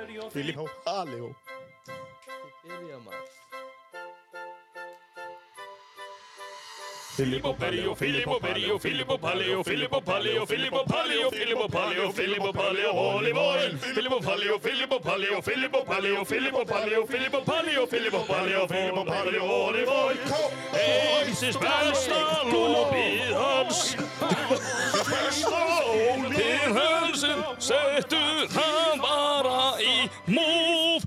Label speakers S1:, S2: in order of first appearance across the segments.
S1: Mario
S2: Filho, valeu.
S3: Filho, mano.
S2: Filho,
S1: Paleo, Filippo Paleo, Filippo Paleo, Filippo Paleo, Filippo Paleo, Filippo Paleo, Filippo Paleo, Holy Boy. Filippo Paleo, Filippo Paleo, Filippo Paleo, Filippo Paleo, Filippo Paleo, Filippo Paleo, Filippo Paleo, Holy Boy. Eins is besta lopið hans. Besta lopið hans en settu það bara í múf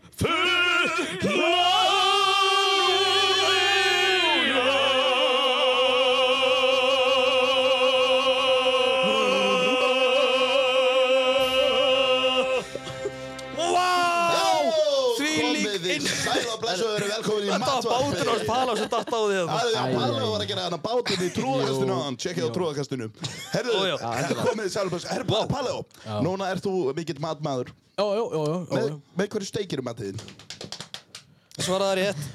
S4: Því
S2: Komið þið sæl og blessuð og verið velkomin í
S4: Þetta var
S2: matvarpið.
S4: bátur ás pala sem datt á því
S2: Það er það
S3: Æ,
S2: Palli
S3: æ,
S2: var að gera þannig bátinn í trúðakastinu áðan, tjekkið á trúðakastinu. Herðu,
S4: Ó, já.
S2: herðu, komið þið sælum þessu. Herðu, Palli, núna ert þú mikill matmaður.
S3: Jó, jó, jó, jó,
S2: Með,
S3: jó.
S2: með hverju steikir um matiðin?
S4: Svaraði rétt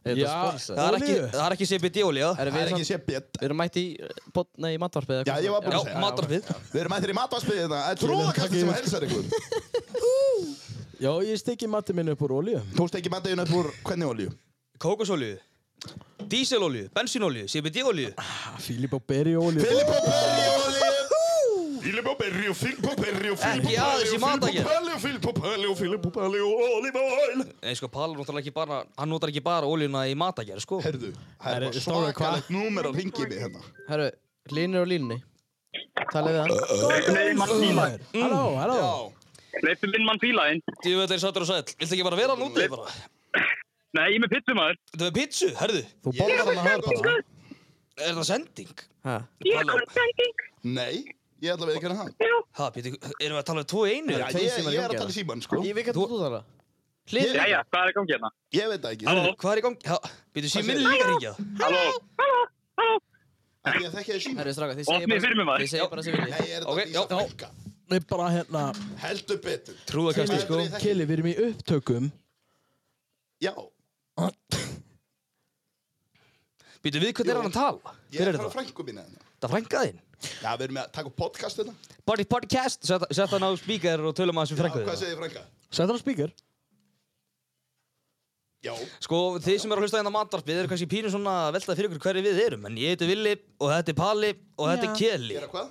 S3: Já,
S4: Það er ekki,
S3: olíu?
S4: það er ekki CBD olíja
S2: Það
S3: Erum við
S2: er ekki
S3: samt-
S2: sé bjett.
S3: við erum mætt í,
S5: eh,
S3: bot- nei, í matvarpið
S2: Já, ég var búinn
S4: Já,
S2: að segja.
S4: matarfið
S2: Við erum mættir í matvarpið þetta. Það er trúðakastin sem helsar ykkur.
S3: Já, ég stekki matið minn upp úr olíu.
S2: Þú steikir matiðin upp úr hvernig olju?
S4: Kókosolíu Díselolíu, bensínolíu, CBD olíu
S3: Filip og Berri olíu.
S2: Filippo Perri olju! Filippo Perri og Filippo Perri og Filippo
S4: Ekki aðeins í matargerð.
S2: Perri og Filippo Perri og Filippo Perri og Olive Oil.
S4: Nei, sko, Palur notar ekki bara, hann notar ekki bara olíuna í matagerð, sko
S2: Herðu, það
S3: Herru,
S2: er
S3: stóra, hvað?
S2: svakalegt númer á ringinni hérna.
S3: Herru, línir á línni. Talið við hann.
S6: Leiftu minn mann bílaðinn.
S3: Halló,
S2: Mm.
S3: halló.
S6: Leiftu minn mann bílaðinn.
S4: Því við þetta er sattur og sæll Viltu ekki bara vera hann úti bara?
S6: Nei, ég er með pizzu maður.
S4: Þetta er pizzu, herðu
S3: Þú borðar hann að hör bara.
S4: Er það sending?
S3: Ha.
S4: Ég er
S2: Nei, ég ætla að veikana það.
S4: Ha, býtu, erum við að tala um tvo í einu?
S2: Já,
S3: tveir
S2: ég,
S3: símar í
S2: ég er
S3: gangi,
S2: að tala
S3: eða?
S2: í síman, sko.
S3: Ég veit hvað þú þarna.
S2: Ég-
S6: Jæja, hvað er að gangi hérna?
S2: Ég veit það ekki.
S4: Herðu, hvað er í gangi? Ha, býtu, síminn er líka ringjað
S6: Halló, halló, halló.
S2: Ekki að þekki það síman.
S3: Herru, stráka, þið
S6: segið Opnið bara- fyrir mig, maður. þið
S3: segja bara sem
S2: Nei, ég er
S4: Ok,
S2: þetta að vísa
S4: já.
S2: fækka.
S3: Nei, bara hérna.
S2: Heldur betur.
S4: Trúðakasti, sko
S2: Ég þekki-
S3: Kili, við erum í upptökum.
S2: Já,
S4: Býtu, við hvern er hann að tala?
S2: ég
S4: Hver
S2: er
S4: er
S2: að fara
S4: þetta?
S2: frængu mín hérna.
S4: Það frængaðinn?
S2: Já, við erum með að taka upp podcast hérna.
S4: Party Podcast, sett sett hann á spíkar og tölum aðeins um
S2: Já, Hvað
S4: frængaðinn
S2: segir frænga?
S3: Sett hann á speaker.
S2: Já,
S4: Sko, þið sem eru að hlusta hérna á mandarpið eru kannski pínu svona að velta fyrir ykkur hverju við erum en ég heiti Villi og þetta er Palli og þetta er Keli
S2: gera hvað?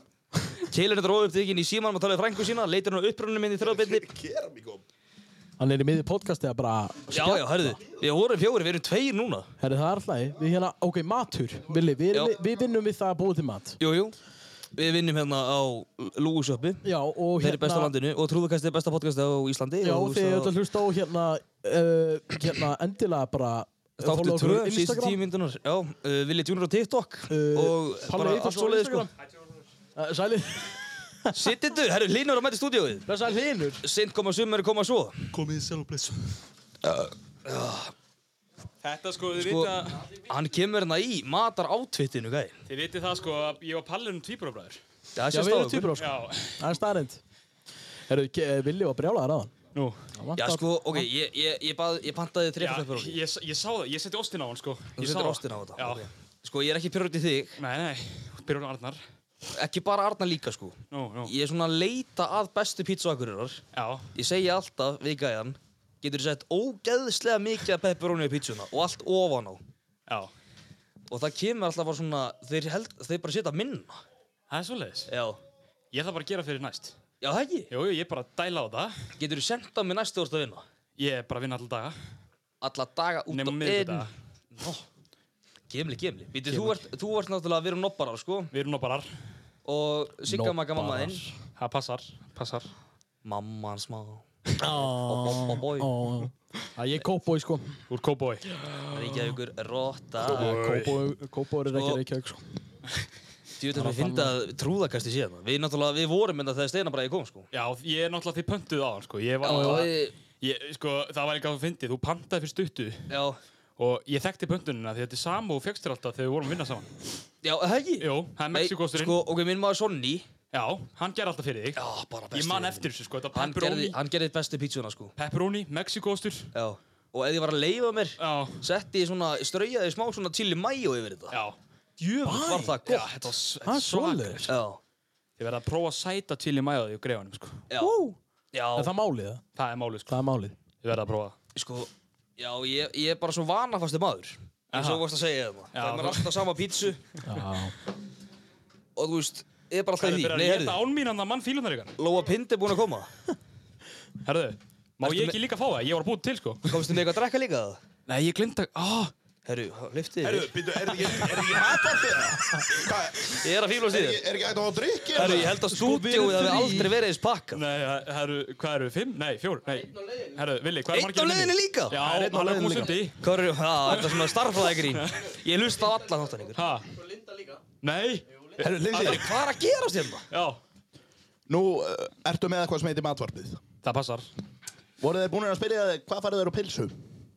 S4: Keli er þetta óupptíkin í símanum að tala við frængu sína leitur hann á upprunni minn í þrjóðbindi
S2: Gera mig góð.
S3: Hann er í miðið podcasti að bara...
S4: Já, já, hörðu, við vorum fjóri, við erum tveir núna
S3: Herru, það er alltaf, við hérna, ok, matur, Vili, við, erum-
S4: Já.
S3: við, við vinnum við það að búa til mat.
S4: Jú, jú, við vinnum hérna á Lúusöppi
S3: Já, og hérna-
S4: Þeir eru besta á landinu og trúðukastið er besta podcastið á Íslandi
S3: Já,
S4: Hérna- og
S3: þið eru alltaf að hlusta á hérna, uh, hérna endilega bara eh,
S4: Þáttu
S3: follow okkur
S4: tvö,
S3: á
S4: síðustu
S3: Instagram.
S4: tíu myndunar Já, uh, Villi Junior á TikTok
S3: Eh,
S4: og
S3: Palli
S4: bara
S3: Eithars
S4: allt
S3: á
S4: svoleiði sko
S3: Instagram. Eh, Sæli,
S4: Sittitu, herru, Linur er að mæta í stúdíóið
S3: blessa hlinur.
S4: Sint koma sumur, koma svo
S7: Þetta sko, þið
S4: sko,
S7: vita,
S4: hann kemur hérna í matar átvitinu, gæði.
S7: þið viti það sko að ég var pallin um tvíburabræður.
S4: Það
S3: Já,
S4: sést á
S3: við erum
S4: okkur.
S3: týpur á sko.
S7: Já,
S3: Það er staðrind. Herru, Ke- eh, Villi var brjálaður aðan.
S7: nú.
S4: Já, sko, ok, ég, ég, ég, bað, ég pantaði
S7: Já,
S4: þreifaflöppur á því.
S7: ég, s- ég sá það, ég setti ostin á hann sko.
S4: Þú
S7: Ég sá
S4: setur
S7: það.
S4: ástin á þetta.
S7: Já,
S4: ok. Sko, ég er ekki pyrrönd í þig,
S7: nei, nei, byrjun Arnar.
S4: ekki bara Arna líka, sko.
S7: Nú, nú,
S4: Ég er svona að leita að bestu pítsuakurirar.
S7: já,
S4: Ég segja alltaf við gæjan, getur sett ógeðslega mikið af pepperoni á pítsuna og allt ofan á.
S7: já.
S4: Og það kemur alltaf bara svona, þeir, held, þeir bara setja minna.
S7: Það er svoleiðis.
S4: Já.
S7: Ég ætla bara að gera fyrir næst.
S4: Já, það ekki.
S7: Jú, jú, ég er bara að dæla á það.
S4: Getur þú sendað mér næstu orðst að vinna?
S7: Ég er bara að vinna alla daga.
S4: alla daga út
S7: Nema
S4: og
S7: miðvikudaga.
S4: inn Nó, gemli, gemli Býtu, þú ert, þú ert náttúrulega, við erum nobbarar, sko
S7: Við erum nopparar.
S4: Og Sigga Magga mamma þinn
S7: Það passar, passar.
S4: Mamma hans má
S3: Ó,
S4: Bobboboi,
S3: ó, ó. Já, Ég er kópói sko.
S7: Úr Kóboi.
S4: Reykjavíkur, Rotta
S3: Eh, Kópói er ekki
S4: Sko-
S3: reykjavík sko.
S4: Djúvill við finna trúðakasti síðan Við náttúrulega, við vorum enda þegar Steinar Bragi kom, sko
S7: Já, ég er náttúrulega því pöntuð á hann sko. Ég var
S4: Já,
S7: náttúrulega,
S4: við-
S7: ég, sko, það var eitthvað að fyndið. Þú pantaði fyrir stuttu
S4: já,
S7: og ég þekkti pöntunina því þetta er samu og fjöxtur alltaf þegar við vorum að vinna saman.
S4: já, það ekki
S7: Jú, það er
S4: Nei,
S7: Mexikosturinn.
S4: Sko, ok, minn maður Sonny
S7: Já, hann gerði alltaf fyrir þig.
S4: Já, bara besti
S7: Ég man
S4: vinur
S7: eftir þessu sko, þetta
S4: Hann gerði,
S7: pepperoni,
S4: hann gerði bestu pítsuna, sko
S7: pepperoni, mexikóstur.
S4: Já Og ef ég var að leifa mér
S7: Já,
S4: Setti ég svona, straujaði smá svona chili mayo yfir þetta
S7: já.
S4: Djúvill var það
S7: Já,
S4: gott
S7: þetta var s-
S3: Það
S7: þetta
S3: er
S7: er svakalegt.
S3: svoleiðis.
S4: Já
S7: Ég verði að prófa að sæta til í mæðaði og greifanum sko.
S4: Já, Já,
S3: Er það málið? eða?
S7: Það er málið, sko.
S3: Það er málið.
S7: Ég verð að prófa.
S4: sko, já, ég, ég er bara svo vanafastu maður. Eins og þú varst að segja hérna. það. Það
S7: Já,
S4: er maður alltaf sama pítsu
S3: Já.
S4: og þú veist, ég er bara alltaf í
S7: Það er
S4: því.
S7: byrjað
S4: Nei,
S7: að leta
S4: herðu,
S7: án mín hann að mann fílunar ykkar.
S4: Lóa Pind er búin að koma.
S7: Herðu, má
S4: Ertu með-
S7: ég ekki líka fá það? Ég var að búið til, sko.
S4: Komstu með eitthvað að drekka líka það?
S7: Nei, ég glemt að... Ah,
S4: Herru, lyftið
S2: Herru,
S4: yfir.
S2: býttu, er ég er ég matvarpið? Hvað,
S4: Ég er að fíla á
S2: er
S4: stíðir.
S2: ég- er ekki hægt að fá hérna? að drikki?
S4: Herru, ég held að stúdíóið hafi aldrei verið eins pakkað.
S7: Nei, það það eru, hvað eru, fimm? Nei, fjór, nei. Herru, Vili, hvað er
S4: Eitt á
S7: margir inni?
S4: leiðinni líka? Það
S7: Já,
S4: er einn á
S7: hann er
S4: leiðinni
S7: komið
S4: líka.
S7: sundi.
S4: Hvað eru, já, þetta er svona starfræðagrín. Ég hlusta á alla þáttan ykkur.
S7: Ha? Nei,
S2: Herru,
S4: Hvað
S2: Lindsay,
S4: er- hvað er að gerast hérna?
S7: já,
S2: nú uh, ertu með eitthvað sem heitir matvarpið.
S7: það passar.
S2: Voru þeir búin að spyrja þig hvað farið þeir á pilsu?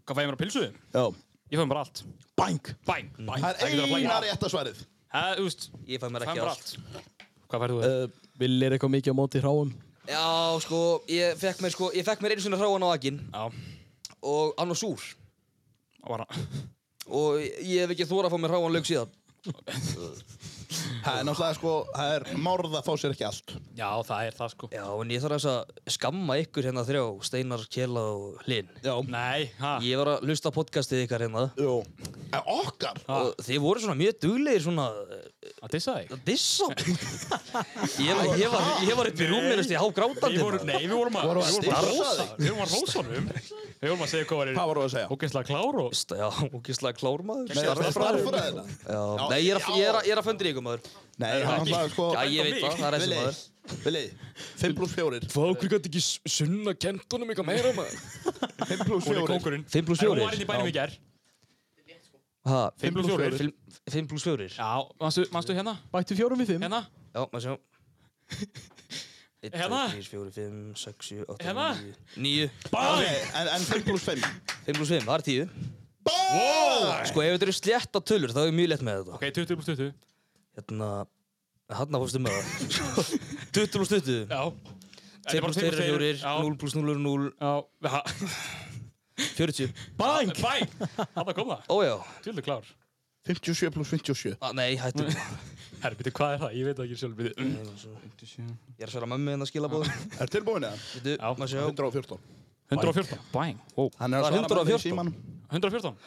S7: Hvað fæði mér á pilsuðum?
S2: Já.
S7: Ég fæði mér allt.
S2: Bang.
S7: Bæn, bæn.
S2: Það er eina rétta svarið.
S7: Það, þú veist,
S4: Ég fæ mér
S7: fæði
S4: ekki
S7: mér
S4: allt.
S7: allt. Hvað færðu þú?
S3: Uh, Vil er eitthvað mikið á móti hráum?
S4: Já, sko, ég fekk mér, sko, ég fekk mér einu sinni hráan á aginn
S7: Já,
S4: og annar súr
S7: var hann.
S4: og ég hef ekki þóra að fá mér hráan lauk síðan.
S2: Það er náttúrulega sko, það er márð að fá sér ekki allt.
S7: Já, það er það, sko.
S4: Já, en ég þarf aðeins að skamma ykkur hérna þrjá, Steinar, Kjela og Linn.
S2: Já.
S7: Nei, ha?
S4: Ég var að hlusta á podcastið ykkar hérna
S2: Jú. En okkar?
S4: og þið voru svona mjög duglegir svona eh,
S7: Að dissa þig?
S4: að dissa mig. ég, var- ég, var, ég var upp í rúminu og ég há grátandi.
S7: Við vorum,
S4: maður.
S7: nei, við vorum að,
S2: Vorum að
S7: við vorum að
S2: stilla
S7: rósa
S2: þig?
S7: Við vorum að rósa honum Við vorum að segja hvað
S2: Hvað
S7: var
S2: voru að segja?
S7: Ógeinslega klár og
S4: Sta- Já, ógislega klármaður.
S2: Nei, það er starffræðina.
S4: Já, nei, ég er, að- ég er, að- ég er að föndri ykkur maður.
S2: Nei, það er náttúrulega sko...
S4: Já, ég veit það, það er þessi maður.
S2: Vili, 5 pluss 4.
S7: Fá, hvernig gæti ekki sunna kentunum eitthvað meira maður?
S2: 5 pluss
S7: Hún er
S2: 4.
S7: kókurinn.
S4: Fimm plús
S7: En Hún
S4: fjórir?
S7: var inn í bænum í ger.
S4: Ha,
S7: 5 pluss 4.
S4: 5 pluss 4.
S7: Já, manstu, manstu hérna?
S3: Bættu fjórum við fimm.
S7: Hérna?
S4: Já, maður sjá 1, 2,
S7: Hérna?
S4: 3, 4, 5, 6, 7, 8,
S7: Hérna?
S4: 9 9,
S2: Ok, en, en 5 pluss 5.
S4: 5 pluss 5, það er 10
S2: Wow!
S4: Sko, ef þetta eru slétt á tölur, þá er ég mjög lett með þetta
S7: Ok, 20 pluss 20.
S4: Hérna, hann að fórstu með það 20 pluss 20
S7: Já.
S4: 2 pluss 2 er 4, 0 pluss 0 er 0,
S7: Já. Já.
S4: 40
S7: Bang! Bang! Hanna kom það.
S4: Ójá,
S7: Tjóðlega klár.
S2: 57 pluss 57.
S4: ah, nei, hættu nú.
S7: Herri, byrju, hvað er það? Ég veit það ekki sjálf, byrju.
S4: Ég er að svara mömmu hennar skilabóð
S2: Er tilbúin eða?
S4: Veitu,
S7: Já.
S4: maður sjá
S2: 114.
S7: 114. Bang. Ó.
S2: Hann er
S4: Það er
S2: að svara með því
S4: 114.
S2: síman.
S7: 114.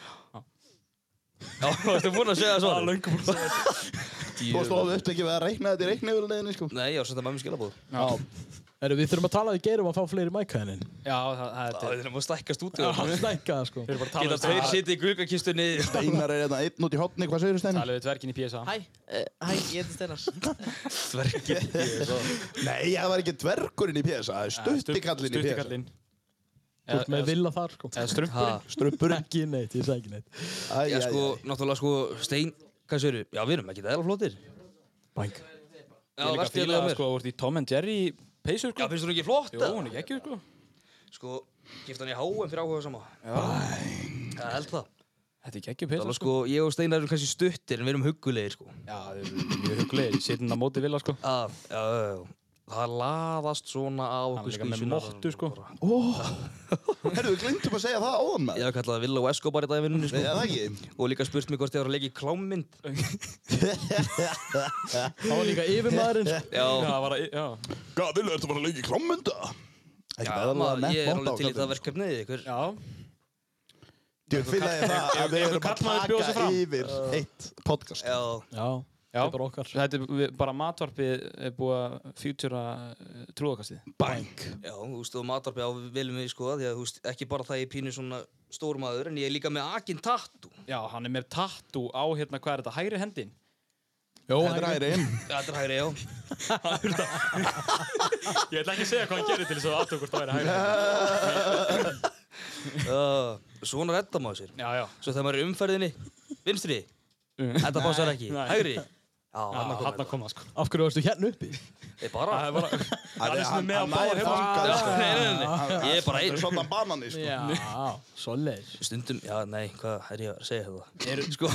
S4: Já, ertu búin að segja það
S7: Það er
S4: svona?
S7: löngum búin að segja þetta.
S2: Þú varst ofið upptekið við að reikna þetta í reikniðurleginni, sko.
S4: Nei, já, senda mömmu skilabóð
S2: Já.
S3: Herru, við þurfum að tala við geirum að fá fleiri mækæðin.
S7: Já, það það er
S4: Það
S7: til.
S4: er að stækka stúdíu
S3: Það er stækka, sko.
S7: Við erum bara að tala
S4: Geta
S7: um
S4: tveir
S7: það.
S4: sitið í guggakistunni
S2: Steinar er þetta einn út í hotni, hvað segir þú, Steinar?
S7: Talið við dvergin í PSA.
S5: Hæ, uh, hæ, ég heiti Steinar.
S2: Nei, það var ekki dvergurinn í PSA, það er stuttikallinn í PSA.
S7: Stuttikallin.
S3: Þú
S7: Eh,
S3: ert með villa þar, sko.
S7: Eða strumpurinn.
S2: Strumpurinn.
S3: Ekki neitt, ég segi ekki neitt.
S2: Æ,
S4: Já,
S2: æ,
S4: sko,
S2: æ.
S4: náttúrulega, sko, Stein, hvað séru? Já, við erum ekki eðla flottir.
S3: Bang.
S4: Já,
S7: Ég er líka að
S4: verstu
S7: fíla
S4: eðla
S7: það
S4: mér.
S7: sko, þú ert í Tom and Jerry peysur
S4: Já,
S7: sko.
S4: finnst þú ekki flott?
S7: Jó,
S4: eða?
S7: hún er ekki ekki sko.
S4: Sko, gift hann í HM fyrir áhuga sama. Já. Já, held það.
S7: Þetta er ekki ekki peysa
S4: Náttúrulega, sko, ég og Steinar erum kannski stuttir en við erum huggulegir, sko.
S7: Já, það er mjög huglegir, sittin á móti vilja sko.
S4: Já, já, já, já. Það laðast svona á
S7: Hann
S4: okkur,
S7: er
S4: sko,
S7: líka með móttu sko.
S2: Herru, við glemtum að segja það áðan með.
S4: Ég hef kallað Villa og Escobar í dag í vinnunni,
S2: Nei,
S4: sko.
S2: það ekki.
S4: Og líka spurt mig hvort ég var að leggja í klámynd.
S3: Það var líka yfirmaðurinn,
S4: Já,
S3: sko.
S7: Já, það var að, já.
S2: Hvað, villu, ertu bara að leika í klommunda?
S4: já, maður, ég er alveg til
S2: sko.
S4: í það verkefnið, ykkur.
S7: Já,
S2: Ég finn að það að við
S7: ef- ef
S2: erum að
S7: karlmaður bjóð sig
S2: taka
S7: fram.
S2: yfir eitt podcast.
S4: Já,
S3: Já,
S7: já.
S3: þetta er okkar.
S7: Þetta er við- bara matvarpið er búið að eh, fjútjúra trúðakastið.
S2: Bang.
S4: já, þú veist, og matarpi á viljum við, sko, því að, þú veist, ekki bara það ég pínu svona stórmaður, en ég er líka með akin tattu.
S7: Já, hann er með tattu á hérna, hvað er þetta, hægri hendin?
S3: Jó,
S2: Þetta er inn.
S4: Þetta er hægri, já.
S7: Ég ætla ekki að segja hvað hann gerir til þess að áttu hvort það væri hægri hendin.
S4: Uh, svona redda maður sér
S7: Já, já.
S4: Svo þegar maður er í umferðinni Vinstri, þetta passar ekki
S7: nei.
S4: Hægri, Mm. já, hann að
S7: Hann
S4: koma
S7: að koma sko.
S3: af hverju varstu hérna uppi?
S4: Ég bara,
S7: Það er bara, hann er svona með að báða hérna.
S4: Já,
S2: hérna.
S4: nei, nei, nei, nei Ég er bara einn
S2: Svona banani, sko.
S3: Já, svoleiðis.
S4: Stundum, já, nei, hvað er ég að segja þetta er, Sko,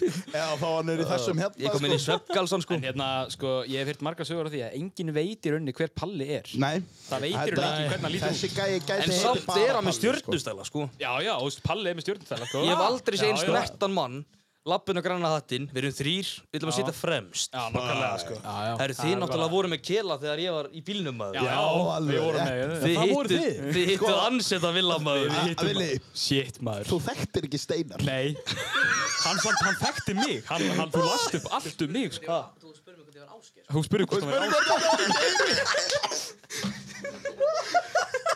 S2: Eða þá hann er í þessum hérna,
S4: ég kom inn í svefngalsan, sko
S7: En hérna, sko, ég hef hirt marga sögur af því að enginn veit í rauninni hver Palli er.
S2: sko. Nei.
S7: Það veitir hún ekki hvernig hann lítur út.
S2: Þessi gæi gæti
S4: En
S2: heitið
S4: samt
S2: bara
S4: er hann með
S2: Palli, sko.
S4: stjörnustæla, sko Ah!
S7: Já, já, þú veist, Palli er með stjórnstæla, sko.
S4: Ég hef aldrei
S7: Já,
S4: segið
S7: já.
S4: snertan mann lappin og granna hattinn, við erum þrýr, við ætlum að sitja fremst. Já, nokkarlega, sko.
S7: Já, já.
S4: Það eru þið náttúrulega voru með kela þegar ég var í bílnum, maður.
S7: Já, við vorum með
S4: Þið
S3: Það voru
S4: hittuð,
S3: þið.
S4: þið hittuð ansett að vilja, maður.
S7: Við hittum-
S2: Vili,
S7: Shit, maður.
S2: þú þekktir ekki steinar.
S7: Nei, hann, hann, hann þekkti mig, hann, hann, þú last upp allt um mig, sko.
S5: Þú spurði mig hvernig ég var ásker.
S7: Hún spurði hvort hann var
S2: Spurðu hvort það var Geiri.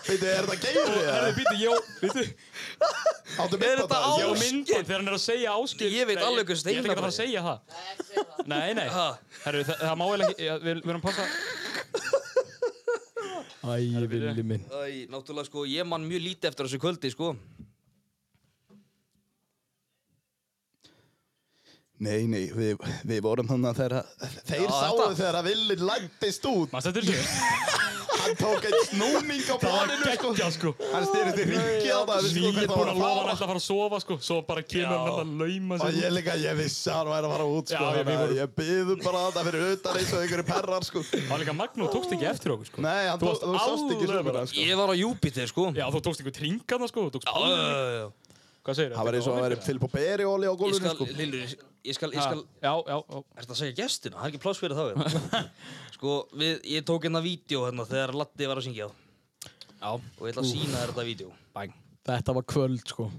S2: Veitu, er þetta Geiri? eða?
S7: Herðu, býti, ég, býti,
S2: Áttu
S4: Er
S2: mynd á
S4: þetta
S2: það?
S7: ég á
S4: Ásgeir.
S7: myndband þegar hann er að segja áskil.
S4: Ég veit alveg hvað
S7: Ég ætla ekki að fara að
S4: Steinar
S7: segja það. Nei, nei.
S4: Ha.
S7: Herru, það, það má eiginlega ekki, ja, við, við erum að passa.
S3: Æ, villi minn.
S4: Æ, náttúrulega, sko, ég man mjög lítið eftir þessu kvöldi, sko.
S2: Nei, nei, við, við vorum hann að þeirra... Þeir
S4: Já,
S2: sáu
S4: þetta-
S2: þegar að Vili lættist út.
S7: Maður stættir þessu.
S2: Hann tók einn snúning á
S7: Það var
S2: planinu, sko.
S7: geggja, sko.
S2: Hann styrist í ringi á það. við
S7: Svíð
S2: sko,
S7: er
S2: hvernig það
S7: búin að lofa
S2: var
S7: hann
S2: fara.
S7: alltaf að fara að sofa, sko. Svo bara kemur hann alltaf að lauma
S2: Og
S7: sig.
S2: Ah, ég líka, ég vissi að hann væri að fara út, sko.
S7: Já, já, við
S2: þannig að
S7: vorum-
S2: Ég byðum bara þetta fyrir utan eins og einhverju perrar, sko.
S7: Það var líka Magnú, tókst ekki eftir okkur, sko.
S2: Nei, hann
S7: Þú
S2: tók,
S7: varst
S2: þú sást ekki
S7: alveg bara-
S2: sömurna, sko.
S4: Ég var á Júpiter, sko.
S7: Já, þú tókst einhver tringaðna, sko. Þú tókst
S4: Já, já, já, já.
S7: Hvað segir
S2: Það var eins og að væri Filip og Beri óli á
S4: Ég
S2: gólunni,
S4: skal,
S2: sko.
S4: Lillur, ég skal, ég skal,
S7: Já, já, já.
S4: er þetta að segja gestina? Það er ekki pláss fyrir þá, ég. Sko, við, ég tók hérna vídeo hérna þegar Latti var að syngja á. Já. Og ég ætla að sína þér þetta vídeo. Bang.
S3: Þetta var kvöld, sko.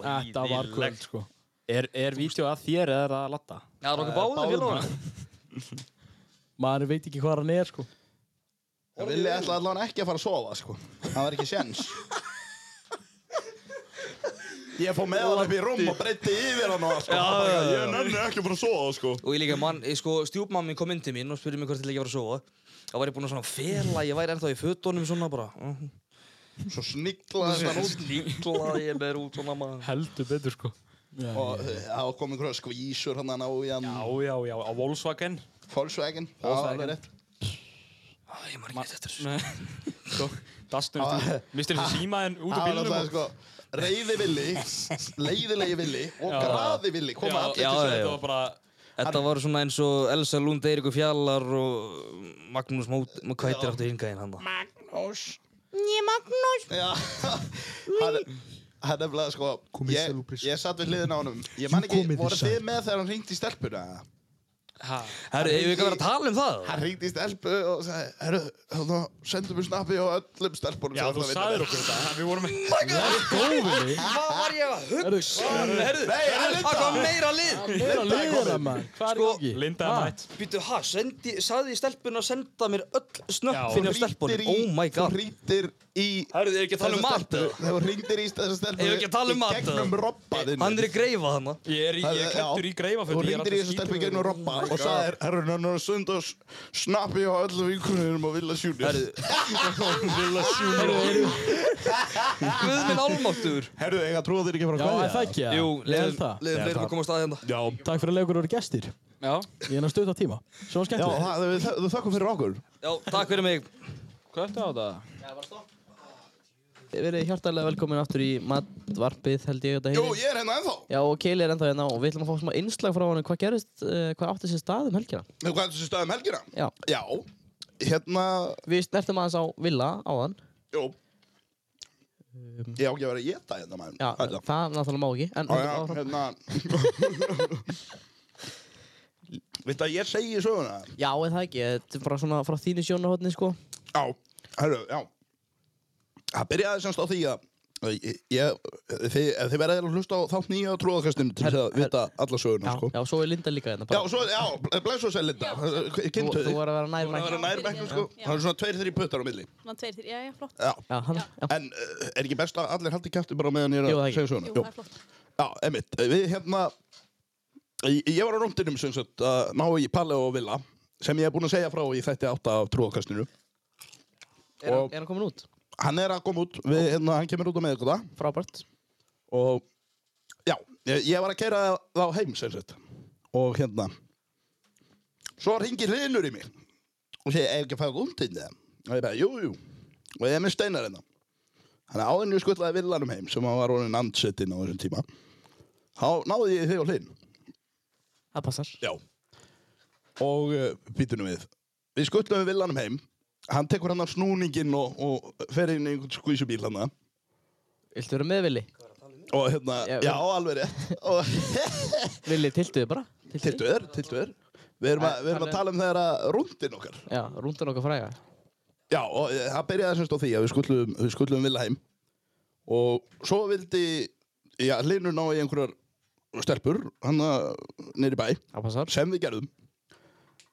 S3: Þetta var kvöld,
S4: Hræðilegt.
S3: sko.
S7: Er, er vídeo að þér eða er það að latta?
S4: Já, það er okkur báðið fyrir hana.
S3: Maður veit ekki hvað hann er, sko.
S2: Vili ætlaði allavega ekki að fara að sofa, sko. Það var ekki sjens. Ég fór með hann upp í rúm og breytti yfir hann og allt, sko.
S4: Já,
S2: Hann bara,
S4: já, já.
S2: Ég nenni ekki að fara að sofa, sko.
S4: Og ég líka, mann, ég, sko, stjúpmammi kom inn til mín og spurði mig hvort ég ekki var að sofa. Þá var ég búinn að svona fela, ég væri ennþá í fötunum svona bara. mhm.
S2: Svo sniklaðist hann út
S4: Sníklaði ég með út svona maður.
S7: Heldur betur sko.
S2: og eh, það kom einhverja skvísur hann á í hann.
S7: Já, já, já, á Volkswagen.
S2: Volkswagen. Já, alveg rétt.
S4: Æ, ég maður ekki þetta.
S7: Dastum eftir, sko. mistir þessu síma en út á
S2: Ah. Það var
S7: bílunum.
S2: náttúrulega
S7: og-
S2: sko, reyði villi, leiðilegi villi og graði villi
S7: Já,
S2: koma allir
S4: já, já.
S2: til sér.
S7: Þetta var bara,
S4: Þetta var svona eins og Elsa Lund, Eiríkur Fjallar og Magnús Mót, hvað heitir aftur hingæðin hann það?
S2: Já, hann hann er nefnilega sko, ég, ég satt við hliðin á honum. Ég man ekki, voru þið með þegar hann ringdi í stelpuna?
S4: Herru, hefur við ekki að vera að tala um það?
S2: Hann ringdi í stelpu og sagði, herru, þá sendu mér snappi á öllum stelpunum.
S7: já,
S2: sem
S7: þú
S2: þarna
S7: sagðir
S2: vinna
S7: okkur þetta.
S2: Oh
S7: Við vorum með,
S4: Hvað var ég að hugsa?
S3: Erðu,
S4: Herru,
S2: Nei, hann er
S4: það kom meira lið.
S3: hvað er að liða það, maður? Hvað er
S4: Sko,
S3: ekki?
S7: Linda er mætt.
S4: Býtu, ha, sendi, sagði ég stelpuna að senda mér öll
S7: Já.
S4: snöppin
S2: með.
S4: af stelpunum. Oh my
S2: Þú
S4: god.
S2: ringdir í
S4: Herru, þið er ekki að tala um
S2: þessa
S4: mat
S2: stelpu.
S4: eða?
S2: Þegar þú ringdir í þessa stelpu
S4: Eigum við ekki að tala um mat,
S2: í gegnum
S4: eða?
S2: robbaðinu.
S4: Hann er í greifa hann.
S7: Ég er, í- ég er klættur í greifa
S2: Þú ringdir í þessu stelpu í gegnum robba og sagðir, herru, hann er að senda snappi á öllum vinkunum og vilja sjúni.
S4: Herru,
S7: Villa sjúna.
S4: guð minn álmáttur.
S2: Herru, ég að trúa þér ekki að
S3: Já,
S2: fara að kveðja.
S3: er það ekki, ja?
S4: Jú,
S3: leiðum
S4: leiðum
S3: það.
S4: fleiri að komast að hérna.
S2: Já,
S3: Takk fyrir að leiða okkur að vera gestir.
S7: Já,
S3: Ég er að stöða tíma.
S2: Já,
S3: Svo skemmtilegt.
S2: það, við, þö- við þökkum fyrir okkur.
S4: Já, takk fyrir mig.
S7: hvað ertu á það?
S5: Verið hjartalega velkomin aftur í matvarpið held ég þetta
S2: Jú,
S5: heitir.
S2: ég er hérna ennþá.
S5: Já og Keili er ennþá hérna og við ætlum að fá smá innslag frá hann hvað gerist, uh, hvað átti sér stað um helgina.
S2: Þú hvað er þessu stöðum helgina?
S5: Já,
S2: Já, hérna,
S5: við snertum aðeins á Villa áðan.
S2: jú. Ég á ekki að vera að geta hérna, maður.
S5: Já,
S2: Ætla.
S5: það náttúrulega má ekki. En
S2: Á, um, já,
S5: áfram.
S2: hérna. Vilt að ég segi söguna?
S5: já eða það ekki, þetta er bara svona frá þínu sjónahotni sko.
S2: Já, herru, já. Það byrjaði semst á því að ég, ég, þið, þið verðið að hlusta á þátt nýja trúðakastinu til þess að vita alla söguna,
S5: Já,
S2: sko.
S5: já, svo er Linda líka hérna.
S2: Já,
S5: bara.
S2: svo, já, blessu sér, Linda.
S5: þú,
S2: Kynntu
S5: þú
S2: þig.
S5: var að vera nær
S2: Það
S5: mæk.
S2: verður nær bekknum, sko.
S8: Já.
S2: Það er svona tveir, þrjir puttar á milli.
S8: Svona tveir, þrjir, já, já, flott.
S2: Já.
S5: Já, hann, já.
S2: En uh, er ekki best að allir haldi kæftu bara meðan ég er
S5: Jú, það
S2: að
S5: ekki.
S2: segja svona?
S8: Jú, það er flott.
S2: Já, emitt. Við hérna, ég, ég var á rúndinum sem sagt að ná í Palle og Villa sem ég er búinn að segja frá í þætti átta af trúakastinu.
S5: Er, hann-
S2: og-
S5: er hann komin út?
S2: Hann er að koma út, við, hérna, hann kemur út á meðgóta
S5: Frábært.
S2: og já, ég, ég var að keira þá heim sem sagt og hérna, svo ringir hlinur í mig og segir, er ekki að fara rúndin það? Og ég bara, jú, jú, og ég er með steinar hérna. Þannig að áðinu skullaði villanum heim sem hann var orðin andsettinn á þessum tíma. Þá náði ég þig á hlinn.
S5: Það passar.
S2: Já Og uh, býtunum við Við skutlum við villanum heim Hann tekur hérna hann af snúninginn og, og fer inn í einhvern skvísubíl hann
S5: Viltu vera með Villi?
S2: hérna. Og hérna,
S5: Já,
S2: já, alveg rétt. Og
S5: Vili, tiltu þið bara. Tylltu þið.
S2: tiltu er, tiltu er. Við erum, að, við erum að tala um þegar að rúndin okkar.
S5: Já, rúndan okkar fræga.
S2: Já, og eh, það byrjaði semst á því að við skullum, við skullum Villa heim. Og svo vildi, já, Linur ná í einhverjar stelpur, hann nýri bæ,
S5: Það passar.
S2: sem við gerðum.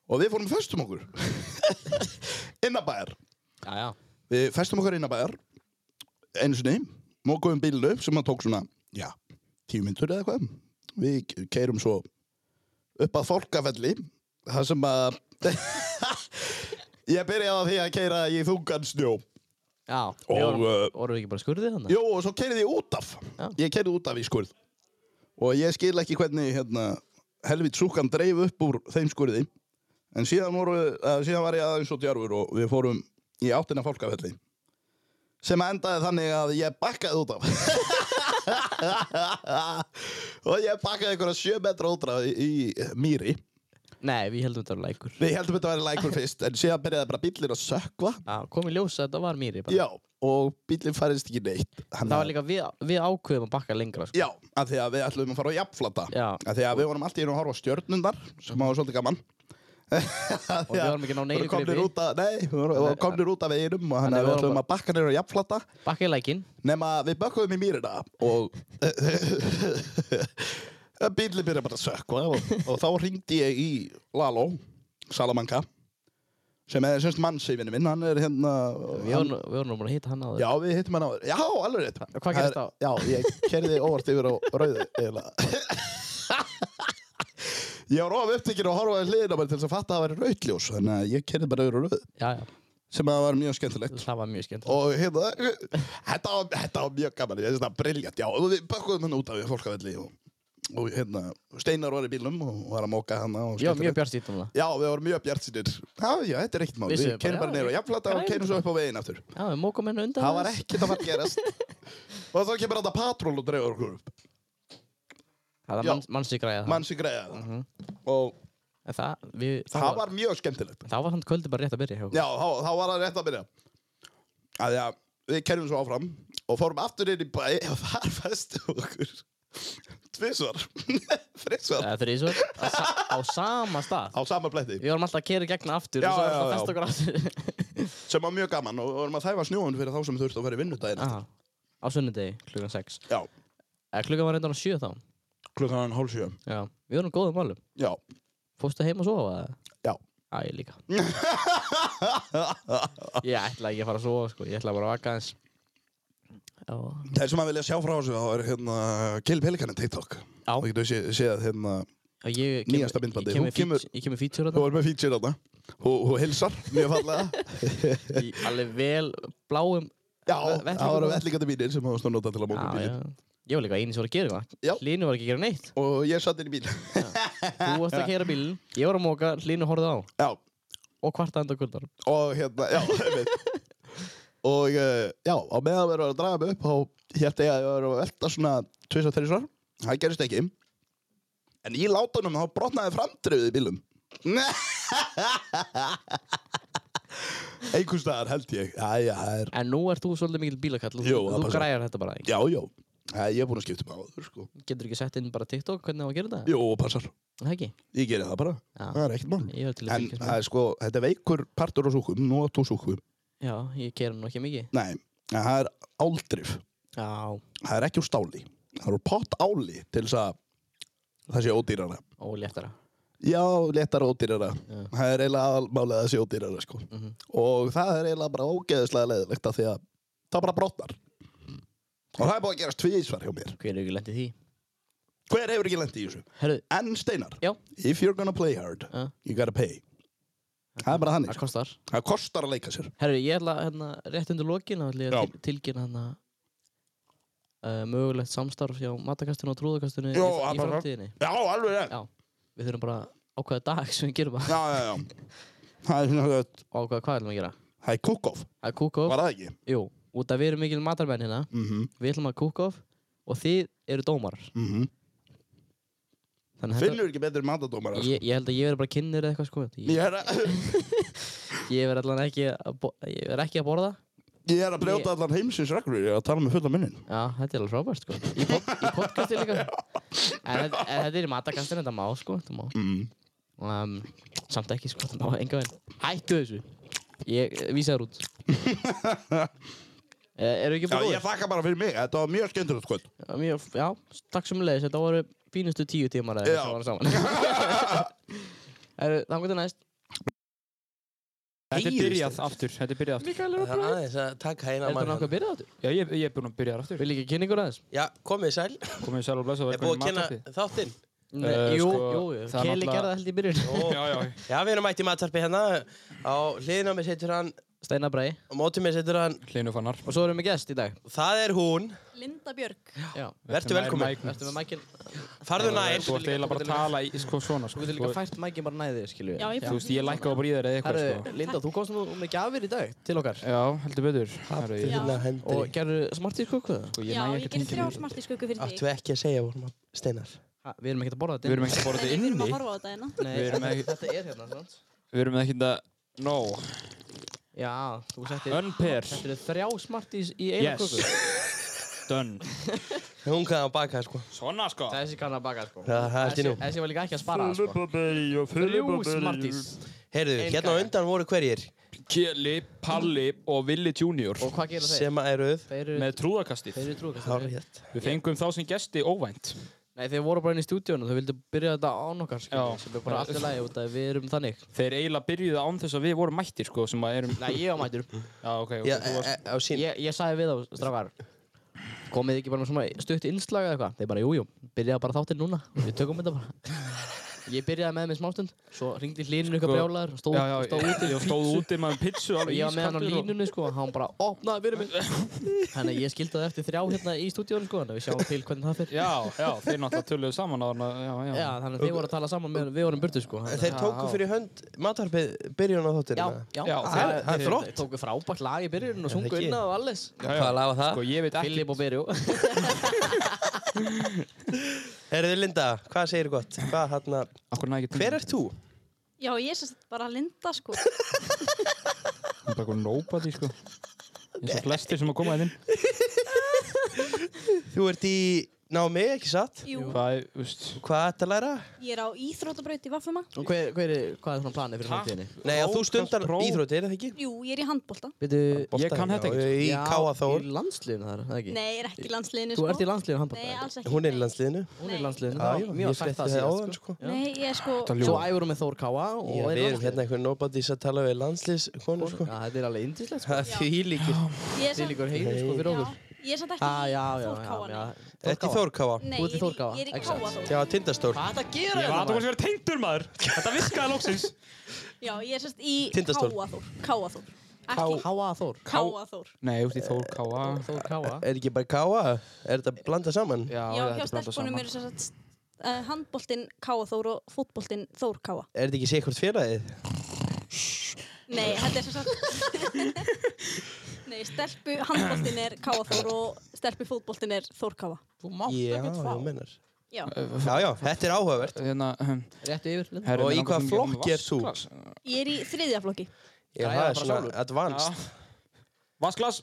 S2: Og við fórum festum okkur. Innabæjar.
S5: Já, já.
S2: Við festum okkar innabæjar, einu sinni, mókuðum bílinu upp sem að tók svona, já, tíu myndur eða eitthvað. Við keirum svo upp að fólkafelli, þar sem að ég byrjaði á því að keira í þungan snjó.
S5: Já.
S2: Og,
S5: við vorum-
S2: uh,
S5: Vorum við ekki bara skurðið þannig?
S2: Jó, og svo keirði ég út af.
S5: Já.
S2: Ég keirði út af í skurð. Og ég skil ekki hvernig, hérna, helvit súkan dreif upp úr þeim skurði. En síðan, voru, uh, síðan var ég aðeins og djarfur og við fórum í áttina fólkafelli. Sem endaði þannig að ég bakkaði út af. og ég bakkaði einhverja sjö metra út af í, í mýri.
S5: Nei, við heldum þetta var lækur.
S2: Við heldum þetta að vera lækur fyrst, en síðan byrjaði bara bíllinn að sökva.
S5: Já, kom í ljós að þetta var mýri bara.
S2: Já, og bíllinn færist ekki neitt. Hann
S5: Það var líka við, við ákveðum að bakka lengra, sko.
S2: Já, af því að við ætlum að fara á jafnflata
S5: Já. Mhm.
S2: af því að við vorum alltaf í einu að horfa á stjörnundar sem var svolítið gaman
S5: Og við vorum ekki
S2: Við
S5: ná neinu
S2: vorum komnir
S5: gripi.
S2: út að, nei, við vorum- við vorum komnir út af veginum og þannig
S5: Þannig
S2: að við
S5: vorum
S2: ætlum að bakka neyra á jafnflata
S5: Bakka í lækin.
S2: nema við bökkum í mýrina og bílinn byrja bara að sökva og, og þá ringdi ég í Lalo Salamanca sem er semst mannsývinni minn, hann er hérna
S5: Við
S2: hann,
S5: vorum við vorum nú búin að hitta hann á
S2: Já, við hittum hann á Já, alveg rétt
S5: Hvað gerist þá?
S2: Já, ég kerði óvart yfir á rauðu eiginlega Ég var of upptekinn og horfaði hliðina bara til þess að fatta að það væri rautljós þannig að ég kerði bara yfir á rauðu
S5: Já, já.
S2: sem að það var mjög skemmtilegt
S5: Það var mjög skemmt.
S2: og hérna þetta var, þetta var mjög gaman, ég finnst það briljant já, og við bökkuðum hann út af við fólkavelli og, og hérna, Steinar var í bílum og var að móka hann og
S5: Já, mjög
S2: skemmtilegt.
S5: bjart sýtum það.
S2: Já, við vorum mjög bjartsinir Já, já, þetta er ekkert mál,
S5: Vissu
S2: við
S5: bara,
S2: keirum bara
S5: já,
S2: neyra og jafnflata og
S5: græjum
S2: keirum svo upp á veginn aftur
S5: Já, við mókum hennu undan.
S2: Það var
S5: aðeins.
S2: ekkert að fara að gerast Og þá kemur þetta patról og dreifur okkur upp
S5: Það
S2: Já.
S5: var mannsi græða það.
S2: Manns í greiða það Og
S5: Mhm. En það, við, það,
S2: það
S5: var,
S2: var mjög skemmtilegt
S5: það var hann kvöldi bara rétt að byrja hjá okkur.
S2: Já, þá, þá var það rétt að byrja Af því að við kerjum svo áfram Og fórum aftur inn í bæ Og þar festum okkur Tvisvar Frisvar
S5: Það er þrýsvör. Á, sa á sama stað.
S2: Á sama bletti
S5: Við vorum alltaf að kera gegna aftur
S2: Já,
S5: og svo
S2: já,
S5: alltaf að
S2: já.
S5: festa okkur aftur.
S2: Sem var mjög gaman Og og vorum að þæfa snjóin fyrir þá sem þurftu að vera í vinnudaginn
S5: Aha. Á sunnudegi, klukkan 6.
S2: Já,
S5: Eh, klukkan var reyndan á 7 þá.
S2: klukkan hálf sjö
S5: Já. Við vorum í góðum málum.
S2: Já,
S5: Fórstu heim og sofa? eða?
S2: já
S5: Æ, ég líka. ég ætla ekki að fara að sofa, sko. Ég ætla bara að vaka aðeins. Já.
S2: Þeir sem að vilja sjá frá þessu Þá er hérna Kill Pelikanin TikTok
S5: Já.
S2: Það getur sé- séð hérna
S5: Og Ég kem,
S2: Nýjasta myndbandið.
S5: Ég
S2: Þú
S5: kem með feature-
S2: kemur-
S5: ég kem með feature á
S2: Þú er með feature þarna Hú, hú hilsar, mjög fallega
S5: þetta. Í Alveg vel bláum.
S2: Já,
S5: Vettlingar.
S2: það voru vettlingandi mínir sem hafa stóð nota til að móka
S5: Já, já.
S2: bílinn
S5: Ég var líka eini sem var að gera
S2: Já.
S5: eitthvað. Línu var ekki að gera neitt.
S2: Og ég satt inn í bíl
S5: Þú varst að keira bílinn, ég var að móka, Línu horfði á
S2: Já,
S5: og hvarta enda kvöldar.
S2: og hérna, já, einmitt Og uh, já, á meðan við erum að draga mig upp Þá hérna ég að ég var að velta svona Tvis og þrísvar, það gerist ekki En í látunum þá brotnaði framdrifið í bílum Einhvers staðar held ég Æja, það er
S5: En nú ert þú svolítið mikil bílakall og
S2: Jú,
S5: þú-
S2: það
S5: þú
S2: passar.
S5: græjar þetta bara.
S2: Já, já, Æ, ég er búin að skipta mig á þur sko
S5: Getur ekki sett inn bara TikTok hvernig það var að gera þetta?
S2: Jú, passar,
S5: Það ekki?
S2: ég geri það bara
S5: Já.
S2: Það er ekkert mál
S5: Ég var til að
S2: En
S5: fylgjast
S2: það
S5: með.
S2: er sko, þetta er veikur partur á súkum, nú að tú súkum.
S5: Já, ég keira nú ekki mikið.
S2: Nei, en það er áldrif,
S5: Já,
S2: það er ekki úr stáli. Það eru pott áli til þess að það sé ódýrara.
S5: og léttara.
S2: Já, léttara ódýrara.
S5: Já.
S2: Það er eiginlega aðmálið að það sé ódýrara, sko.
S5: Mhm.
S2: Og það er eiginlega bara ógeðislega leðilegt af því að það bara brotnar. Og það er búin að gerast tvísvar hjá mér.
S5: Hver er ekki lendið því?
S2: Hver hefur ekki lendið í þessu?
S5: Herru,
S2: En Steinar,
S5: Já.
S2: if you're gonna play hard,
S5: Já.
S2: you gotta pay. Það er bara hann,
S5: það kostar.
S2: það kostar að leika sér.
S5: Herru, ég ætla hérna rétt undir lokin að ætla ég
S2: Já.
S5: að til, tilkynna hérna uh, mögulegt samstarf hjá matakastunum og trúðakastunum í,
S2: Jó, það
S5: í
S2: bara-
S5: framtíðinni.
S2: Já, alveg rétt.
S5: Já. Við þurfum bara að ákveða dag sem við gerum það.
S2: já, já, já. Það er svona að
S5: og ákveða hvað ætlum við að gera.
S2: það er kúkof,
S5: Að kúka
S2: var
S5: of,
S2: það ekki?
S5: jú, út að við erum mikil matarmenn hérna,
S2: Mm -hmm.
S5: við ætlum að kúka of og þið eru dómarar.
S2: Mm -hmm.
S5: Þannig að
S2: Finnur ekki sko. betri matadómar
S5: ég, ég held að ég verði bara kynir eða eitthvað sko. Ég,
S2: Ég er að
S5: ég verði allan ekki að, bo- ég verð ekki að borða
S2: Ég er að brjóta allar heimsins reglur, ég er að tala með fulla munnin.
S5: Já, þetta er alveg frábært sko Í, pod í podcasti líka en, þetta- en þetta er í matakastinu, þetta má sko Þetta má
S2: Mm.
S5: um, Samt ekki sko, þetta má enga veginn Hættu þessu Ég eh, vísa þér út Eh, Eru ekki
S2: Já,
S5: búin
S2: ég þakka bara fyrir mig, þetta var mjög skemmtilegt kvöld.
S5: Já, mjög, já, takk sem leiðis, þetta voru fínustu tíu tímar eða
S2: Já.
S5: eitthvað sem var saman. Eru, þannig til næst.
S7: Þetta er byrjað aftur, þetta er byrjað aftur.
S8: Mikael er
S9: Það er aðeins að taka hérna
S5: Er þetta nokkuð að byrja þetta?
S7: Já, ég, ég er búinn að byrja þar aftur.
S5: Vil ekki kynna ykkur aðeins?
S9: Já, komið sæl.
S7: Komið sér alveg blessað
S9: Er búið að kynna þáttinn?
S5: Nei,
S7: Eh,
S5: jú,
S7: sko,
S5: jú, jú,
S7: það er
S5: Kelly
S7: náttúrulega-
S5: gerði Uh, það held í byrjun.
S9: Ó,
S7: Já, já.
S9: Já, við erum mætt í matvarpi hérna. Á hliðinu á mér situr hann,
S5: Steinar Bræ.
S9: á móti mér situr hann.
S7: Hlinu fannar.
S5: Og svo erum við gest í dag.
S9: Það er hún.
S10: Linda Björk.
S5: Já.
S9: Vertu velkomin.
S5: Ertu með mækin?
S9: Farðu nær.
S7: Þú ert eiginlega bara að tala í sko svona,
S5: Þú
S7: sko.
S5: getur líka fært mækin bara næðið, skilju.
S10: Já, ég
S7: Þú veist, ég lækka á bríðar eða eitthvað,
S5: Herru,
S7: sko.
S5: Linda, þú komst nú með gjafir í dag til okkar.
S7: Já, heldur betur. Herru, ég-
S10: Já.
S9: Hérna hendi.
S5: Og gerðu smartið kukkuða?
S7: sko,
S10: Já,
S7: næ
S10: ég
S7: ekki
S10: gerði
S7: tengja
S10: þrjá
S7: við-
S10: smarti sköku fyrir
S9: Áttu
S10: þig.
S9: ekki að segja vorum að steinar.
S5: Ha, Við erum ekkert að borða þetta.
S7: Við erum ekki að borða
S10: Nei,
S7: þetta
S10: við erum
S7: inni.
S10: að horfa á þetta hérna.
S5: Nei,
S7: við erum ekki-
S5: Þetta er hérna, svona.
S7: Við erum ekki að... No.
S5: Já, þú settir...
S7: Unpair.
S5: Þetta eru þrjá smarties í einu
S7: Yes.
S5: kukku.
S7: Done.
S9: Hún kann að baka sko.
S7: Svona, sko.
S5: Þessi kann að baka, sko.
S9: Já, það er allt í nú.
S5: Þessi- Þessi var líka ekki að spara, sko. Þrjú smarties.
S9: Heyrðu,
S5: Ein
S9: hérna á
S5: kaka.
S9: undan voru hverjir
S7: Kelly, Palli og Willi Junior.
S5: Og hvað gera þeir?
S9: sem að eruð.
S5: Þeir eru,
S7: Með trúðakastið.
S5: þeir eru trúkastar.
S9: Hárrétt.
S7: Við fengum þá sem gesti óvænt.
S5: Nei, þeir voru bara inn í stúdíónu, þau vildu byrja þetta án okkar, sko.
S7: Já.
S5: Sem er bara allt í lagi út að við erum þannig.
S7: Þeir eiginlega byrjuðu án þess að við vorum mættir, sko, sem að erum...
S5: Nei, ég var mættur.
S7: Já, ok, ok,
S9: Já,
S7: þú varst...
S9: e- e- á sín.
S5: Ég, ég sagði við þá, strafgar, komið þið ekki bara með svona stutt innslag eða eitthvað? Þeir bara, jújú, jú, byrjaði bara þáttinn núna, við tökum þetta bara. Ég byrjaði með þeim í smástund, svo ringdi hlínun ykkur
S7: Sko,
S5: brjálæður, stóð,
S7: Já, já,
S5: stóð
S7: ég-
S5: úti,
S7: ég stóð úti með pizzu
S5: og
S7: alveg
S5: ég var með hann á
S7: ískaldur og-
S5: línunni, sko, og hann bara, opnaði fyrir mig. Þannig að ég skildi það eftir þrjá hérna í stúdíónu, sko, þannig að við sjáum til hvernig það fer.
S7: Já, já, þeir náttúrulega töluðu saman á hann Já, já,
S5: Já, þannig að þeir voru að tala saman meðan við vorum burtu, sko. þannig að-
S9: Þeir tóku
S7: Já.
S9: fyrir hönd matvarpið byrjun á þáttir.
S5: Já, já,
S7: Já,
S5: þeir-
S9: það er- það er
S5: þeir-
S9: flott.
S5: Þeir tóku frábært lag í byrjun og sungu
S9: ekki?
S5: inn og alles.
S9: Hvað lafa það?
S7: Sko, ég veit ekki
S5: Filip og Berjó.
S9: Heyrðu Linda, hvað segir gott? Hvað hérna?
S7: Akkur nægir
S9: Hver ert þú?
S10: Já, ég er sérst bara Linda, sko.
S7: Hún er bara eitthvað nobody, sko eins og flestir sem að koma hérna þinn
S9: Þú ert í námi, ekki satt?
S10: Jú,
S7: Hvað, er, veist
S9: Hvað ætti að læra?
S10: ég er á Íþrótabraut í Vaffuma.
S5: Og hver, hver er, hvað er svona planið fyrir framtíðinni?
S9: Nei, að þú stundar
S7: próf.
S9: íþróttir, er það ekki?
S10: Jú, ég er í handbólta.
S5: Veitu,
S7: Ég kann þetta ekki
S9: Í Káa Þór.
S5: sko. Í landsliðinu þar, það ekki?
S10: Nei, ég er ekki í landsliðinu,
S5: Þú
S10: sko.
S5: ert í landsliðinu handbólta?
S10: Nei, alls ekki.
S9: Hún er í
S10: nei.
S9: landsliðinu.
S5: Hún er í
S10: Nei.
S5: landsliðinu,
S9: Já,
S5: það
S9: já,
S5: var
S9: ég
S5: mjög
S9: frétti
S5: fært að
S9: það áðan,
S5: segja,
S9: sko.
S5: sko.
S10: Nei, ég er sko...
S7: Þetta
S5: Svo
S7: ljúa
S5: æfur hún með Þór Káa og
S9: Já,
S5: er í
S9: við erum hérna
S5: landsliðinu.
S9: einhvern nobodies að tala við landsliðskonur, sko.
S5: Já, þetta er alveg indislegt, sko.
S9: Það er því líkir.
S10: Ég er
S5: Þetta er
S10: samt...
S5: líkur heiður, sko, fyrir okkur.
S10: Já, ég er samt ekki
S5: Ah, já, já, já,
S10: Þórkáa,
S5: já.
S10: nei.
S9: Þetta er Þórkáa.
S10: Nei,
S5: Þú ert í
S10: ég er
S5: Þórkáa,
S10: í- ég er í
S5: ekki satt?
S10: Káa þó.
S9: Já, tindastól.
S5: Hvað er þetta að gera
S7: Ég var að þú
S5: maður?
S7: kannski verið tengdur, maður Þetta virkaði loksins
S10: Já, ég er sérst í
S9: Tindastól.
S10: Káa þór. Káa þór. Ekki
S5: Káa Þór.
S10: Káa þór.
S7: Nei, þú veist, ég þór káa
S5: Þór Káa.
S9: Er ekki bara káa? Er þetta blanda saman?
S10: Já,
S7: þetta
S10: hjá
S7: er blandað
S10: stelpunum
S7: saman.
S10: eru sérst uh, handbóltinn Káa þór og fótbóltinn Þór Káa.
S9: Er þetta ekki sikkert félagið?
S10: Nei, þetta er svo satt Nei, stelpu handbóltin er Káaþór og stelpu fótbóltin er Þórkáa
S5: Þú mátt
S9: Já,
S5: ekki tvá.
S9: ég meinar.
S10: Já,
S9: Já, já, þetta er áhugavert.
S7: Hérna, hm,
S5: Rétt yfir, Linda.
S7: herri,
S9: Og
S7: mig
S9: í
S7: langar
S9: hvaða
S7: svo mikið
S9: flokki
S7: um
S9: ert þú?
S7: vatnsglas.
S10: ég er í þriðja flokki
S5: Já,
S9: Já,
S5: já,
S9: það
S5: bara
S9: er svona
S5: sjálfur.
S9: advanced.
S7: Vasklas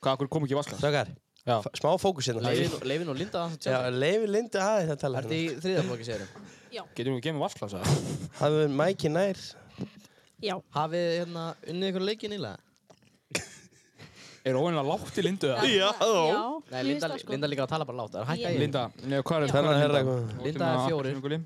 S7: Hvað, akkur kom ekki í vasklas?
S9: Strákar,
S7: Já.
S9: f- smá fókus hérna.
S5: Leifin- Leifin og Linda, það
S9: Já,
S5: sjálf.
S9: leifi Lindu aðeins að tala
S5: Ertu
S9: hérna.
S5: í þriðaflokki, segir þau?
S7: Getur þú ekki með vasklas, eða?
S9: Hafðu mæki nær.
S10: Já,
S5: Hafið þið, hérna unnið ykkur leikin ílega?
S7: Er óvinnilega látt í lindu, eða?
S9: Já,
S10: já
S5: Nei,
S10: mér finnst
S5: Linda,
S10: það, sko.
S5: Linda líka hérna að tala bara látt. Það er hækka
S10: Ég-
S5: í
S7: Linda, nei, hvað er hvað
S10: Já.
S9: Þannig að
S7: er
S9: herra
S7: Linda?
S9: eitthvað.
S5: Linda er fjórir.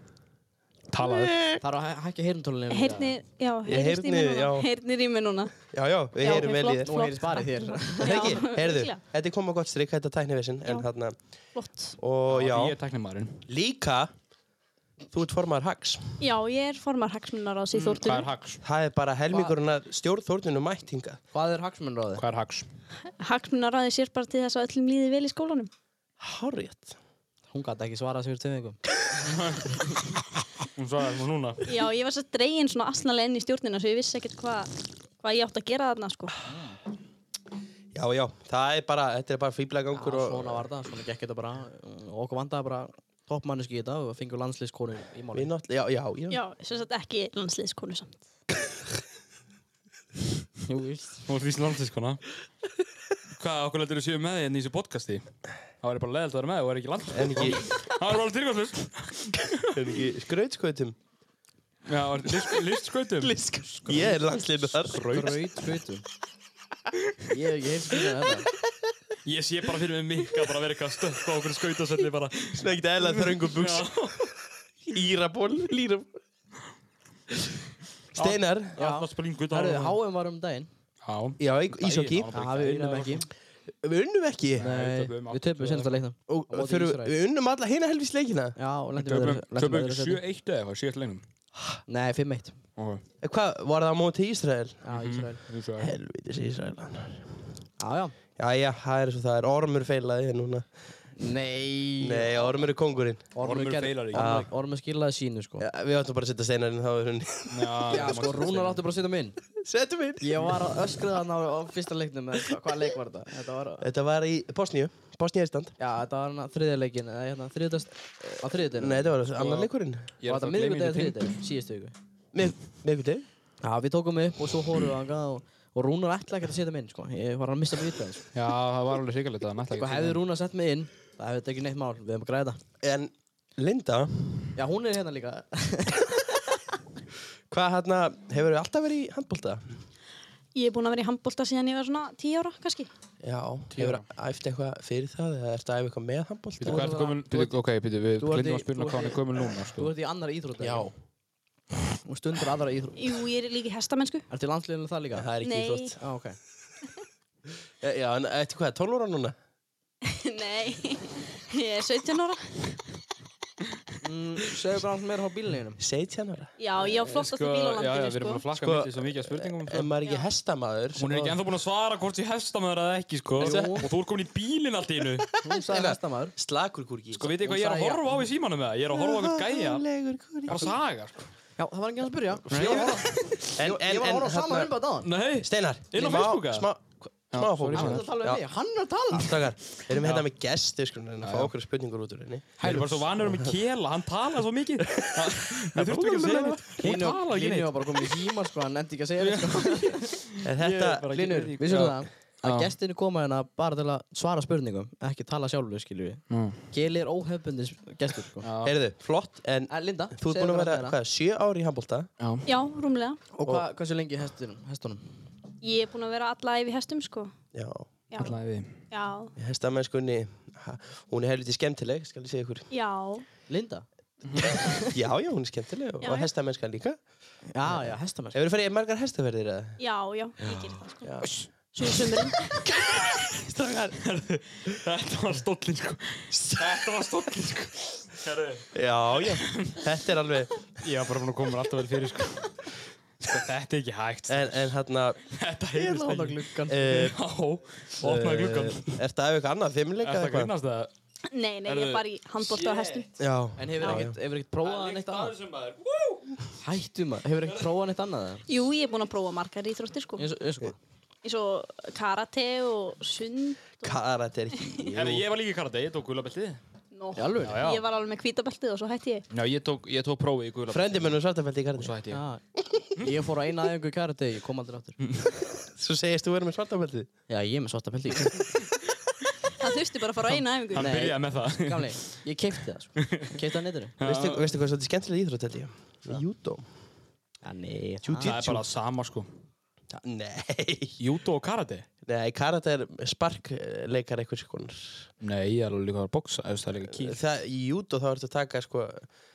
S7: Talaðu
S5: Það er að hæ- hækka heyrntólunum.
S10: Heyrni, já, heyrnist í
S9: heyrni,
S10: mér núna
S9: já.
S10: Heyrnir í mér núna
S9: Já, já, við
S10: Já,
S9: heyrum vel í
S10: flott.
S9: þér.
S5: Nú heyrist bara í þér.
S9: Það ekki,
S10: Já,
S9: heyrðu,
S10: líklega.
S9: þetta er komað gott strikk, þetta er tæknivissin, en
S10: Já.
S9: þarna,
S10: Flott
S9: og já,
S7: Ég er tæknimaðurinn
S9: líka, þú ert formaður hags.
S10: Já, ég er formar hagsmunar á
S7: Hvað er
S10: síþórtunum
S7: hags?
S9: Það er bara helmingurinn að stjórn Þórninu mættinga.
S5: Hvað er hagsmunráðið?
S7: Hvað er hags?
S10: Hagsmunar aðeins sér bara til þess að öllum líði vel í skólanum
S9: Hárið.
S5: Hún gæti ekki svarað sér tveim vikum.
S7: Hún sagði það núna
S10: Já, ég var svo dregin svona asnalega inn í stjórnina svo ég vissi ekkert hvað hvað ég átt að gera þarna, sko
S9: Já, já, það er bara, þetta er bara fýblagangur og...
S5: Svona var það, svona gekk þetta bara. Og okkur vandaði bara toppmanniski í þetta og fengur landsliðskonu í
S9: Við
S5: málum.
S9: náttúrulega, já, já, já.
S10: Já, sem sagt ekki landsliðskonu samt
S5: Jú, víst.
S7: Þú ert víst landsinskona. Hvað, okkur lætur þú séu með því en í þessu podcasti? Það væri bara leðilt að vera með og væri ekki landsinskona.
S9: En ekki,
S7: Það væri bara tilgjóðslust.
S9: en ekki skrautskautum.
S7: Já, það væri list, listskautum.
S9: Ég er landsliðinu þar.
S5: Braut skautum. Ég hef ekki heilt skautum að þetta.
S7: Ég sé bara fyrir mig mikka bara verið eitthvað stökk á okkur skautaselli bara.
S9: Svona ekkert eðla þröngu buks. Íraból, líraból. Steinar.
S7: Já. Það springur út á
S5: Herru,
S7: honum.
S5: HM var um daginn.
S7: Já.
S9: Já, ísokki.
S7: Það var bara
S5: Það við unnum ekki.
S9: Við unnum ekki.
S5: Nei,
S7: töpuðum
S5: við töpum senast að leikna.
S9: Og
S5: Á móti
S9: fyrir,
S5: Ísrael.
S9: við unnum alla hina helvis leikina.
S5: Já, og lendum við
S7: Töpum,
S5: öðru- lendum
S7: töpum
S5: við öðru
S7: ekki
S5: sæti.
S7: 7-1 eða eitthvað, 7-1 leiknum.
S5: Nei, 5-1.
S7: Ok,
S9: Eh, Hvað, var það á móti Ísrael?
S5: Já, Ísrael.
S7: þú svo er.
S9: Helvitis Ísraelan.
S5: Já, já.
S9: Jæja, það er svo það er. Ormur feilaði hér núna.
S5: Nei.
S9: Nei, Ormur er kongurinn.
S7: Ormur
S5: gerði-
S7: feilar ekki.
S5: Ormur- Ormur skilaði sínu, sko.
S9: Ja, við ættum bara að setja Steinar inn þá er hún.
S5: Já, sko, Rúnar átti bara að setja mig inn.
S9: Setjum inn.
S5: Ég var að öskriða hann á, á fyrsta leiknum, eða hva- hvaða leik var þetta? Þetta var,
S9: Þetta var í Bosníu. Bosníu-Ísland.
S5: já, þetta var hann að þriðja leikin, eða hérna, þriðjast, á þriðjadeginu.
S9: Nei, þetta var annar
S5: Var
S7: Ég
S9: leikurinn.
S7: er
S5: þetta
S7: alltaf að gleyma
S5: miðvikudegi eða
S7: því tengdu.
S5: þriðjadeginu, síðustu viku?
S9: Miðgutegi.
S5: Já, við tókum upp og svo horfum við þangað og, og Rúnar ætlaði ekki að setja mig inn, sko. Ég var að mista mig vitað, sko.
S7: Já, það var alveg hrigalegt að það mætla
S5: Sko,
S7: ekki.
S5: hefði Rúnar sett mig inn, það hefði þetta ekki neitt mál, við hefum að græða þetta.
S9: En Linda,
S5: Já, hún er hérna líka.
S9: hvað hérna, hefur þið alltaf verið í handbólta?
S10: Ég er búin að vera í handbólta síðan ég var svona 10 ára, kannski.
S9: Já, hefur þið æft eitthvað fyrir það eða ertu að æfa eitthvað með handbólta?
S7: Býtu, hvað ertu komin? Býtu, ok, býtu, við
S5: Þú ert í-
S7: glindum að spyrna
S5: þú
S7: hvað hann
S5: ert
S7: er
S5: í-
S7: komin núna,
S5: Þú
S7: sko.
S5: ert í annar íþrótt,
S9: Já,
S5: Hún stundur aðra íþrótt.
S10: Jú, ég er líka í hestamennsku.
S5: Ertu í landsliðinu þar líka?
S9: það er ekki
S10: Nei.
S9: íþrótt.
S5: Já, ok.
S9: Já, Já, en eftir hvað, 12 ára núna?
S10: Nei, ég er 17 ára.
S5: Mm, segðu bara hans meira á bílneginum.
S9: 17 ára.
S10: Já, ég á flottast í
S7: já, já,
S10: bílalandinu,
S7: við erum búin að
S10: sko.
S7: flakka
S9: Sko,
S7: mitt í svo mikið af spurningum. sko.
S9: En maður er ekki hestamaður.
S7: Hún er ekki ennþá búin að svara hvort ég hestamöður eða ekki, sko.
S5: Jú.
S7: Og þú ert komin í bílinn allt í innu.
S5: Hún sagði hestamaður.
S9: Slakur kúrki.
S7: Sko, veitu hvað ég er að
S5: Hún sagði
S7: horfa á í símanum með það? Ég er að horfa á einhvern gæja. Bara saga, sko.
S5: Já, það var enginn að spyrja.
S7: Nei.
S5: Ég var að horfa-
S9: En,
S5: ég
S9: en,
S5: var að
S9: en,
S5: horfa á sama
S9: hérna,
S5: umba dáðan.
S7: Nei,
S9: Steinar.
S7: Inn á
S9: smá-
S7: Facebook, eða?
S9: Smá, smá
S7: sorry,
S5: Hann er
S9: fókus.
S5: að tala um mig, hann er að tala.
S9: Stakar, við erum hérna með gest, við skulum reyna að fá okkur spurningur út úr henni.
S7: ég er bara svo vanur með kela, hann talaði svo mikið. Við þurftum ekki að segja neitt. Hún
S5: Línu-
S7: talaði ekki
S5: Línu
S7: neitt.
S5: var bara komin í híma, sko, hann endi ekki að segja neitt, sko.
S9: En þetta,
S7: bara-
S5: Línur,
S7: ekki-
S5: vissum
S7: já.
S5: það að
S7: Já.
S5: gestinni koma hérna bara til að svara spurningum, ekki tala sjálfur, skilju við.
S7: Mm.
S5: Geli er óhefbundis gestur, sko.
S9: heyrðu, flott, en
S5: En Linda,
S9: þú ert búin að vera, hvað, sjö ári í handbólta?
S10: Já, rúmlega.
S5: Og hvað, hversu lengi í hestunum? hestunum?
S10: Ég er búin að vera alla yfir hestum, sko.
S9: Já,
S10: Já,
S7: Allaði við.
S10: já,
S9: hestamennskunni, ha, hún er helviti skemmtileg, skal ég segja ykkur.
S10: já.
S5: Linda?
S9: Já, já, hún er skemmtileg og,
S10: Já,
S9: og
S10: já.
S9: hestamennskan líka.
S5: Já, já, hestamenn.
S9: Hefur þið farið í margar hestaferðir eða?
S10: Já, já, ég gerir það, sko.
S9: Já.
S10: Svo í sömurinn.
S7: Þetta var stóllinn, sko. Þetta var stóllinn, sko. Herru,
S9: Já, já, þetta er alveg,
S7: ég var bara búin að koma mér alltaf vel fyrir, sko. Þetta er ekki hægt.
S9: en, en hérna,
S7: Þetta heyrðist
S5: Lána
S7: ekki.
S5: gluggan.
S9: uh,
S7: Já, opnaði gluggan.
S9: eh, Ertu að hafa eitthvað annað, fimmleika
S7: Er það grínast eða?
S10: Nei, nei, ég er bara í handbólta og hestum.
S9: Já,
S5: En hefur ekkert, hefur ekkert prófað neitt annað?
S7: sem maður.
S5: Hættu maður, hefur ekkert prófað neitt annað? eða?
S10: Jú, ég er búin að prófa margar íþróttir, sko.
S5: Eins og, eins og, hvað?
S10: Eins og karate og sund.
S9: karat er ekki,
S7: Herru, ég var líka í karate, ég tók gulabeltið.
S10: Nó,
S5: Í alvöru?
S7: Já, já.
S10: ég var alveg með hvítabeltið og svo hætti ég.
S7: Já, ég tók, ég tók prófið í gulabeltið.
S9: frendi minn og svartafældi í karate.
S7: Svo hætti ég.
S5: Já, ég fór á eina aðeingu í karate, ég kom aldrei aftur.
S9: Svo segist þú verður með svartafældi.
S5: Já, ég er með svarta pelti.
S10: Það þurfti bara að fara á eina æfingu.
S7: Hann
S5: Nei.
S7: byrjaði með það.
S5: Gamli, ég keipti það, sko. Keipti það á netinu.
S9: Veistu, veistu hvað er svolítið skemmtileg íþrótt, held ég? Júdó.
S5: Já,
S9: Ah.
S5: nei.
S7: Það er bara sama, sko.
S9: Nei,
S7: Júdó og karate?
S9: Nei, karate er sparkleikar einhvers konar.
S7: Nei, ég er alveg líka að bóksa, ef það er líka kýr.
S9: Það, í júdó þá ertu að taka sko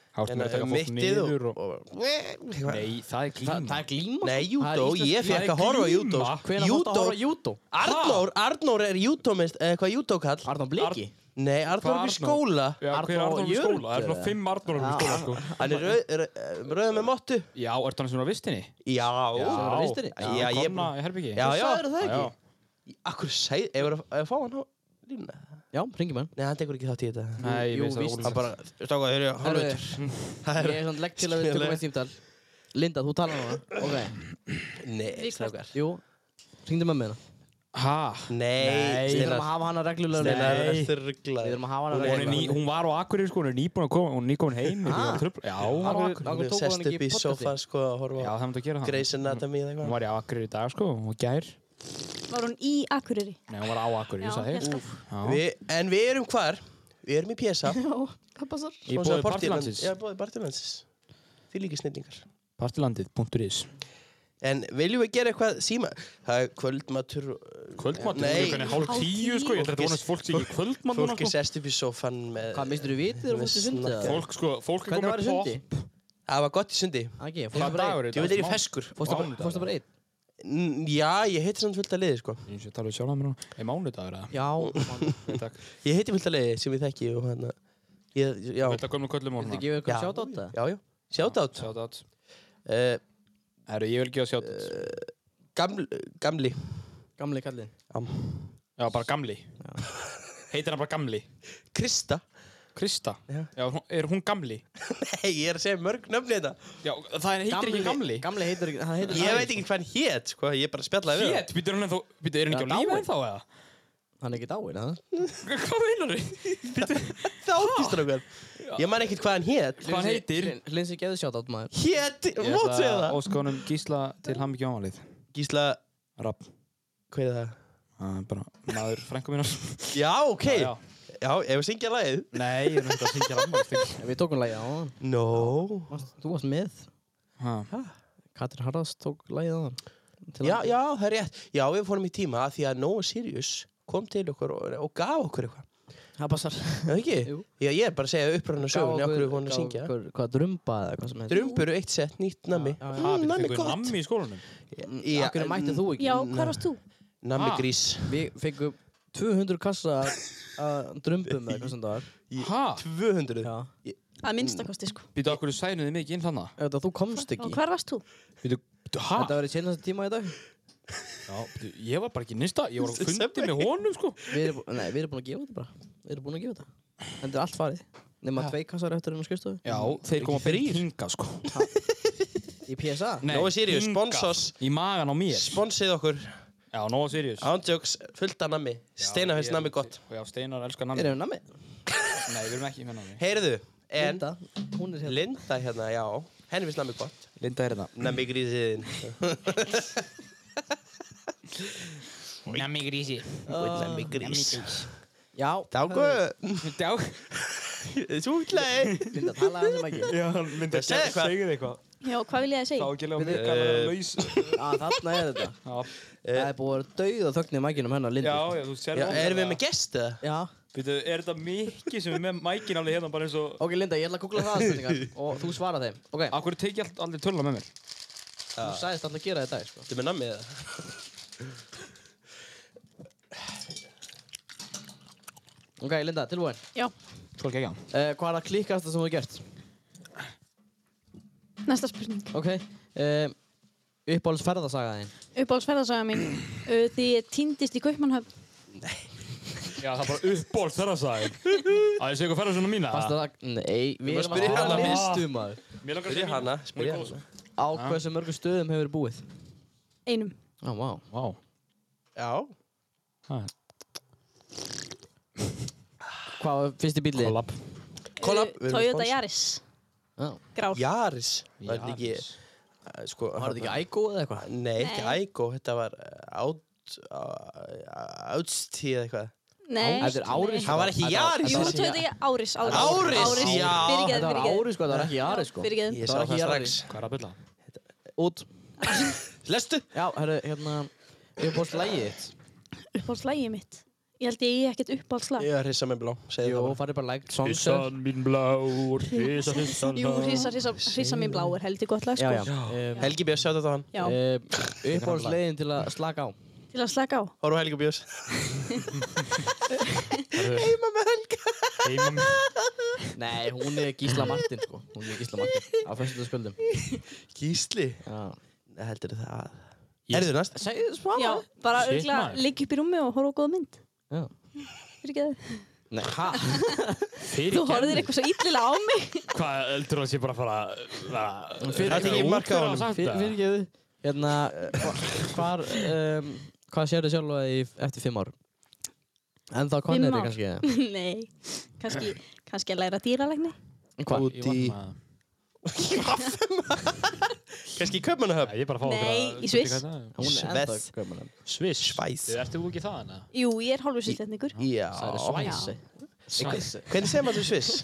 S7: Hátt með að taka fólk
S9: mittið
S7: niður
S9: og,
S7: og...
S9: og, og
S7: Nei, það er
S5: Það, það
S7: klíma.
S5: er glíma,
S9: Nei, júdó,
S5: Það er íslenskt-
S9: ég
S7: það
S9: fekk
S7: er
S9: að horfa á júdó
S7: glíma.
S5: Hvenær fórstu að
S9: Júdó,
S5: horfa á júdó?
S9: Arnór, Arnór er júdómist, eða eitthvað júdókall
S5: Arnón Bliki?
S9: Nei, Arnór
S7: Hvað
S9: er
S7: Arnór?
S9: upp í skóla
S7: Já, hver er
S5: Arnór
S7: Arnór í
S5: Jörg,
S7: skóla? Það er svona
S5: eða?
S7: fimm Arnór í skóla, sko.
S9: Hann er rauð, rauð, rauð með mottu
S7: Já, ertu hann sem er á vistinni?
S9: Já,
S5: Sem er á vistinni?
S9: Já,
S7: Já,
S9: ég-
S7: komna í herbyggi.
S9: já, já.
S5: Sagðirðu það ekki?
S9: Akkur sæð, ef við erum að fá hann á línuna
S5: Já, ringjum hann.
S9: Nei, hann tekur ekki þátt í þetta
S7: Nei, ég
S5: Jú,
S7: veist það
S5: víst.
S7: ólíkt.
S9: Hann bara, stákaði, hörru,
S5: Herru,
S9: hálfur
S5: Ég
S9: Það er,
S5: er svona legg til að við tökum
S9: Skiljanlega.
S5: eitt tímtal. Linda, þú talar núna. Ok,
S9: nei, strákar
S5: jú. Ringdu með mér það.
S7: Hæ?
S9: Nei,
S5: Við þurfum að hafa hana reglulega
S9: Steinar er
S5: Nei. Við
S9: þurrglaður.
S5: þurfum að hafa hana
S7: Hún, er ný,
S5: reglulega
S7: hún var á Akureyri sko, hún er nýbúin að koma, hún er nýkomin heim ég
S5: Ha?
S7: var trufl- Já, hún var á
S5: Akkur-
S7: Akureyri
S5: Akkur
S9: Hún er
S5: tók
S9: sest
S5: hann ekki
S9: upp í
S5: í podcasti?
S9: sofa sko að horfa
S7: Já,
S9: á
S7: það er að gera það
S9: Grey's Anatomy
S7: Hún
S9: eða eitthvað
S7: var í Akureyri í dag sko, hún var gær
S10: Var hún í Akureyri?
S7: Nei, hún var á Akureyri, ég
S10: Já,
S7: sagði
S10: ég skal.
S7: þig
S9: Við- En við erum hvar? Við erum í PSA
S10: Já, það passar.
S7: Í
S9: Svo
S7: bóði
S9: sagði Partyland-
S7: Partilandsins
S9: Já, bóði Partilandsins Því líka snillingar
S7: Partilandið.is
S9: En viljum við gera eitthvað síma? Það er kvöldmatur
S7: Kvöldmatur,
S9: Nei.
S7: hún er hálf tíu sko, ég ætla að vonast fólk sé ekki í kvöldmatur
S9: Fólk er sest upp í sofan með
S5: Hvað, mistur þú vitið þegar
S9: Við
S5: fólk er sundið?
S9: snakka.
S5: eða?
S7: Fólk sko, fólk er
S5: Hvernig var
S7: komið
S5: í sundi?
S9: Það var gott í sundi
S5: Ekki, fórstu
S7: Hvað
S5: bara
S7: dagur
S5: einn?
S7: er
S9: Þú veit, er ég
S7: Smá-
S9: feskur
S5: Fórstu bara-
S7: Mánudagur.
S5: Fórstu bara einn?
S9: N- Já, ég heiti samt fullt að liði, sko
S7: Ég sé að tala við sjálf að mér nú Er mánudagur eða?
S5: Já, mann.
S7: Nei, takk.
S9: Ég heiti fullt að liði sem ég þekki og hann Ég, já
S7: Vilt að gömlu köllum og
S5: Viltu
S7: hana?
S5: gefa
S9: Já,
S5: eitthvað sjátt á þetta?
S9: Já, já, sjátátt
S7: Shout out
S9: uh,
S7: Herru, ég vil gefa shout out
S9: gaml, Gamli
S5: Gamli kallinn
S9: Am.
S7: Já, bara gamli Heitir hann bara gamli
S9: Krista
S7: Krista
S9: Já.
S7: Já, hún- er hún gamli?
S9: Nei, ég er að segja mörg nöfni þetta
S7: Já, það er- heitir ekki gamli
S5: Gamli heitir, hann heitir
S9: Ég
S5: Ari,
S9: veit ekki hvað hann hét, sko Ég er bara að spjallaði við hann.
S7: Hétt, býtur hún ennþá Býtur, er hún ekki
S5: Já,
S7: á lífi
S5: dáin.
S7: ennþá eða?
S5: sko. Hann er ekki dáin, að?
S7: Hvað meinar þið?
S9: Þá áttist hann okkur Ég man ekkert hvað hann hét
S7: Hvað hann heitir?
S5: Linsi gefði sjátt á maður
S9: Hét,
S7: Ég
S9: mót segja
S7: ætla
S9: það
S7: óskonum Gísla til ham ekki ámalið
S9: Gísla,
S7: Rapp
S9: hvað er það?
S7: Það er bara maður frænku mínar
S9: Já, ok
S7: Já, já.
S9: Já, ef við syngja lagið
S7: Nei, ég er náttúrulega að syngja rammalsting
S5: Við tókum lagið á hann
S9: No
S5: Varst- Þú varst með Katrin Harðars tók lagið á hann
S9: Já, já, það er rétt Já, við fórum í tíma af því að Noah Sirius kom til okkur og, og gaf okkur eitthvað
S5: Það passar
S9: Er það ekki?
S5: Jú.
S9: Já, ég er bara að segja uppröðan og sögun okkur við fórum að
S5: gaf
S9: syngja
S5: okkur- Hvað, drumba eða hvað sem heitir
S9: Drumbur eitt sett, nýtt nami
S5: já, já.
S9: Mm, Nami
S7: Fengur
S9: gott
S7: nammi í skólanum
S9: Já,
S5: Akkur mætti þú ekki
S10: Já, hvað varst þú?
S9: Nami
S7: Ha?
S9: grís
S5: Við fengum 200 kassa að drumbum eða hvað sem það var
S7: Hæ?
S9: 200
S5: Já
S10: Að minnstakosti, sko.
S7: Býtu, okkur sænuði mikið inn þannig
S5: Þetta þú komst
S10: Og
S5: ekki
S10: hvar varst þú?
S7: Býtu, hæ?
S5: Þetta var í seinasta tíma í dag
S7: Já, býtu, ég var bara ekki nýsta Ég var á fundi með honum, sko
S5: Við erum, nei, við erum búin að gefa þetta bara Við erum búin að gefa þetta Þetta er allt farið Nefna tvei kassar eftir um skrifstofu
S7: Já, Mm, þeir koma fyrir hinga, sko
S5: Í PSA
S7: Nei,
S9: Nóa Sirius,
S7: hingað.
S9: sponsors.
S7: Í magan á mér
S9: Sponsið okkur
S7: Já, Nóa Sirius
S9: Ándjóks, fullt af nami Steinar hans
S7: Ég-
S9: nami gott
S7: Já, Steinar elskar nammi
S5: Erum við nami?
S7: Nei, við erum ekki með nammi
S9: Heyrðu, en
S5: Linda Hún er hérna
S9: Linda hérna, já Henni finnst nami gott
S7: Linda er þetta
S9: Nami grísiðin
S7: Nammi grísi
S5: Oh,
S9: Nami grís
S5: Já
S9: Dágu
S7: Já,
S9: Sútlaði
S5: Linda um talaði sem ekki
S7: já, Linda,
S9: Segðu eitthvað.
S7: segðu eitthvað
S10: Já, hvað vil ég að
S7: Þá
S10: segja?
S7: ekki lega mig kallar laus
S5: Já, þarna er þetta
S7: Já,
S5: Það er búið að dauða þögn í mækinum hennar Lindu
S7: já, já, þú sér
S9: Já, erum við með gest eða?
S5: Já
S7: Býtu, er þetta mikið sem er með mækin alveg hérna bara eins og
S5: Ok, Linda, ég ætla að googla það spurningar Og þú svara þeim Ok,
S7: Akkur teki all, allir tölna með mér
S5: þú sagðist alltaf að gera þetta í dag, sko
S9: Þetta er með namið eða?
S5: Ok, Linda, tilbúin
S10: Já,
S7: Tólk ekki á
S5: uh, Hvað er að klíkast það sem þú hefur gert?
S10: næsta spurning.
S5: Ok uh, Uppáhalds ferðasaga þín
S10: Uppáhaldsferðarsaga mín. uh, Því ég týndist í Kaupmannhöfn.
S7: Já, það er bara uppból þeirra sagði Það er sér eitthvað ferðar svona mína
S5: Fannst það Nei, við
S9: að
S5: erum að spyrja
S9: spyrja hana fyrst.
S5: listu maður
S7: Mér langar að
S9: Spyrja
S7: segja
S9: hana,
S7: mína.
S9: spyrja
S4: hérna.
S7: Mér
S9: hana.
S5: Á hversu mörgum stöðum hefur búið?
S10: Einum.
S5: Á, vá
S7: Vá
S9: Já.
S7: Ha,
S5: Hvað var fyrsti bílið?
S7: Collab
S10: Uh,
S9: Collab, við erum
S10: Toyota
S9: sponsor.
S10: Yaris.
S5: Já
S10: Grár.
S9: Jaris. Var þetta ekki,
S7: Jaris.
S9: eh, sko,
S5: Var þetta ekki ægó eða eitthvað?
S9: Nei, ekki
S10: Nei.
S9: Ægo, þetta var eh, át, átstíð eða eitthvað.
S10: Nei.
S5: Þetta er ári
S9: Það var ekki Jaris.
S10: Jú,
S9: þessi.
S10: Toyota Yaris. Áris.
S9: Áris,
S10: Áris.
S9: já.
S10: Fyrirgeð,
S5: Þetta var
S10: fyrirgeð.
S5: ári sko, þetta var ekki ári sko
S10: Fyrirgeð.
S5: Það
S9: Ég sá
S5: var ekki
S9: það strax.
S5: Jaris.
S7: Hvað er að bylla?
S5: Út
S9: Lestu?
S5: Já, herru, hérna Uppáhalds lagið þitt
S10: Uppáhaldslægið mitt. Ég held ég eigi ekkert uppáhaldslag.
S9: Ég er hrissa með blá, segðu
S5: Jú,
S9: það bara.
S5: farið bara like Songsearch
S7: Hissan mín blár Hissa, hissa
S10: Jú, Hrissa, Hrissa, Hrissa mín blá er heldur gott lag,
S5: Já, já
S10: sko.
S5: Um,
S9: Helgi Björns, sjá þetta á hann.
S10: Já,
S5: um, Uppáhalds leiðin til að slaka á
S10: til að slaka á.
S9: Hóru Helgi Björns.
S7: Heima mér
S5: Nei, hún er Gísla Martin sko Hún er Gísla Martin Á fyrstundasköldum
S9: Gísli.
S5: Já
S9: Heldur það. Erðu næst?
S5: Segðu smá
S10: Já, bara
S7: Shit,
S10: örgla,
S7: maður.
S10: ligg upp í rúmi og horfa á góða mynd.
S5: Já.
S10: Fyrirgeð.
S5: Nei, hæ?
S10: Þú
S7: Fyrir
S10: horfðir eitthvað svo illilega á mig.
S7: Hvað heldur það sé bara að fara að-
S5: Fyrir-
S7: Það er
S9: Fyrir-
S7: ekki marka á
S9: honum.
S7: honum
S5: Fyrirgeðu Hérna hva- Hvar um, Hvað sérðu sjálfa í eftir fimm ár? En þá
S10: Fimm
S5: konir
S10: ár.
S5: þið kannski eða?
S10: Nei, kannski, kannski að læra dýralegni
S5: Hvað?
S7: Ég var svona-
S9: Kannski í Kaupmannahöfn?
S7: Ég er bara að fá
S10: Nei,
S7: einhverja-
S10: í Sviss.
S7: hvað það er.
S5: Hún er enda
S9: Svess.
S5: gömulum.
S9: Sviss. Svæs.
S7: Þið ertu ekki það hana?
S10: Jú, ég er hálfursýsletningur
S9: Já.
S5: Það er svæsi. Svæsi.
S9: Hvernig segir maður þetta Sviss?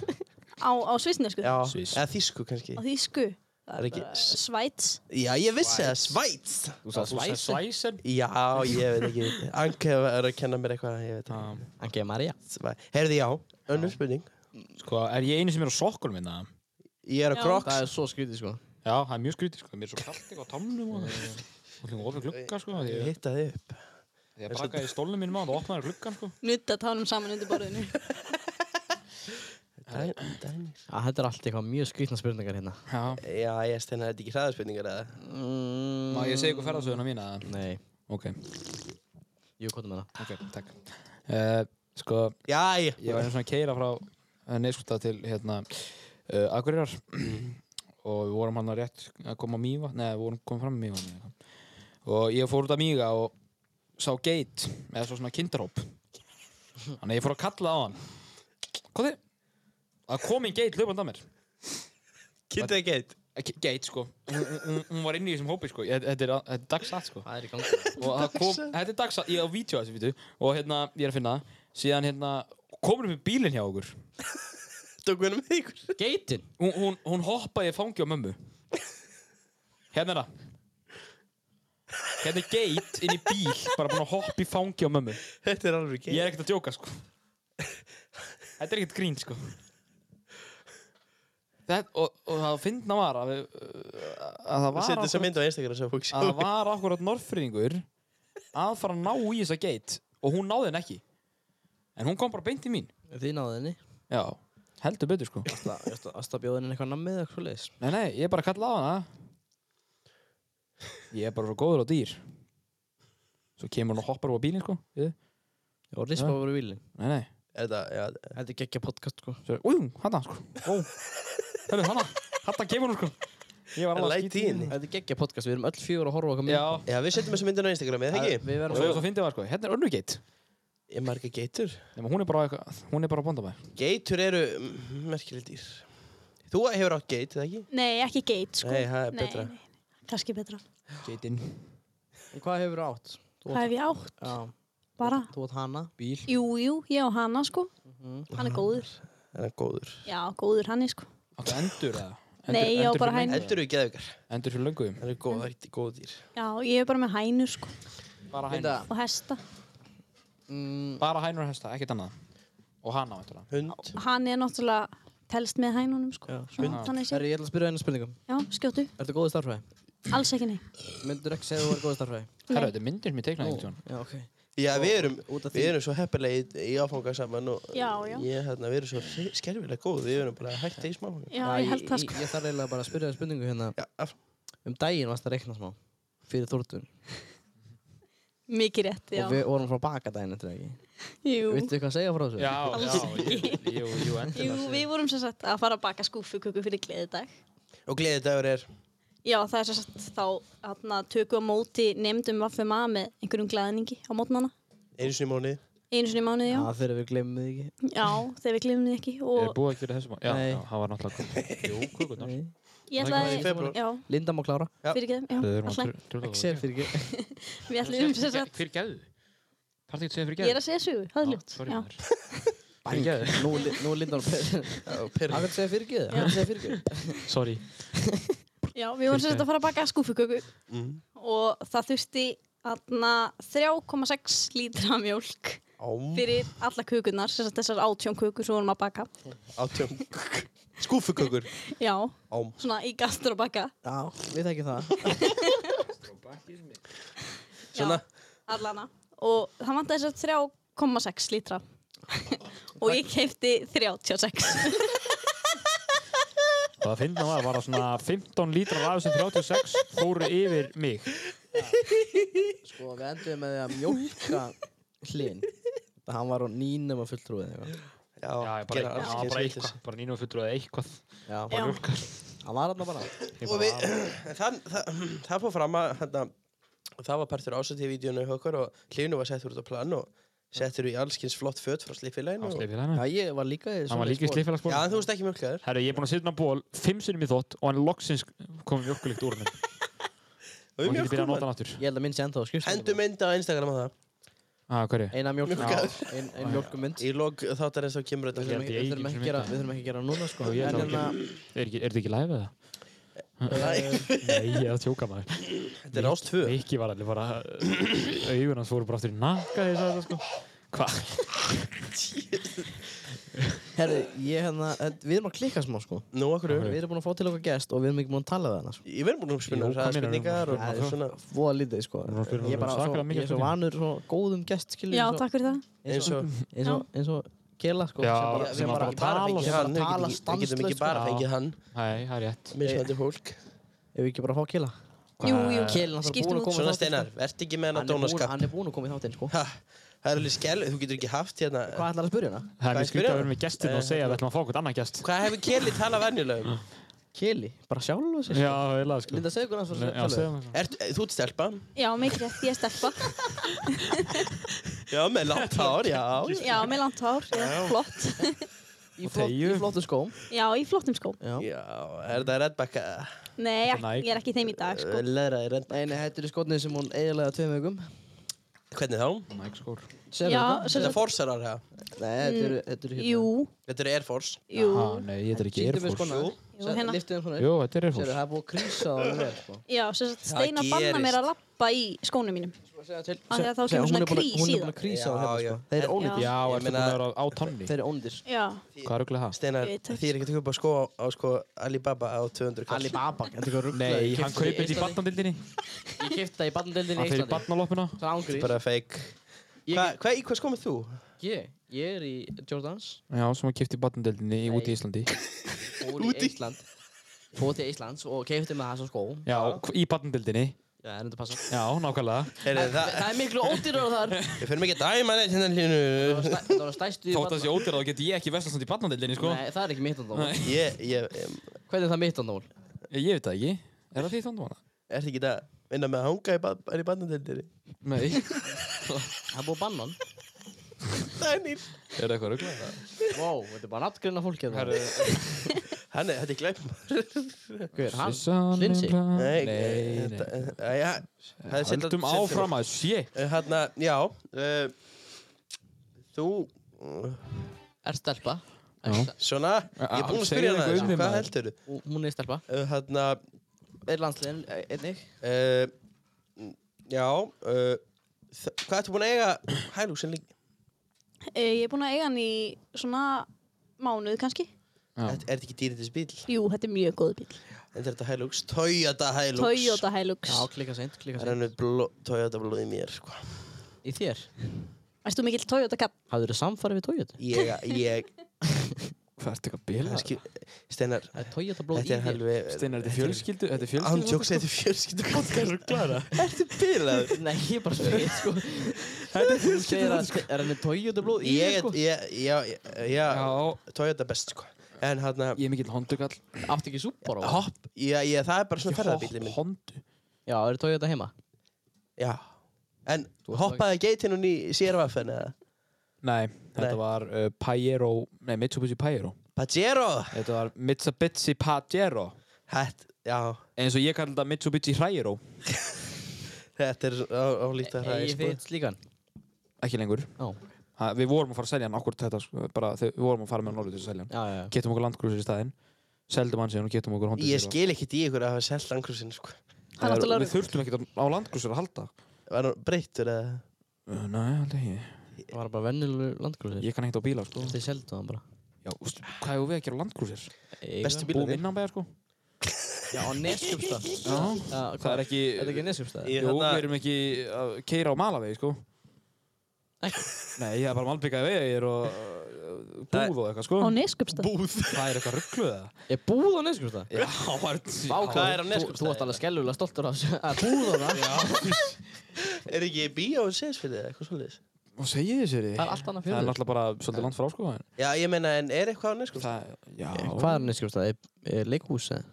S10: á, á svisnesku,
S9: Já.
S7: Sviss.
S9: Eða þísku kannski.
S10: á þýsku
S9: Það er ekki... S-
S10: Svæts
S9: Já, ég vissi það. Svæts.
S5: Þú sagði
S7: Þú sagði
S5: svæsi.
S7: Svæsen?
S9: Já, ég veit ekki. Anke er að kenna mér eitthvað. Ég veit ekki.
S7: Já.
S5: Angið Maria.
S9: Svæ- Heyrðu, já. Önnur spurning.
S7: Sko, er ég eini sem er á sokkunum hérna? minna?
S9: Ég er á
S10: Já.
S9: Crocs.
S5: Það er svo skrítið sko.
S7: Já, það er mjög skrítið, sko. Mér er svo kallt eitthvað á tannum og það er ofið glugga, sko. af því
S9: Ég
S7: Ég
S9: hitta þið upp.
S7: því ég bakaði í stólnum mínum á það og opnaði gluggan, sko.
S10: Nutta tánum saman undir borðinu
S9: Dæ- dæmir.
S5: Æ, Þetta er allt eitthvað mjög skrítna spurningar hérna.
S7: Já.
S9: Já, ég steina þetta er ekki hraðarspurningar eða?
S5: Mm.
S7: Má ég segja ykkur ferðarsöðuna mína? eða?
S5: Nei.
S7: Ok,
S5: Jú, hvað með það?
S7: ok, takk. Uh, sko,
S9: Já, já.
S7: ég var einu svona að keira frá uh, Neiskúta til, hérna, uh, Akureyrar og við vorum hann rétt að koma á Mýva, neða, við vorum komið fram í Mýva. Og ég fór út að Mýga og sá geit með svo svona kindarhóp. Þannig að ég fór að kalla á hann. Hvað þið? Það kom inn geit löpand að mér.
S9: Kitta geit.
S7: Ge- Geit sko hún, hún, hún var inni í þessum hópi sko Ég- Þetta er, þetta er dagsatt sko
S5: Hvað er í gangi?
S7: og það kom, Þetta er dagsatt, ég er á vídeo þessu vídeo og hérna, ég er að finna það. síðan hérna, komur upp í bílinn hjá okkur
S9: Tók henni með ykkur.
S5: Geitin.
S7: hún, hún, hún hoppaði í fangi á mömmu Hérna er það Hérna er geit inn í bíl bara búin að hoppa í fangi á mömmu
S9: Þetta er
S7: Ég
S9: alveg geit.
S7: er ekkert að djóka sko Þetta er ekkert grín sko Það, og, og það finna var að, við, að það var
S9: Settu þess
S7: akkurat-
S9: að mynda á Instagram svo fólk sjá.
S7: að það var akkurat norfriðingur að fara að ná í þessa geit og hún náði henn ekki en hún kom bara beint í mín
S5: Þið náðu henni.
S7: já, heldur betur sko
S5: Asta bjóði henni eitthvað nammið eða eitthvað leis.
S7: nei, nei, ég bara kallaði á hana ég er bara svo góður á dýr svo kemur hún og hoppar úr bílinn sko við.
S5: Og rispa
S7: Já.
S5: voru í bílinn.
S7: nei, nei,
S9: Þetta, já.
S5: Þetta er geggja podcast sko.
S7: svo, újú, hana sko ó, hörru, hana, hana kemur hún sko ég var alveg
S9: Læt í henni.
S5: Þetta er geggja podcast. Við erum öll fjögur að horfa okkar
S7: já,
S9: Já, við setjum þess að mynda á Instagram, eða
S5: Við
S9: ekki?
S7: og
S5: verðum
S7: svo, svo fyndið var sko, hérna er önnu geit
S9: Ég marga geitur.
S7: Nefnum, hún er bara, eitthvað- hún er bara að bonda með
S9: Geitur eru mm, merkileg dýr. Þú hefur átt geit, eða ekki?
S10: Nei, ekki geit sko
S9: Nei, það er betra.
S10: nei, nei. Kannski betra
S7: geitinn,
S5: Hvað hefur átt? Þú
S10: Hvað
S5: átt-
S10: hef ég átt?
S5: Já,
S10: Bara
S5: þú átt hana.
S7: bíl
S10: Jú, jú, ég á hana sko Hann er góður
S9: Það Mhm. er góður.
S10: Já, góður hann er sko
S7: áttu endur eða Endur-
S10: Nei, ég á
S7: endur
S10: bara
S7: fyrir
S10: hænur.
S7: löngu?
S9: Endur eru geðvökar.
S7: Endur fyrir löngu
S9: Það eru góð, það eru góð dýr.
S10: Já, ég er bara með hænur sko
S7: Bara
S5: Þetta,
S7: hænur
S10: Og hesta
S5: mm,
S7: Bara hænur og hesta, ekkert annað Og hana, veitur það
S9: Hund.
S10: Hann er náttúrulega Telst með hænunum sko
S5: Já,
S10: Svona, Þannig sé
S5: herri, ég ætla að spyrja einu spurningum.
S10: Já, skjótu
S5: Ertu góð í starfræði?
S10: Alls ekki nei
S5: Myndur ekki segja að þú er góð í starfræði?
S7: Herra, þetta er myndir sem ég teiknaði einhvern tímann
S5: Já, ok.
S9: Já, við erum,
S5: út af
S9: við
S5: því.
S9: erum svo heppilega í, í áfanga saman og
S10: Já, já.
S9: ég, hérna, við erum svo skerfilega góð, við erum bara hægt í smáfanga.
S10: Já, ég held það
S5: Ég,
S10: sko
S5: ég þarf eiginlega bara að spyrja einu spurningu hérna.
S9: Já, af-
S5: Um daginn varst að reikna smá. Fyrir þórtun.
S10: Mikið rétt, já
S5: Og við vorum frá baka daginn eftir ekki.
S10: Jú,
S5: Vittu hvað að segja frá þessu?
S10: Alls
S7: já,
S10: ekki.
S7: ég- jú, jú, endur
S10: jú við vorum sem sagt að fara að baka skúfuköku fyrir gleðidag
S9: Og gleðið dagur er,
S10: Já, það er sem sagt þá hérna, tökum á móti nefndum vaffema með einhverjum glæðningi á mótnana
S9: einu sinni í móni,
S10: einu sinni í mánuði, já.
S5: Já, þegar við glemum þið ekki.
S10: Já, þegar við glemum þið ekki
S7: Ég er
S10: og
S7: búið að gera þessu má Já,
S5: Nei.
S7: já, það var náttúrulega Jú, kukunar
S5: Nei.
S10: ég
S9: það er í
S10: ætlaði
S9: febrúar.
S10: já,
S5: Linda má klára.
S9: Já.
S10: fyrir ekki
S7: Þau
S10: já,
S7: eru
S10: alltaf
S7: að trúla
S5: Ekki segja fyrir ekki.
S10: við ætluðum sem sagt,
S7: Fyrir geðu Það er ekki að segja fyrir
S10: ég er
S7: geðu
S10: að segja sögu, það er ljótt já.
S7: Fyrir geðu
S5: Nú, er Li- nú er Linda á perri. Hann vil segja fyrir ekki. Hann vil segja fyrir ekki.
S7: Sorry
S10: já, við vorum sem sagt að fara að baka skúfuköku Mm. og það þurfti þarna 3,6 lítra af mjólk
S9: ám,
S10: fyrir alla kökunar, sem sagt þessar átjón kökur sem vorum að baka,
S9: átjón, skúfukökur,
S10: já
S9: ám.
S10: svona í gastur að baka
S5: Já, við þekkjum það.
S10: svona allana og það vantaði þess að 3,6 lítra og ég keipti 36
S7: Og það finna var, var að svona 15 lítrar af þessum 36 fóru yfir mig
S5: Sko, við enduðum með því að mjólka hlinn. Hann var á nýnum að fulltrúið eitthvað.
S9: Já,
S7: Já, ég
S9: gera
S7: bara, já,
S9: alls kyns
S7: bara
S9: vitleysu.
S7: eitthvað Bara nýna og fullur eða eitthvað
S5: Já,
S10: Já.
S5: hann var hann bara.
S7: Ég
S9: Og
S7: bara,
S9: við, það, það, það fór fram að, hérna, það var partur ásættið í vídjónu hjá okkur og hlifinu var settur út á plan og settur í allskins flott fött frá
S7: Á
S9: slífélaginu og-
S7: sliðfélaginu.
S9: Já, ég var líka í
S7: Hann var líka í
S9: svoleiðis
S7: sliðfélagsból.
S9: ból. Já, en þú veist ekki mjölklaður
S7: Herru, ég er búinn að setja hann á ból fimm sinnum í þótt og hann loksins komið mjölkulikt úr hann og
S9: Og
S7: hann getur byrjað að nota
S9: mjölkum
S7: hann aftur
S5: Ég held að minn sé ennþá á skrifstofunni.
S9: Hendu mynd á Instagram á það
S7: ah, hverju?
S5: Eina mjólk
S9: Mjólkaður.
S5: Já, ein, ein mjólkumynd
S9: Í log þáttar eins og kemur
S5: Við
S9: þetta
S5: þurfum
S7: held
S5: ekki við þurfum ekki að
S7: ég eigi ekki
S5: gera-
S7: fyrir
S5: við þurfum ekki að gera núna sko
S7: Já, ég
S5: En
S7: held
S5: hérna
S7: Er ekki- er þetta ekki live eða? Nei, ég er að tjóka maður
S9: Þetta er ást tvö
S7: Ekki var allir bara augun hans fóru bara aftur í nakka því að það sko Hvað?
S5: Herri, ég hérna en Við erum að klikka smá sko
S9: Nú, okkur
S5: Við erum búin að fá til okkar gest og við erum ekki búin að tala við hana sko.
S9: Ég verður búin að spynna
S7: Jú,
S9: um
S7: hvað meinar þú?
S9: spurningar og
S7: Nei,
S9: og svona
S5: Voða lítið sko
S7: Við erum að spyrja
S5: Ég er bara
S7: um
S5: svo,
S7: svakalega mikið
S5: ég er svo
S7: spurningar.
S5: vanur svo góðum gest skilur
S10: Já,
S5: eins og-
S10: takk fyrir það.
S9: eins og
S5: eins og, eins og Kela sko
S7: Já,
S5: sem bara,
S7: sem
S5: sem
S7: að
S5: bara,
S7: bara tala
S5: fengið
S7: og-
S5: hann,
S9: Við
S5: við getum
S9: getum
S5: ekki-
S9: ekki- við getum ekki bara
S7: stanslaust, sko.
S9: fengið hann
S7: Nei, það er rétt
S9: Mismandi fólk
S5: ef við ekki bara fá Kela
S10: Jú, jú.
S5: Kela er búin að
S10: Skiptum út.
S5: koma í
S9: Svona
S5: þáttinn,
S9: steinar, vert ekki með
S5: sko. Hann er búinn-
S9: hann að dónaskap
S5: hann er búin að koma í þáttinn sko
S9: Ha, Það er alveg skell, þú getur ekki haft hérna
S5: Hvað ætlar að spyrja hana?
S7: Það er
S9: Hvað
S7: mjög skrítið
S9: spyrja?
S7: að vera með gestin og
S9: Eh,
S7: segja að við ætlum að fá okkur annan gest
S9: Hvað hefur Kelly talað venjulega um?
S5: Keli, bara sjálf og sér
S7: Já, ég laði sko
S5: Linda, segðu hvernig
S7: Nei, Já,
S5: hann
S7: segja
S5: svo
S7: maður
S9: Ert- eh, Þú ert stelpa?
S10: Já, mikið rétt, ég er stelpa.
S9: Já, með langt hár, já
S10: Já, með langt hár, já, flott.
S5: Í flott- í
S7: Og þegju.
S5: flottum skóm
S10: Já, í flottum skóm.
S5: Já
S9: Já, er þetta eh, reddbakka?
S10: Nei, ég,
S7: Nike.
S10: ég er ekki í þeim í dag, sko.
S9: Leðraði reddbakka
S5: Nei, nei, þetta eru skotnið sem hún eiginlega tveim vögum
S9: Hvernig þá?
S7: Nækskór
S10: Já, sem
S9: Þetta er
S10: sagt,
S9: forsarar, já
S5: Nei, þetta eru, þetta eru hérna.
S10: jú,
S9: Þetta eru Air Force
S10: jú,
S7: Nei, þetta er ekki
S5: Sýndu mér
S7: erfórs
S5: skona.
S9: Jú.
S10: jú, hérna.
S5: Lyftu þeim svona
S7: Jú, þetta er
S5: Sérðu,
S7: erfórs
S5: það er búið að krísa á henni vel, sko.
S10: Já, sem sagt, Steina
S9: Það
S10: banna
S9: gerist.
S10: mér að lappa í skónum mínum.
S5: Svo segja til-
S10: Af því að þá
S5: Nei,
S10: kemur
S5: hún
S10: svona
S5: er búin að-
S10: krís
S5: Hún er
S10: í
S5: búin að
S10: það.
S5: krísa á
S9: Já,
S5: henni,
S9: já.
S5: sko. Þeir eru
S10: Já.
S5: ónýtir.
S7: Já, ertu
S9: Ég
S7: búin
S9: meina-
S7: að vera á tonni
S5: Þeir eru ónýtir. sko.
S10: Já,
S7: Hvað er auðvitað það?
S9: Steinar,
S10: Ég veit það
S9: því er ekki að kaupa skó á, á sko Alibaba á 200 kall
S5: Alibaba, þetta er eitthvað rugglaði.
S7: Nei, hann kaupið þetta í barnadildinni
S5: Ég kipta það í barnadeldinni
S7: Hann
S5: í
S7: fer í
S5: Íslandi.
S7: barnaloppuna
S5: Það er ángríns.
S9: Bara fake
S5: Ég-
S9: Hvað, hva, í hvað skó með þú?
S5: Ég, ég er í Jordans.
S7: Já, sem hann kipti í barnadeldinni í
S5: Nei.
S7: úti í Íslandi
S5: Fór í Ísland. Fór til Íslands og keipti með það sem skó.
S7: Já, í barnadeldinni
S5: Já, það er þetta passa.
S7: Já, nákvæmlega
S9: Heyri, það,
S5: Það er miklu ódýrar þar.
S9: við fyrir mikið dæma neitt hérna
S5: Það var
S9: hlínu
S5: stæ- það var stæstu í
S7: Þótt að
S5: barna-
S7: sé ódýra þá get ég ekki vestlast í barnadeildinni sko
S5: Nei, það er ekki mittandól.
S7: Nei.
S9: Ég, ég, ég
S5: Hvernig er það mittandól?
S7: Ég veit það ekki Er það því þannig hana?
S9: ert ekki að vinna með að hanga í, ba- bara í bandandildir
S7: Nei
S5: Það er búið bannan.
S9: Það er nýr
S7: Er það eitthvað rugglega?
S5: Vá, þetta er bara nafngrunna fólk hérna.
S9: Hann er, þetta er glæpum
S5: Hver, hann? Lindsay?
S7: um Nei,
S9: Nei,
S7: nei,
S9: þetta- eh, ja, það er sent-
S7: Haldum
S9: sent-
S7: áfram að sé
S9: Eh, Hérna, já uh, Þú uh,
S5: Er stelpa. Er
S7: Já.
S5: stel-
S9: Svona, ég er búinn
S7: segðu
S9: að spyrja hana
S7: eitthvað um
S9: þessu,
S7: þig,
S9: Hvað
S7: maður.
S9: heldur þú?
S5: Hún hún er stelpa.
S9: Hérna,
S5: Er landsliðin einnig?
S9: uh, Já uh, þ- Hvað ertu búin að eiga hælúsin líka?
S10: Eh, ég er búin að eiga hann í svona mánuð kannski.
S9: Er er þetta ekki dýrið þessi bíl?
S10: Jú, þetta er mjög góð bíl.
S9: Þetta er þetta Hilux, Toyota Hilux
S10: Toyota Hilux.
S5: Já, klika seint, klika
S9: Það er
S5: seint.
S9: henni bló, Toyota blóð í mér sko.
S5: Í þér?
S10: Erst þú mikill Toyota kapp?
S5: Hafðu þér samfarið við Toyota?
S9: Ég, ég
S7: Hvað ertu eitthvað bila?
S9: skil, Steinar,
S5: Það er Toyota blóð í
S9: þetta er
S5: þér.
S9: helvi
S7: Steinar, þetta er fjölskyldu Þetta er
S9: Andjóks,
S7: fjölskyldu
S9: þetta er fjölskyldu podcast Ertu bilað?
S5: Nei, ég bara spyr, sko. Þetta er þú segir að er hann með Toyota blóð í
S9: Ég,
S5: þér, sko?
S9: ég, já, já,
S7: Já,
S9: Toyota best sko En hérna,
S7: ég er mikill hondugall
S5: Áttu ekki súpar á?
S9: hopp, já, já, það er bara svona ferðarbíli minn
S7: Hondu
S5: Já, er Toyota heima?
S9: Já, en
S5: ert
S9: hoppaði geitinn hún í CRVF en eða?
S7: Nei, þetta
S9: Nei.
S7: var uh, Pajero Nei, Mitsubishi Pajero
S9: Pajero,
S7: Þetta var Mitsubishi Pajero
S9: hætt, já
S7: eins og ég kalli þetta Mitsubishi Hræjero
S9: Þetta er á- álítið að sko.
S5: Ég
S9: hræði
S5: veit slíkan.
S7: ekki lengur
S5: Já,
S7: ha, við vorum að fara að selja hann akkur þetta sko, bara, þau- við vorum að fara með hann norður til að selja hann
S5: já, já.
S7: getum okkur landgrúsir í staðinn seldum hann síðan og getum okkur
S9: Ég skil ekkert í ykkur að hafa selt langrúsin sko
S10: Það er náttúrulega
S7: við þurftum ekkert á landgrúsir að halda
S9: Var hann breyttur eða?
S7: Uh, Nei, alltaf ekki.
S5: Það var bara vennilegur landgrúsir.
S7: Ég kann ekkert á bíla, sko.
S5: Þetta er seldu hann bara.
S7: Já, úst, hvað hefur við að gera á landgrúsir?
S5: Eiga.
S9: Bestu
S7: Búum
S9: bílarnir
S7: innan bæjar, sko.
S5: Já, á Neskjöpstað.
S7: Já. Það er ekki...
S5: Er þetta ekki Neskjöpstað?
S9: Ég
S7: Jú,
S9: hérna-
S7: við erum ekki að keira á malavegi, sko.
S5: Ekki?
S7: Nei, ég er bara malbyggaði vegir og uh,
S9: Það-
S7: búð og eitthvað, sko.
S10: Á neskupstað.
S9: Búð
S7: Það er eitthvað ruggluð, það.
S5: Ég búið á Neskjöpstað?
S7: Já, það er...
S5: Vá,
S9: hvað er á
S5: þú-
S9: Neskaupstað?
S5: Þú ert alveg skellulega stoltur af þessu- að búið á það.
S9: Er ekki bíó og séðsfyrir eða eitthvað svolítið?
S7: Hvað segir þið sér
S5: Það er allt annað
S7: Það er
S5: fjörður.
S7: náttúrulega bara svolítið langt frá sko en
S9: Já, ég sko?
S5: Eh,
S9: meina, en er eitthvað á neskum?
S7: Það, já
S5: Hvað er Neskjöpstað? Leikhús eða?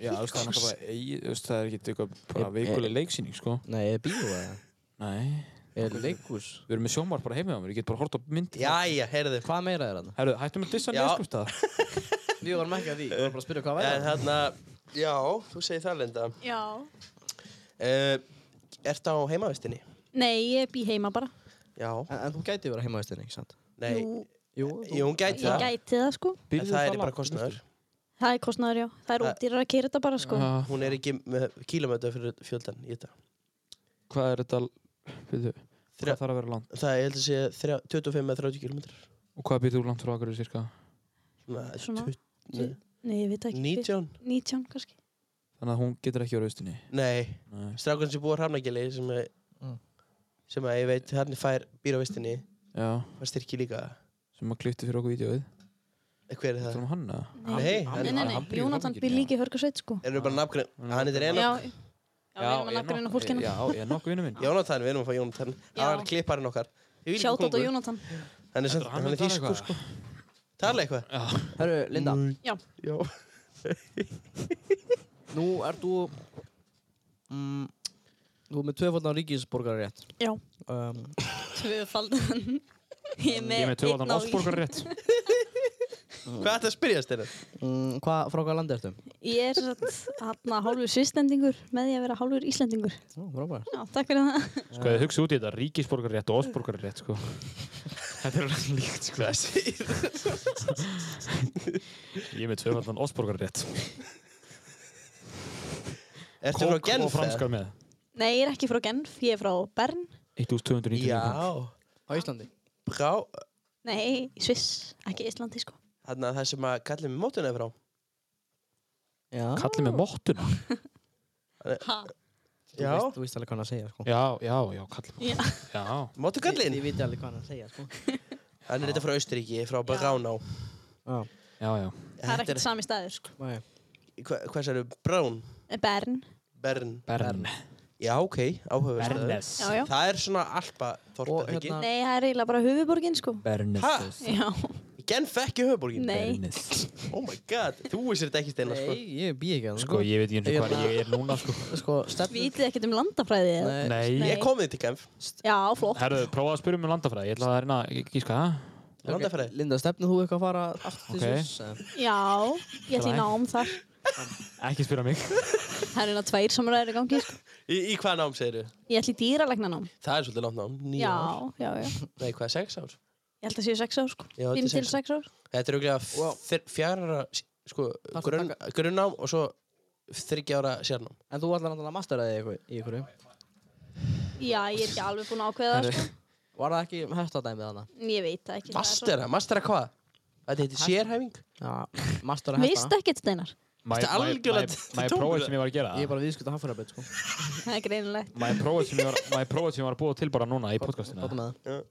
S7: Já, þú veist, það er náttúrulega bara, eigi- þú veist, það er ekki eitthvað bara vikuleg leiksýning, sko.
S5: Nei, er bíó eh? eða?
S7: Nei.
S5: Er leikus?
S7: Við erum með sjómar bara heima á mér, ég get bara hort á myndi.
S9: Jæja, heyrðu
S5: Hvað meira er hann?
S7: Herru, hættum við að dissa
S9: Já.
S7: neðskumstaðar.
S5: Við varum ekki að því, við varum bara að spyrja hvað væri
S9: En
S5: hann.
S9: þarna, já, þú segir það Linda
S10: Já.
S9: uh, Ert á heimavistinni?
S10: Nei, ég bý heima bara.
S9: Já
S5: En, en þú gæti verið heima á stinni, ekki sant? Eh,
S9: Nei,
S10: Jú,
S5: Jú,
S9: jú, hún gæti
S10: ég
S9: það
S10: gæti það sko.
S9: En það er bara kostnaður
S10: Það er kostnæður, já. Það er
S9: Það-
S10: ódýrar að kýra þetta bara sko.
S7: Ah,
S9: Hún er ekki með kílómetra fyrir fjöldan í þetta
S7: Hvað er þetta, við þau,
S9: Þrjá-
S7: hvað þarf að vera langt?
S9: Það er, ég held að sé, þrjá- 25 með 30 kílómetrar
S7: Og hvað býr þú langt frá Akureyri cirka?
S10: Svona.
S9: Svona 20
S10: Nei, ég veit það ekki.
S9: 19?
S10: 19 kannski.
S7: Þannig að hún getur ekki verið austinni.
S9: Nei,
S7: Nei.
S9: strákurinn sem búið á Hrafnagili sem, er,
S5: Mm.
S9: sem að ég veit hann fær býr á vistinni
S7: Já,
S9: var styrki líka
S7: sem að klippti fyrir okkur vídeoið.
S9: Eh, Hver
S7: Þú
S9: er það?
S7: erum hann, eða?
S9: Nei,
S10: Nei, nei,
S9: hann-
S10: nei,
S7: hann býr í
S10: Jónatan
S7: Hafnarfirði,
S10: býr
S7: já.
S10: líka í Hörgarsveit sko.
S9: erum við bara nafngrein Hann heitir
S10: Já,
S9: Enoch
S10: já, við erum að
S7: Enoch-
S10: nafngrunna fólk hérna.
S7: Já, ég er nokkuð vinnu minn.
S9: Jónatan, við erum að fá Jónatan Hann
S10: Já.
S9: var klipparinn okkar Ég vil ekki
S10: Sjátt á
S9: kóngur.
S10: Jónatan.
S9: Hann er, samt-
S7: hann
S9: hann er
S7: að tala
S9: þýskur
S7: eitthvað?
S9: sko Tala eitthvað
S5: Herru, Linda,
S9: Já
S5: nú ert þú mm, Þú er með tvöfaldan ríkisborgarar rétt
S10: Já.
S5: um,
S10: Tvöfaldan.
S7: Ég
S10: Ég er
S7: er
S10: með
S7: með töfandan
S10: einn á-
S7: Osborgar rétt.
S9: Hvað ætti að spyrja styrir?
S5: mm, hvað, Frá hvað landi ertu?
S10: Ég er satt hátna hálfur svistlendingur með því að vera hálfur íslendingur.
S5: Nú, frábær
S10: Já, takk fyrir það.
S7: Sko, þið hugsa út í þetta, ríkisborgar rétt og Osborgar rétt, sko. Þetta er alveg líkt, sko. Ég er með tvöfandan Osborgar rétt.
S9: Ertu frá Genf?
S7: og franskar með.
S10: Nei, ég er ekki frá Genf, ég er frá Bern.
S7: 1299
S9: Já
S7: krónur.
S5: Á Íslandi
S9: Brá
S10: Nei, í Sviss, ekki Íslandi sko.
S9: Þannig að það sem að kallið með mótuna er frá
S5: Já
S7: Kallið með mottuna.
S10: Ha?
S5: Þú
S9: Já
S5: veist, þú veist alveg hvað hann er að segja sko
S7: Já, já, já, kallið
S10: Já.
S7: með. Já.
S9: Mótukallinn
S5: Ég veit alveg hvað hann er að segja sko
S9: Hann er þetta frá Austuríki, frá Bránó
S5: Já,
S7: Já, já.
S10: Það er ekkert sami staður sko. Eh,
S5: næja
S9: Hva, Hvað sér Brán?
S10: Bern,
S9: Bern
S7: Bern.
S9: Já, ok, áhugaverð
S7: Bernes.
S10: já, já.
S9: Það er svona alpa
S5: Og
S9: þorpið ekki
S5: hérna
S10: Nei, það er eiginlega bara höfuborgin sko.
S7: Bernes.
S10: Já,
S9: Genf ekki höfuborgin
S10: nei.
S7: Bernes.
S9: Oh my god, þú vissir þetta ekki steina sko.
S5: Nei, ég bý ekki að
S7: Sko, ég veit ekki eins og
S5: Ég-
S7: hvað ég er núna, sko.
S5: Sko, stefnum
S10: Vitið ekkert um landafræði eða?
S5: Nei,
S7: Nei.
S9: Ég komið til Genf,
S10: Já, flott.
S7: Herðu, prófaðu að spyrja um landafræði. Ég ætla að reyna að gíska það.
S9: landafræði
S5: Linda, stefnum þú eitthvað að fara aftur til
S7: Ok.
S5: Sviss? eða?
S10: Já, ég ætla í nám þar.
S7: Ekki spyrja mig.
S10: Það er hérna tveir samræður í gangi sko.
S9: Í, í hvað nám segirðu?
S10: Ég ætla í dýralegna nám.
S9: Það er svolítið langt nám, nýja ár
S10: Já, já, já.
S9: Nei, hvað, sex ár?
S10: Ég held að séu sex ár sko.
S9: Já, þetta er
S10: Fimm til
S9: sex
S10: sex ár.
S9: Þetta er auðvitað
S5: Wow.
S9: wow. fjara sko,
S5: að
S9: grunn, grunnám og svo þryggja ára sérnám
S5: En þú ætlar náttúrulega að mastera þig í einhver- í einhverju
S10: Já, ég er ekki alveg búin að ákveða það sko.
S5: Var það ekki hestadæmið hana?
S10: Ég veit það ekki. það er svo-
S9: Mastera, mastera hvað? Þetta heitir sérhæfing
S5: Já, mastera hesta
S10: Veistu ekkert Steinar?
S9: Þetta er algjörlega
S7: Mæ
S9: tómur.
S7: prófið sem ég var að gera.
S5: Ég er bara viðskjöld að hafðfæra sko
S10: Það er greinilegt.
S7: Má ég prófa sem ég var, má ég prófa sem ég var að búa til bara núna í podcastinu?
S5: Báttu með það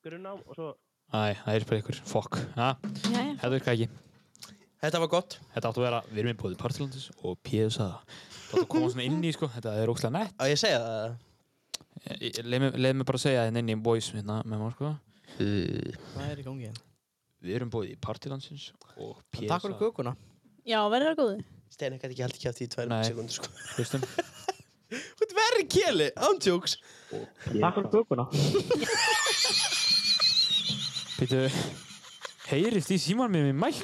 S6: Grunnám og svo...
S7: Æ, það er bara ykkur, fokk. Ha,
S10: Jæja.
S7: Þetta virka ekki.
S9: Þetta var gott
S7: Þetta áttu að vera, við erum í bóði Partilandis og PSA. Þetta áttu að koma svona inn í, sko, þetta er ókslega nett.
S9: Að ég segja það
S7: Ég- ég- Leið mér- leið mér bara að segja hérna inn í boys hérna með mér, sko.
S5: Hvað er í gangi hérna?
S7: Við erum bóði Partilandsins og PSA.
S5: Takk fyrir kökuna
S10: Já, verður það góðu?
S9: Steina gæti ekki haldið kjátt í tvær
S7: Nei.
S9: sekundur sko
S7: Hlustum.
S9: Þú ert verri kjeli, ántjóks
S6: Takk fyrir kökuna.
S7: Pítu, heyrist í síman með mér mæk?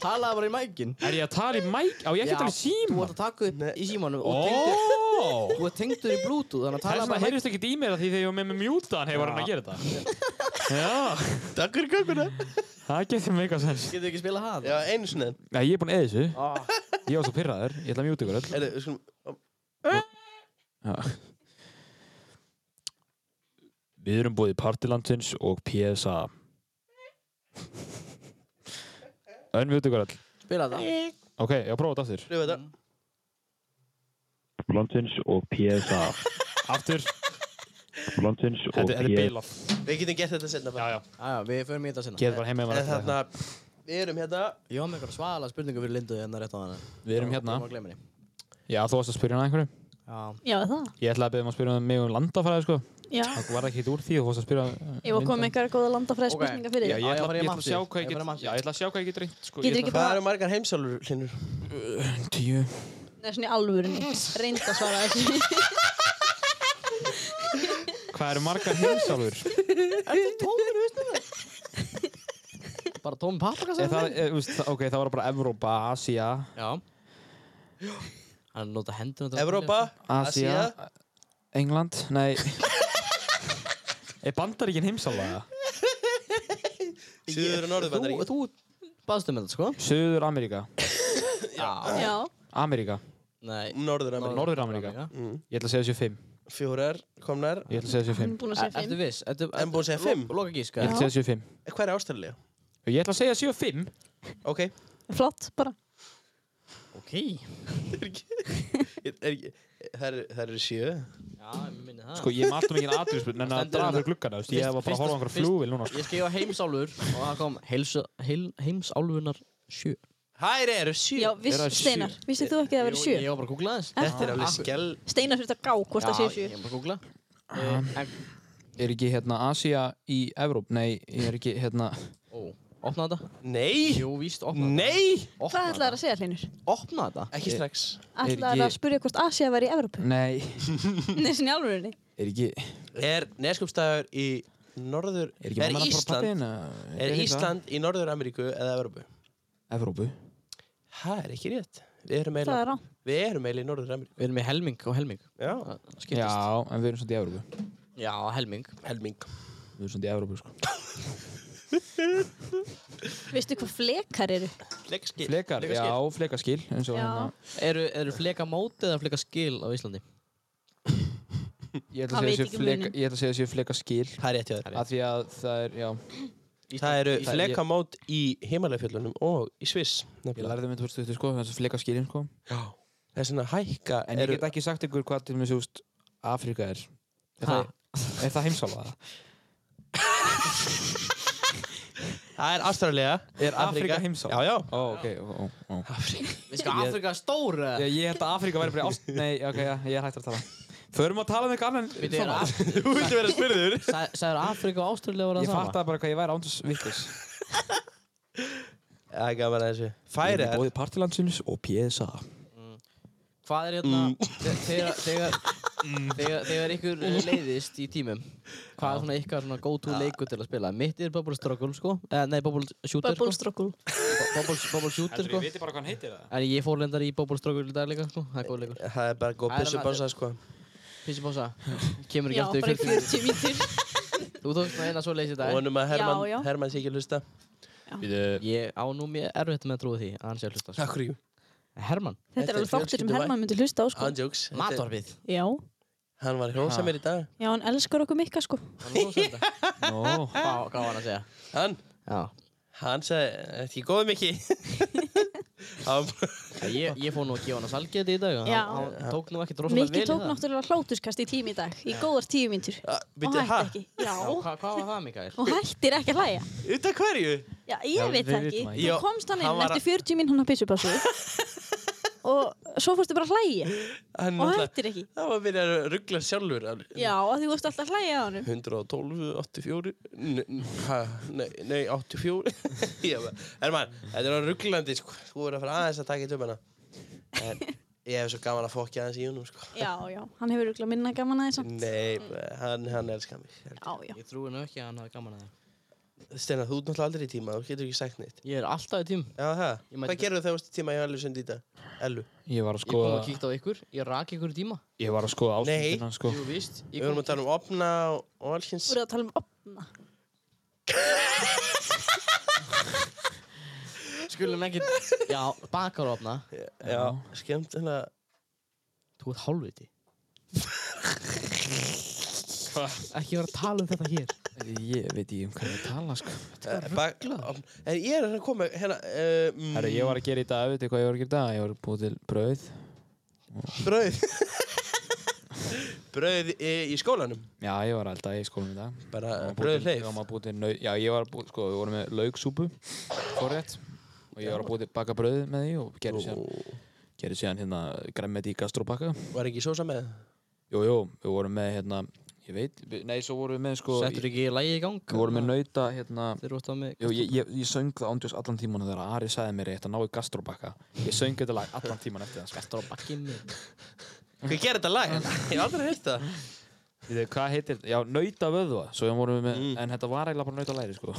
S5: Talaði bara í mækin
S7: Er ég að tala í mæk? Á ég ekki að tala í
S5: Þú
S7: síman?
S5: ert að taka upp í símanum og tengdur
S7: Ó!
S5: Þú ert tengdur í bluetooth þannig að
S7: Þess
S5: tala
S7: vegna
S5: bara í mækin
S7: heyrist ekki í mér að því þegar ég var með með mjútan hefur hann að gera þetta. Já,
S9: Takk fyrir kökuna
S7: það getur mig eitthvað sens.
S5: Getur Ah. ekki spila það?
S9: Já, einu sinni
S7: Nei, ég er búinn að eða þessu. Ég var svo pyrraður. Ég ætla að mjúta ykkur öll.
S9: Heyrðu, við skulum-
S7: Já. Við erum búið í Partilandsins og PSA. Önn mjúta ykkur öll.
S5: Spila það
S7: Ok, ég prófa þetta aftur.
S9: Pröfu þetta
S1: Blondins og PSA
S7: Aftur.
S1: Blondins og
S7: Þetta, þetta er bilað.
S9: Við getum gett þetta setna
S7: Já, já.
S5: Já, já, við förum í þetta sinna
S7: Geð bara heim með
S9: En
S7: maður eftir
S9: þarna,
S7: það.
S9: við erum hérna
S5: Ég var með einhverja svala spurningu fyrir Lindu hérna rétt á hana
S7: Við erum hérna.
S5: Ég var að gleyma henni.
S7: Já, þú varst að spyrja hana einhverju.
S5: Já,
S10: Já, er það.
S7: Ég ætlaði að byrja um að spyrja um mig um landafræði, sko.
S10: Já.
S7: Það var ekki úr því og þú fórst að uh, spyrja
S10: Ég var komið með einhverja góða landafræði spurningar fyrir
S7: Já, ég
S10: þig.
S7: ætla
S9: fara
S7: ég
S9: í
S7: ætla að sjá
S9: mattið.
S7: hvað ég
S9: Ég fara í
S7: get
S9: mattið.
S7: Já, ég ætla að sjá hvað ég get reynt sko.
S10: Getur
S7: Ég ætla-
S10: ekki
S9: Hvað
S10: bara,
S9: eru margar heimsálur, Hlinur?
S7: Tíu
S10: neða svona í alvörunni, reynd að svara þessu.
S7: Hvað eru margar heimsálfur?
S5: Bara tóm pappakassa
S7: Er það, er, veist, það- ok, það var bara Evrópa, Asia
S5: Já Hann nota hendur
S9: Evrópa?
S7: Asia,
S9: Asia?
S7: England, nei Er bandaríkin heimsálfa?
S9: Suður og
S5: Þú,
S9: Norðurbandarík?
S5: þú baðstu með þetta sko
S7: Suður Ameríka
S10: Já,
S7: Ameríka,
S5: Nei
S9: Norður-Amerík.
S7: Norður Ameríka Ég ætla að segja þessu fimm
S9: Fjórar, komnar.
S7: Ég ætla að segja þessu
S10: hann
S7: fimm
S10: er búin að segja
S5: Ertu
S10: fimm.
S5: viss? Ertu,
S9: En búin að segja fimm?
S5: Loka gíska
S7: Ég ætla að segja þessu fimm
S9: Hvað er Ástralía?
S7: Ég ætla að segja þessu fimm
S9: Ok.
S10: Flott, bara.
S5: Ok Já,
S9: Er, er, það eru- það eru sjö.
S5: ég minni það
S7: Sko, ég er með alltaf mikið aðriðspun En
S5: Stendur
S7: að draga
S5: hérna.
S7: fyrir gluggana, veist, ég
S5: Fyrst-
S7: var bara að horfa á einhverja
S5: fyrsta-
S7: flúvil núna sko.
S5: Ég skrifa heimsálfur og það kom heilsu, heil, heimsálfunar sjö
S9: Það eru sjö.
S10: Já,
S7: Er
S10: viss,
S7: það sjö?
S10: Steinar, vissið þú ekki að það verið
S5: Jú,
S10: sjö?
S5: Ég var bara að googla þess
S9: Þetta er alveg skell.
S10: Steinar þurft að gá hvort það sé
S5: Já, ég
S10: sjö.
S5: var bara að googla uh, en,
S7: Er ekki hérna Asia í Evróp? Nei, ég er ekki hérna
S5: Ó, opna þetta
S9: Nei!
S5: Jú, víst, opna þetta
S9: Nei! Eh,
S10: Hvað ætlaði að segja, Hlinur?
S5: Opna þetta
S9: Ekki strax.
S10: Ætlaði að
S7: ég-
S10: spyrja hvort Asia var í Evrópu?
S7: Nei,
S10: Nei, svona í alvörunni.
S7: er ekki
S9: Er Neskjöpstaður í norður...
S7: Er ekki mamma að fara
S9: Ísland,
S7: pappin?
S9: er Ísland í Norður-Ameríku eða Evrópu?
S7: Evrópu
S9: Það er ekki rétt. Við erum
S10: Það
S9: eiginlega
S10: er rá.
S9: Við erum eiginlega í Norður-Ameríku.
S5: Við erum í helming og helming
S9: Já.
S5: Það skiptist
S7: Já, en við erum svolítið í Evrópu
S5: Já, helming
S9: Helming.
S7: Við erum svolítið í Evrópu sko
S10: Veistu hvað flekar eru?
S9: Leggskil.
S7: Flekar, já, flekaskil eins og
S10: Já.
S7: hérna
S5: Eru, eru fleka móti eða fleka skil á Íslandi?
S7: Ég ætla að
S10: Hann
S7: segja
S10: veit ekki
S7: þessu fleka,
S10: muninn.
S7: ég ætla að segja þessu flekaskil
S9: Það er rétt hjá þér.
S7: Af því að það er, já
S9: Það eru
S5: Ísland-
S9: flekamót í himalægfjöllunum og í Sviss.
S7: Ég
S9: nefnilega.
S7: lærði það mitt fyrstu þetta sko, þessu flekaskilin sko
S9: Já. Það er svona hækka
S7: En ég
S9: eru...
S7: get ekki sagt ykkur hvað til mér úst Afrika er Er
S5: Ha?
S7: það, er það heimsálfa?
S9: Það er Ástralía.
S7: Er Afrika heimsálfa?
S9: Já, já.
S7: Ó, ok, ó, ó
S5: Við skal Afrika stóra
S7: Ég, ég held að Afríka væri bara í ást... Nei, ok, já, ég er hægt að tala. Förum að tala um eitthvað annan.
S5: Við erum
S7: Svona.
S5: Afrika
S9: Þú vildi vera spyrður.
S5: Sæður Afrika og Ástralja voru
S7: Ég
S5: það sama?
S7: fattaði bara hvað ég væri ándur vittis.
S9: Það er gaman að þessu.
S7: Ég er
S9: Færiðar.
S7: bóðið partilandsins og PSA.
S5: Hvað er hérna
S9: Mm.
S5: þe- Þegar Þegar Þegar, þegar ykkur eh, leiðist í tímum Hvað er svona ykkar svona go-to leikur til að spila? Mitt er Bubble Struggle sko eh, Nei, Bubble Shooter
S10: Bubble
S5: sko
S10: struggle.
S5: Bubble, bubble Shooter sko
S7: viti bara hvað hann heitir það?
S5: En ég fór lendar í Bubble Struggle í dag líka sko Það er góð leikur
S9: Það er bara góð
S5: Það er
S9: pissu
S5: annað-
S9: bása, sko.
S5: Pissi Bossa Kemur ekki
S10: Já,
S5: aftur í
S10: bara
S5: 40
S10: í
S5: mínútur.
S10: 40 mítur.
S5: Þú tókst svona eina svo leiðis í dag
S9: Vonum að Herman,
S10: Já, já.
S9: Herman sé ekki að hlusta.
S5: Ég á nú mér erfitt með að trúa því að hann sé að hlusta sko.
S9: Takk fyrir.
S5: Herman
S10: Þetta
S9: Þetta
S10: er
S9: er
S10: alveg þáttur sem
S9: fjölskylduvæn.
S10: Herman myndi hlusta á, sko.
S9: Hann jokes. Þetta er-
S5: Matorfið
S10: Já,
S9: Hann var hrósa mér í dag.
S10: já, hann elskar okkur mikka, sko.
S5: Hvað
S7: Nó.
S5: hvað var hann að segja?
S9: Hann,
S5: Já
S9: hann sagði, "Ertu ekki góð mikið. hann,
S5: Já, Ég, ég fór nú að gefa hann að salgeti í dag og
S10: Já.
S5: hann, hann tók nú ekkert rosalega vel
S10: Mikki
S5: í
S10: tók
S5: það.
S10: náttúrulega hláturskast í tími í dag, í góðar tíu mítur. Og
S9: byrju,
S10: hætti
S9: hæ,
S10: ekki. Já,
S5: Já, hva, hvað var það Mikael?
S10: og hættir ekki að hlæja.
S9: út af hverju?
S10: Já, ég
S7: Já,
S10: veit
S7: við vitum
S10: það ekki.
S7: það ekki.
S10: Þú
S9: Já,
S10: komst hann
S9: hann
S10: inn
S9: var að-
S10: eftir 40 mín hann að pissupassu. og svo fórstu bara að hlæja.
S9: Hann,
S10: Og
S9: náttúrulega-
S10: hættir ekki.
S9: það var að byrja að ruggla sjálfur. hann.
S10: Já, að því þú vorst alltaf að hlæja á hann.
S9: 112, 84, ne- ha, nei, nei, 84. Ég bara, Herman, þetta er hann rugglandi, sko. Þú verður að fara aðeins að taka í tömuna. En ég hef svo gaman að fokja aðeins í húnum, sko.
S10: Já, já, hann hefur örugglega minna gaman aðeins. samt.
S9: Nei, hann, hann elskar mig.
S10: Já, já.
S5: Ég trúi nú ekki að hann hafi gaman að það
S9: Steinar, þú ert náttúrulega aldrei í tíma, þú getur ekki sagt neitt.
S5: Ég er alltaf í tím
S9: Já, það.
S5: Ég mæti
S9: Hvað
S5: bara-
S9: gerðu þegar þú varst í tíma hjá Ellu sundi í dag? Ellu.
S7: Ég var að
S5: Ég kom
S7: skoða...
S5: og kíkti á ykkur, ég rak ykkur í tíma
S7: Ég var að skoða
S9: Nei.
S7: ástundina, sko.
S5: Jú, víst Ég
S9: Við vorum að tala um opna og, og allsins.
S10: Þú voru að tala um opna.
S5: Skulum ekki Já, bakar opna
S9: Já, skemmtilega.
S5: Þú ert hálfviti Ekki vera að tala um þetta hér
S7: Ég veit ekki um hvað ég tala, sko.
S9: Eh, ba- opna- En ég er að koma, hérna, uh, mm,
S7: Herru, ég var að gera í dag, veit hvað ég var að gera í dag? Ég var að búið til brauð.
S9: brauð. brauð í, í skólanum.
S7: Já, ég var alltaf í skólanum í dag.
S9: Bara
S7: Ég var að búa
S9: brauð
S7: til-
S9: hleyf.
S7: Já, maður búið til nau... Já, ég var að búið, sko, við vorum með laugsúpu, forrétt. Og ég var að búið til baka brauð með því og gerði sér gerði síðan hérna gremmeti í gastrópakka
S9: Var ekki sósa með?
S7: Jú, jú, við vorum með hérna, ég Ég veit, við- nei, svo vorum við með sko
S5: Settur ekki lægi í gang?
S7: Við vorum með nauta, hérna
S5: Þeir voru það með
S7: Jú, ég, ég, ég söng það ándjós allan tíman þegar Ari sagði mér eitt að ná í gastrobakka Ég söng þetta lag allan tíman eftir það sko.
S5: Gastur á bakkinni
S9: Hvað gerir þetta lag? Ég hef aldrei heyrst það.
S7: Ég veit, Hvað heitir þetta? Já, nauta vöðva Svo vorum við með, en þetta var eiginlega bara nauta læri sko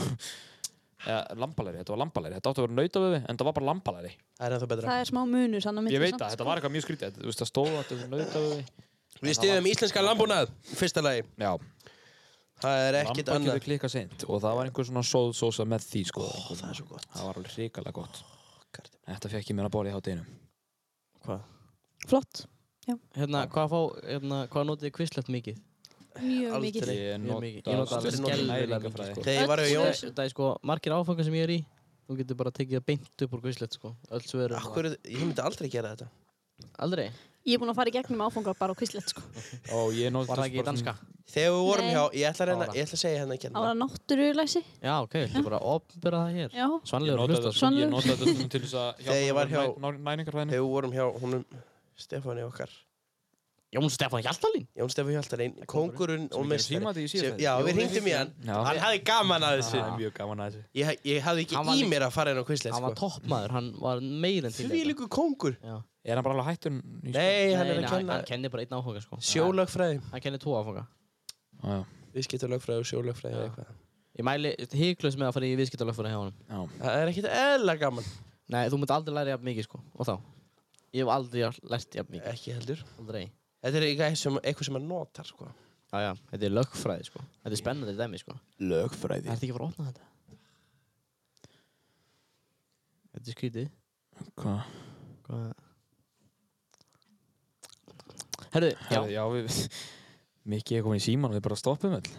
S7: Eða, lambalæri, þetta var lambalæri Þetta átti að vera nauta vöðvi, en þetta var bara lambalæri
S9: Það er ennþá betra.
S10: Það er smá munur sann á milli
S7: Ég veit
S10: samt,
S7: það,
S10: sko.
S7: þetta var eitthvað mjög skrítið þetta- Þú veist, það stóð að þetta var nauta vöðvi
S9: Við stiðum íslenska lambúnað, fyrsta lagi.
S7: Já,
S9: Það er ekkit
S7: lambakjöfi
S9: annað.
S7: klikka seint Og það var einhver svona sóðsósa með því sko Ó,
S9: Það er svo gott.
S7: Það var alveg hrikalega gott Þetta fekk ég mér að borða í hátinu
S5: Hvað?
S10: flott,
S5: Hérna, hvað fá, hérna, hvað notið kvislegt mikið?
S10: mjög
S9: Aldrei.
S10: mikið
S7: Ég
S5: Mjög mikið. Ég nota alveg
S7: stundum
S5: skelvilega mikið,
S7: næringarfræði.
S5: sko.
S9: Þegar ég var
S10: Öll
S9: við Jón,
S10: svör.
S5: Það er sko, margir áfangar sem ég er í, þú getur bara tekið það beint upp úr kvislegt, sko. Öll svo erum
S9: akkur, ég myndi aldrei gera þetta.
S5: Aldrei?
S10: ég er búin að fara í gegnum áfanga bara á kvíslett sko
S7: Ó, ég nótti
S5: Var það ekki í danska?
S9: Þegar við vorum
S10: Nei.
S9: hjá, ég ætla að, reyna, ég ætla að segja hérna henni að
S10: það
S9: gera
S10: var
S9: það.
S10: að náttúrulæsi
S5: Já, ok, þú bara opnbera það hér.
S10: já,
S5: Svanlegur að hlusta, sko.
S10: Svona-
S7: Ég nota þetta svona til þess að
S9: Þegar ég var hjá-
S7: Næningarfræðinu
S9: Þegar við vorum hjá honum Stefáni okkar,
S5: Jón Stefán Hjaltalín?
S9: Jón Stefán Hjaltarinn, kongurinn og mestari.
S7: Síma því í
S9: Sem-
S7: síðan
S9: Já, við hringdum í hann.
S7: Já.
S9: Hann hafði gaman að þessu.
S7: Það er mjög gaman að þessu
S9: Ég, ég hafði
S5: Hann
S9: ekki
S5: var
S9: í
S5: líka-
S9: mér að fara inn á Quizlet,
S5: Hann var
S9: sko.
S5: toppmaður, hann var meir en til
S9: Því líku kongur.
S7: Er hann bara alveg sko? hættun?
S9: Nei, hann
S5: Nei,
S9: er
S5: nei, hann
S9: að kenna
S5: hann kennir bara einn áfanga, sko.
S9: sjólögfræði.
S5: Hann kennir tvo áfanga.
S7: Já,
S9: Viðskiptalögfræði og sjólögfræði eða eitthvað.
S5: Ég mæli híklaus með að fara í viðskiptalögfæra hjá honum.
S7: já
S9: Það er ekkit eðla gaman.
S5: Nei, þú myndi aldrei læra jafn mikið sko Og þá Ég hef aldrei lært jafn mikið
S9: Ekki heldur.
S5: Aldrei
S9: Þetta er eitthvað sem, eitthvað sem maður notar, sko.
S5: Já, já Þetta er lögfræði sko Þetta er spennandi dæmi sko
S7: Lögfræði
S5: Það ert ekki að fara að opna þetta Þetta er skrítið
S7: Hvað?
S5: Hvað Herðu, já
S7: Já, já við Mikið er komin í síman og við bara stoppum öll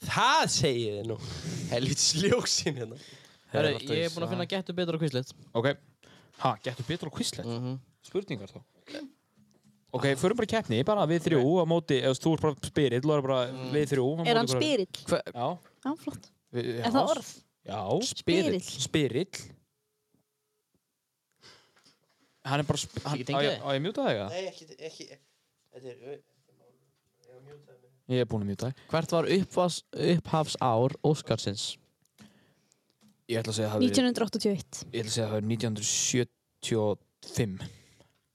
S9: Það segi ég þér nú. Helvits ljóksinn hérna.
S5: Herðu, ég er búinn að finna gettu betur á quizlet
S7: Ok Ha, getur betur á quizlet?
S5: Mhm
S7: Spurningar þá Ok, förum bara í keppni, bara við þrjú á móti, eða þú ert bara spyrill og er bara við þrjú á móti
S10: er hann
S7: bara-
S10: spyrill?
S7: Já,
S10: já, flott,
S7: við,
S10: er það orð?
S7: Já,
S10: Spyrill.
S7: Spyrill Hann er bara sp- hann,
S5: Ekki tengja
S7: á, ég,
S5: þig?
S7: á ég að mjúta þig? eða?
S9: Nei, ekki, ekki, þetta er,
S7: Ég er búinn að mjúta þig
S5: Hvert var uppfas, upphafs ár Óskarsins?
S7: Ég ætla að segja að það hafi-
S10: 1981
S7: ég ætla að segja að það er 1975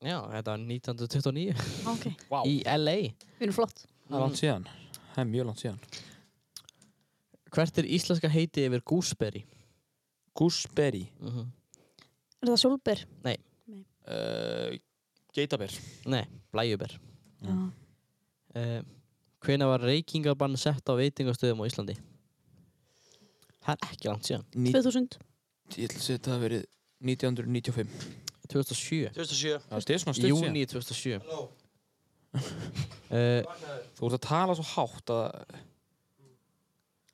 S5: Já, þetta var 1929
S10: ok, við
S7: Vá.
S5: Í LA
S10: erum flott
S7: Það er langt síðan Það er mjög langt síðan
S5: Hvert er íslenska heiti yfir Gooseberry?
S7: Gooseberry
S5: Mhm
S10: er það Solber?
S7: uh, Geitaber
S5: Nei, blæjuber.
S7: Já.
S5: Uh, Hvena var reykingabann sett á veitingastöðum á Íslandi? Það er ekki langt síðan.
S7: Ný-
S10: 2000
S7: Ég ætla að segja að það hafi verið 1995
S5: 2007.
S9: 2007.
S7: Það er svona stutt síðan
S5: Júni 2007.
S9: Halló.
S5: Uh,
S7: Þú ert að tala svo hátt að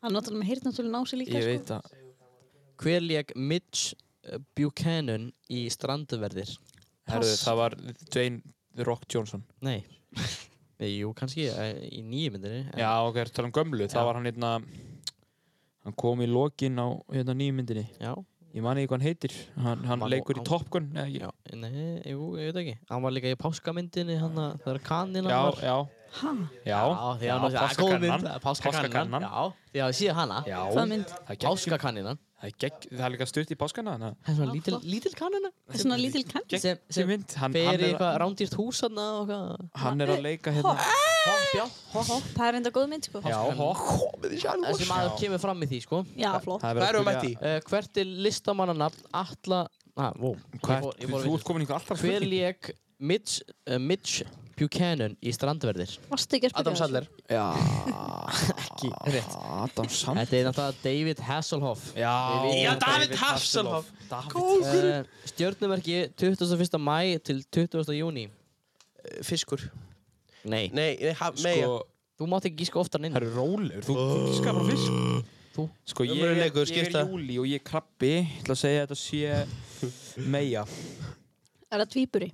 S10: hann er náttúrulega með heyrnatölu nási líka
S7: ég
S10: sko.
S7: veit að
S5: hver leik Mitch eh, Buchanan í Strandverðir?
S7: Herðu,
S10: Pass.
S7: það var Dwayne The Rock Johnson
S5: Nei. Nei, jú, kannski eh, í nýjumyndinni.
S7: Já, ok, er að tala um gömlu
S5: Já.
S7: Það var hann hérna Hann kom í lokin á hérna nýjumyndinni
S5: Já,
S7: Ég man ekki hvað hann heitir Hann, hann
S5: Man-
S7: leikur í
S5: hann-
S7: Top Gun eða ekki?
S5: já, nei, jú, ég veit ekki. Hann var líka í páskamyndinni, hann að það er kanina
S7: Já,
S5: var.
S7: já
S10: Ha?
S7: Já,
S5: Já, því að það er góð mynd.
S7: páskakannan.
S5: Páskakannan.
S7: Páskakannan.
S5: Já, því að síða hana.
S7: Já,
S10: hvað mynd?
S7: það er gegn-
S5: Páskakanínan.
S7: það er gegn- það er líka stutt í páskana þannig að-
S5: Það er svona
S10: Já,
S5: lítil,
S10: flott.
S5: lítil kanina
S10: það er svona lítil kann
S5: sem,
S7: Þessi
S5: sem
S7: mynd, hann,
S5: fer
S7: hann,
S5: í
S7: er,
S5: eitthvað rándýrt hús hann og eitthvað
S7: hann er að leika hérna
S5: Hopp, já, hopp, hopp
S10: það er enda góð mynd sko
S7: Já, hokk
S5: Þessi maður kemur fram í því, sko
S10: já, flott
S7: Það
S9: Hvað
S7: verið
S9: erum
S7: að
S9: við
S7: spyrja-
S9: mætti? í?
S5: uh, Hvert er listamannanafn Alla ah, wow.
S7: Hvað,
S5: Ég fór- ég fór að
S7: þú þú
S5: vitlaust.
S7: ert komin í einhver allra
S5: Hver
S7: spurning
S5: lék Mitch, uh, Mitch Buchanan í Strandverðir?
S10: varstu ekki að spyrja
S5: Adam
S10: þessu?
S5: Sandler
S7: Já,
S5: Ekki rétt
S7: Adam Sand
S5: Þetta er náttúrulega David Hasselhoff
S7: Já,
S9: Já, David Hasselhoff.
S7: David
S5: uh, Stjörnumerki 21. mæ til 20. júni
S9: Fiskur.
S5: Nei,
S9: Nei, nei, haf, mei,
S7: Sko,
S5: þú mátt ekki gíska oftar en inn
S7: það er rólegur Þú skar bara fisk
S5: Þú?
S7: Sko, ég er, ég
S9: Ömurlegur,
S7: er
S9: skipta.
S7: Júli og ég er krabbi Ég ætla að segja að þetta sé meja
S10: er það tvíburi?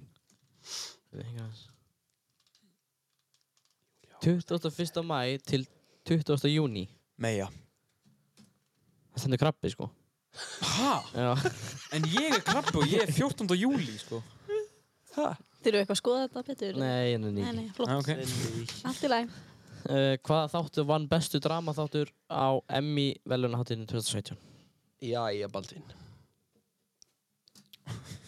S5: 21. mæ til 20. júni
S7: Meja
S5: Það stendur krabbi sko
S7: Hæ?
S5: Já,
S7: En ég er krabbi og ég er 14. júli, sko
S10: þurfum við eitthvað að skoða þetta betur?
S5: nei, nei,
S7: Ah,
S10: nei,
S5: nei
S10: nei, flott
S7: ok
S10: allt í lagi
S5: uh, hvaða þáttur vann bestu dramaþáttur á Emmy velunaháttinu 2017?
S9: Jæja, Baldvin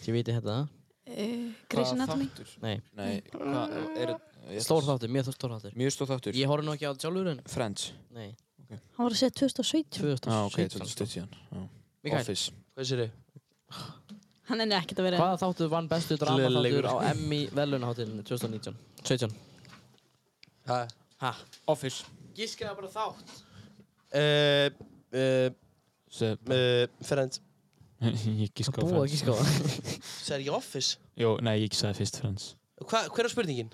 S5: Þið viti hérna það?
S10: Eh, Grey's
S7: Hvaða
S10: Anatomy
S7: þáttur?
S5: Nei,
S7: Nei, hvað er ég-
S5: stór þáttur, mjög stór þáttur.
S7: Mjög stór þáttur
S5: Ég horfði nú ekki á það sjálfur en
S7: Friends
S5: Nei,
S10: Hann var að segja 2017
S7: Já, Ah, ok,
S5: 2017
S7: þetta stutt síðan Já.
S5: Mikael.
S7: Office
S9: Hvað sér þið?
S10: Hann ennir ekkert að vera
S5: Hvaða þáttur vann bestu
S9: Gleðilegur.
S5: dramaþáttur á Emmy velunaháttinu 2019? 17
S9: Hæ?
S5: Ha?
S7: Office
S9: Gískaða bara þátt Uh, uh,
S7: Se,
S9: uh, Friends
S5: Það
S7: Ég gíska á
S5: búið sko. að
S7: Friends
S5: gíska á það
S9: Það er ekki Office
S7: Jó, nei, ég gískaði fyrst Friends
S9: Hva, Hver er spurningin?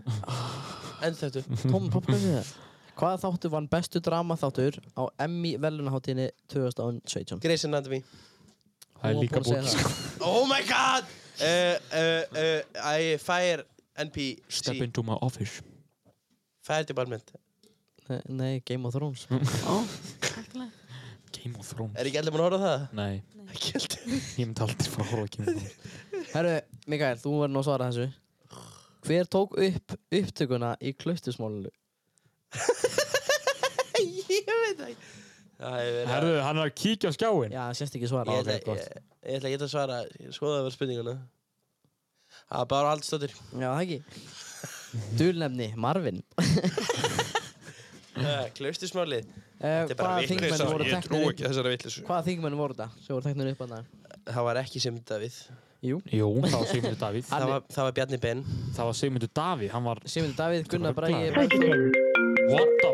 S9: End þetta
S5: Tom, poppaðu við það Hvaða þáttur vann bestu dramaþáttur á Emmy velunaháttinu 2017?
S9: Grey's Anatomy
S7: Það er
S5: Hún var
S7: líka
S5: búin að segja
S7: búið
S5: það.
S9: Oh my god uh, uh, uh, I fire NPC
S7: Step into my office
S9: Fire department
S5: Nei, Nei, Game of Thrones
S7: Game of Thrones
S9: Er ekki allir mann að horfa á það?
S7: Nei,
S9: Ekki heldur
S7: ég myndi aldrei fara að horfa á Game of Thrones
S5: Herru, Mikael, þú verður nú að svara þessu Hver tók upp upptökuna í klaustusmálinu?
S9: Ég veit það ekki Það hefur verið
S1: Herðu, hann er að kíkja á skjáin
S5: Já, það sést ekki svara
S9: Ég ætla, ég, ég ætla ekki að svara, ég skoða það var spurninguna. Það er bara haldstóttir.
S5: Já, það ekki Dulnefni, Marvin
S9: Eh, Klaustismálið.
S5: uh,
S9: Þetta er bara
S5: Hvaða þingmenn
S9: vitlaust.
S5: voru
S9: Ég trúi
S5: teknir upp?
S9: ekki þessara vittlis.
S5: Hvaða þingmenn voru þetta? Sem voru teknir upp að það
S9: Það var ekki Sigmundur Davíð.
S7: Jú, það var Sigmundur Davíð
S9: Það var, það var Bjarni Ben.
S7: Það var Sigmundur Davíð, hann var
S5: Simundur Davíð, Gunnar Bragi
S7: Þetta What the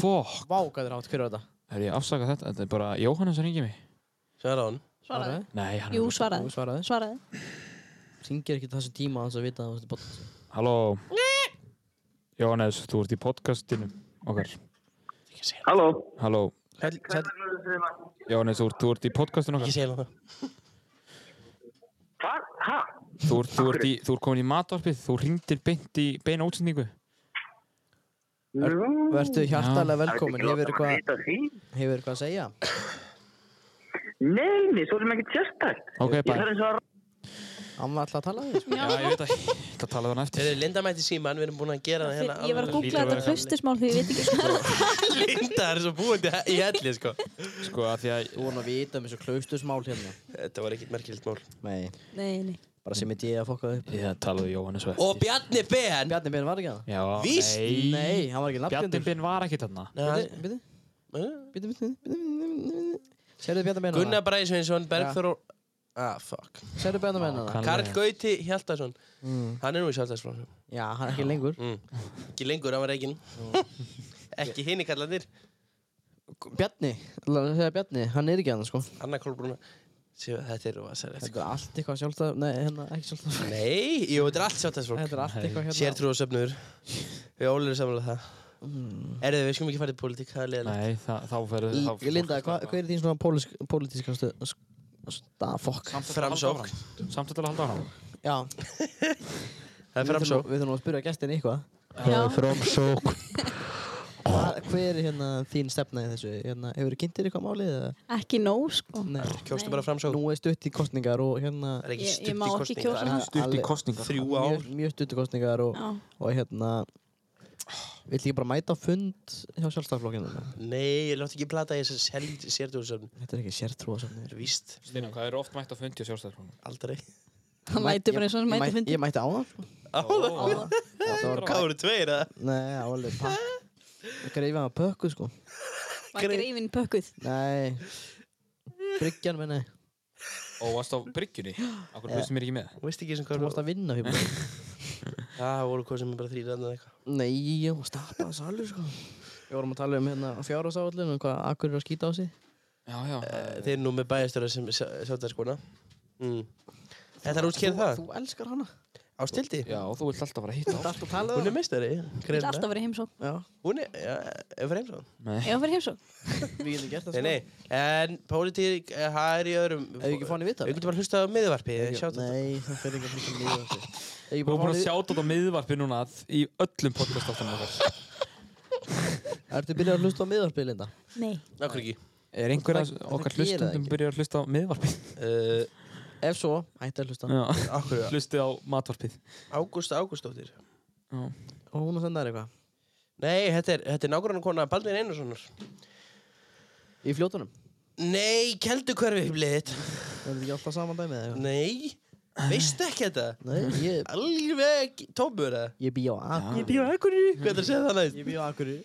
S7: fuck
S5: Vákaður átt, hver var þetta?
S7: Herri, ég afsaka þetta, þetta er bara Jóhannes að ringi mig
S9: Svara hún.
S10: Svaraði
S7: Nei, hann
S10: Jú,
S7: er
S5: Þú
S10: svaraði
S5: svaraði
S10: Svaraði
S5: Syngir ekki þessu tíma hans að vita að þú ert í botn
S7: Halló Jóhannes, þú ert í podcastinu okkar
S6: Halló
S7: Halló Jóhannes, þú, ert- þú ert í podcastinu
S9: Ég
S7: okkar
S9: segja hún það.
S6: Hvað? Hæ?
S7: Þú ert, þú ert, í, þú ert komin í matvarpið, þú ringdir beint í beina útsendingu
S5: Vertu hjartalega velkomin, hefur eitthvað
S6: Þetta því?
S5: hefur eitthvað að segja?
S6: Nei, nei, svo erum ekkert sérstækt.
S7: Ok,
S6: Ég
S7: bæ
S6: þarf eins og að
S5: Hann var alltaf að tala við sko.
S7: Já, ég veit að ég ætla að tala við hann eftir
S9: Við erum Linda mætti síman, við erum búin að gera það hérna.
S10: Ég var
S7: Hlýtur
S10: að googla
S7: að vera
S10: þetta hlustismál því ég veit ekki hvað
S9: Linda er svo búin til í helli, sko.
S7: Sko, að því að
S5: Þú voru að vita um þessu klaustusmál hérna
S9: Þetta var ekkert merkilegt mál.
S5: Nei,
S10: Nei, nei
S5: bara sem ég að fokka upp
S7: Ég talaði við Jóhannes og
S9: Og Bjarni Ben.
S5: Bjarni Ben var ekki að
S7: Já,
S9: Víst.
S7: nei
S5: Nei, hann var ekki
S7: Bjarni
S5: nafngjöndur
S7: Binn var ekkert þarna
S9: Nei,
S5: Bíddu,
S9: hann-
S5: bíddu, bíddu, bíddu, bíddu, bíddu. Sérðu Bjarni Ben
S9: Gunnar Bræði Sveinsson, Bergþór og... Ah, fuck.
S5: Sérðu Bjarni Ben hana?
S7: Hann-
S10: hérna.
S9: Karl Gauti Hjaltarsson.
S5: Mm.
S9: Hann er nú í sjálfstæðsflóðum.
S5: Já, hann er ekki lengur
S10: Mm.
S9: Ekki lengur, hann var reygin. Ekki hini kallandir.
S5: Bjarni, látum við segja Bjarni, hann er ekki hann sko
S9: Anna Kolbrún. Sjö, Þetta er rosalegt. sko.
S5: Þetta er allt eitthvað sjálfstæð, nei, hérna, ekki sjálfstæð
S9: Nei, jú, þetta er allt sjálfstæðsflók.
S5: Þetta er allt eitthvað hérna
S9: Sértrú og söfnur. Við ólum samanlega um það.
S5: Mm.
S9: Erðu, við skulum ekki fara í pólitík, það er leiðilegt.
S7: Nei, það, þá fyrir
S5: L- Linda, hvað hva er þín svona pólisk- pólitíska stöð? Stað, fokk
S9: Framsókn.
S7: Samt að halda á hann
S5: Já,
S9: Það er
S5: við þurfum
S9: framsókn.
S5: við þurfum að spyrja gestin eitthvað
S10: Já,
S7: Framsók
S5: Hvað- Hver er hérna þín stefna í þessu? Hérna, hefur þið kynntir eitthvað málið? eða?
S10: ekki nóg sko
S5: Nei,
S9: Kjóstu bara framsókn.
S5: nú er stutt í kostningar og hérna
S9: Það er ekki
S10: Ég- ég
S9: stutt
S10: má
S9: í
S10: ekki
S9: kostning.
S10: kjósa.
S9: Það er
S7: Stutt í
S5: Alveg-
S7: kostningar
S9: þrjú
S5: mjög,
S9: ár.
S5: mjög stuttu kostningar og,
S10: Já,
S5: og hérna vill ekki bara mæta á fund hjá sjálfstaflokkinu
S9: Nei, ég látt ekki plata í þessar sértrú og söfnur.
S5: þetta er ekki sértrúa sem
S9: Það er víst.
S7: Stina, hvað eru oft mætt á fundi á sjálfstæðarflóknum?
S9: Aldrei.
S10: hann læti bara eins og hann mæti
S5: ég
S10: fundi
S5: mætti á það sko.
S9: Áður.
S5: það var
S9: Hvað voru tveir, eða?
S5: nei, á alveg pakk greifa að pökku sko
S10: Var ekki reyfin pökkuð
S5: nei Bryggjan minni,
S7: Og varst á bryggjunni? Akkur byrjast mér ekki með?
S9: Þú veist ekki sem
S5: þú
S9: hvað
S5: varst
S9: voru.
S5: að vinna fyrir mig.
S9: Það voru hvað sem er bara þrýr eða eitthvað.
S5: Nei, ég var að stappa þessu alveg sko Við vorum að tala um hérna fjárhásáallin og hvað akkur er að skýta á sig
S7: Já, já
S9: Eh, Þeir eru nú með bæjastöra sem sjálfstæðskona. Mm. Þetta er útskýrð það.
S5: Þú elskar hana
S9: Á stildi.
S7: Já, og þú vilt alltaf fara að hitta
S5: Það er
S7: ást
S5: alltaf að tala
S9: Hún
S5: um
S9: er meistari.
S10: Ég vil alltaf verið heimsók
S5: Já,
S9: Hún er, ja, ef fyrir heimsókn.
S7: Nei
S10: Ég var verið heimsók
S5: við getum gert það sko.
S9: Nei, nei, en pólitík, eh, það er í öðrum...
S5: Ef við ekki fáum hann í viðtal?
S9: Sko? Við getum bara hlustað á miðvarpið, sjá þetta.
S5: Nei, það fyrir ekki að fylgja mjög Ef ég
S7: Þú er
S5: bara
S7: búin að
S5: fáið
S7: sjá þetta á miðvarpi núna að- í öllum podcastáttunum okkar
S5: Ertu byrjað að hlusta á miðvarpið, Linda?
S10: Nei
S9: Nákvæmlega ekki.
S7: Er einhver af
S5: Það-
S7: okkar
S5: það gerir það
S7: hlustundum
S5: ekki.
S7: byrjar að hlusta á miðvarpið?
S9: Uh,
S5: Ef svo, hætti að hlusta
S7: Já,
S9: Akkur,
S7: hlustið á matvarpið
S9: Ágústa Ágústóttir.
S5: Og hún að senda þér eitthvað
S9: Nei, þetta er, þetta er nákvæmlega kona Baldvin Einarssonar
S5: Í fljótunum?
S9: Nei, keldu hverfi þitt
S5: Er þetta ekki alltaf saman dæmið eða eitthvað?
S9: Nei, veistu ekki þetta?
S5: Nei, ég,
S9: Alveg tómur það
S5: ég býja á Akureyri.
S9: Ég býð á Akureyri Hvað er það að segja það
S5: Ég
S9: næst?
S5: býja á Akureyri.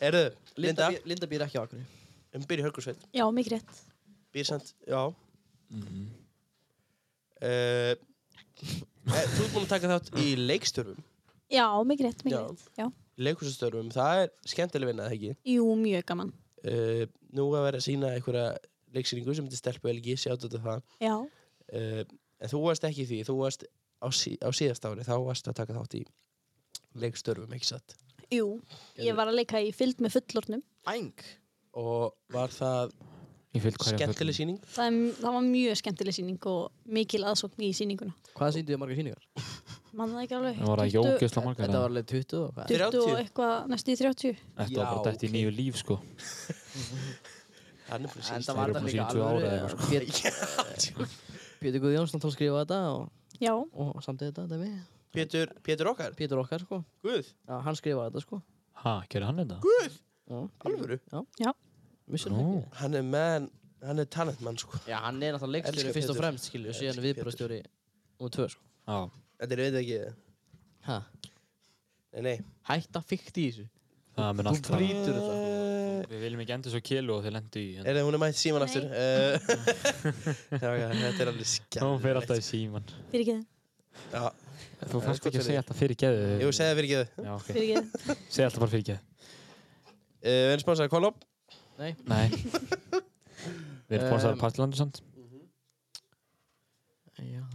S9: Erðu,
S5: Linda,
S9: Linda,
S5: býr- Linda býr ekki á Akureyri.
S9: um býr í Hörgursveit
S10: Já, mikið rétt.
S9: Býr samt, já Eh, eh, Þú ert búin að taka þátt í leikstörfum
S10: Já, mikið rétt, mikið
S9: Já.
S10: rétt. Já.
S9: Leikúsastörfum, það er skemmtileg vinna, eða ekki?
S10: Jú, mjög gaman.
S9: uh, nú að vera að sína einhverja leiksýningu sem heitir Stelpu LG, sjátt þetta það
S10: Já,
S9: uh, en þú varst ekki í því, þú varst á, sí, á síðast ári, þá varst að taka þátt í leikstörfum, ekki satt
S10: jú. Ég var að leika í fylgd með fullornum.
S9: Æng og var það
S7: Ég fylg hverja
S9: skemmtileg síning
S10: Það, er- það var mjög skemmtileg sýning og mikil aðsókn í sýninguna.
S5: Hvað sýndu þið margar sýningar?
S10: Man það ekki alveg.
S7: Það var að
S10: 20
S7: jókjösla margar
S5: Þetta
S7: eða?
S5: var alveg 20 og hvað?
S10: 20 og
S9: 30.
S10: eitthvað næstu í 30.
S7: Þetta var bara
S9: Já,
S7: dætt í nýju líf sko
S9: hann er búin að
S5: En
S9: sína
S5: það var þetta
S7: eru búin
S5: líka
S7: 70 ára
S5: alveg
S7: eða
S5: Pétur Guð Jónsson tók skrifa þetta og,
S10: Já,
S5: og samt þetta, dæmi.
S9: Pétur, Pétur okkar,
S5: Pétur okkar, sko.
S9: Guð,
S5: Já, hann skrifaði þetta, sko.
S7: Ha, gerði hann þetta?
S9: Guð
S5: Já,
S9: alvöru,
S5: missir
S7: Nú.
S5: hann ekki.
S9: hann er menn hann er talentmann sko
S5: Já, hann er náttúrulega leikstjóri
S9: Elska
S5: fyrst og
S9: Pétur.
S5: fremst, skilju, síðan
S9: Elska
S5: viðbröðstjóri og tvö, sko.
S7: Já
S9: Þetta er veit ekki
S5: Hæ?
S9: Nei, nei
S5: Hætta fíkt í þessu.
S7: Það mun
S5: Þú
S7: allt fara
S5: brýtur þetta.
S9: Eh,
S7: Við viljum ekki enda svo kilu og þeir lendu í hérna.
S9: Er það hún er mætt síman
S10: Nei.
S9: aftur Eh, Þetta er alveg skemmt
S7: Hún fer alltaf í síman
S10: fyrir ekki
S9: Já,
S7: Þú
S9: Það er
S7: fannst
S9: gott
S7: ekki að
S9: fyrir
S7: segja þetta fyrir geðu
S9: Jú, segði það fyrir ekki
S7: Já, ok
S10: fyrir ekki
S7: Segja alltaf bara fyrir geðu
S9: Eh, Við erum sponsaði Kolop
S7: Nei Við erum bóðsæðar
S5: Um,
S7: partilandur samt
S5: Já.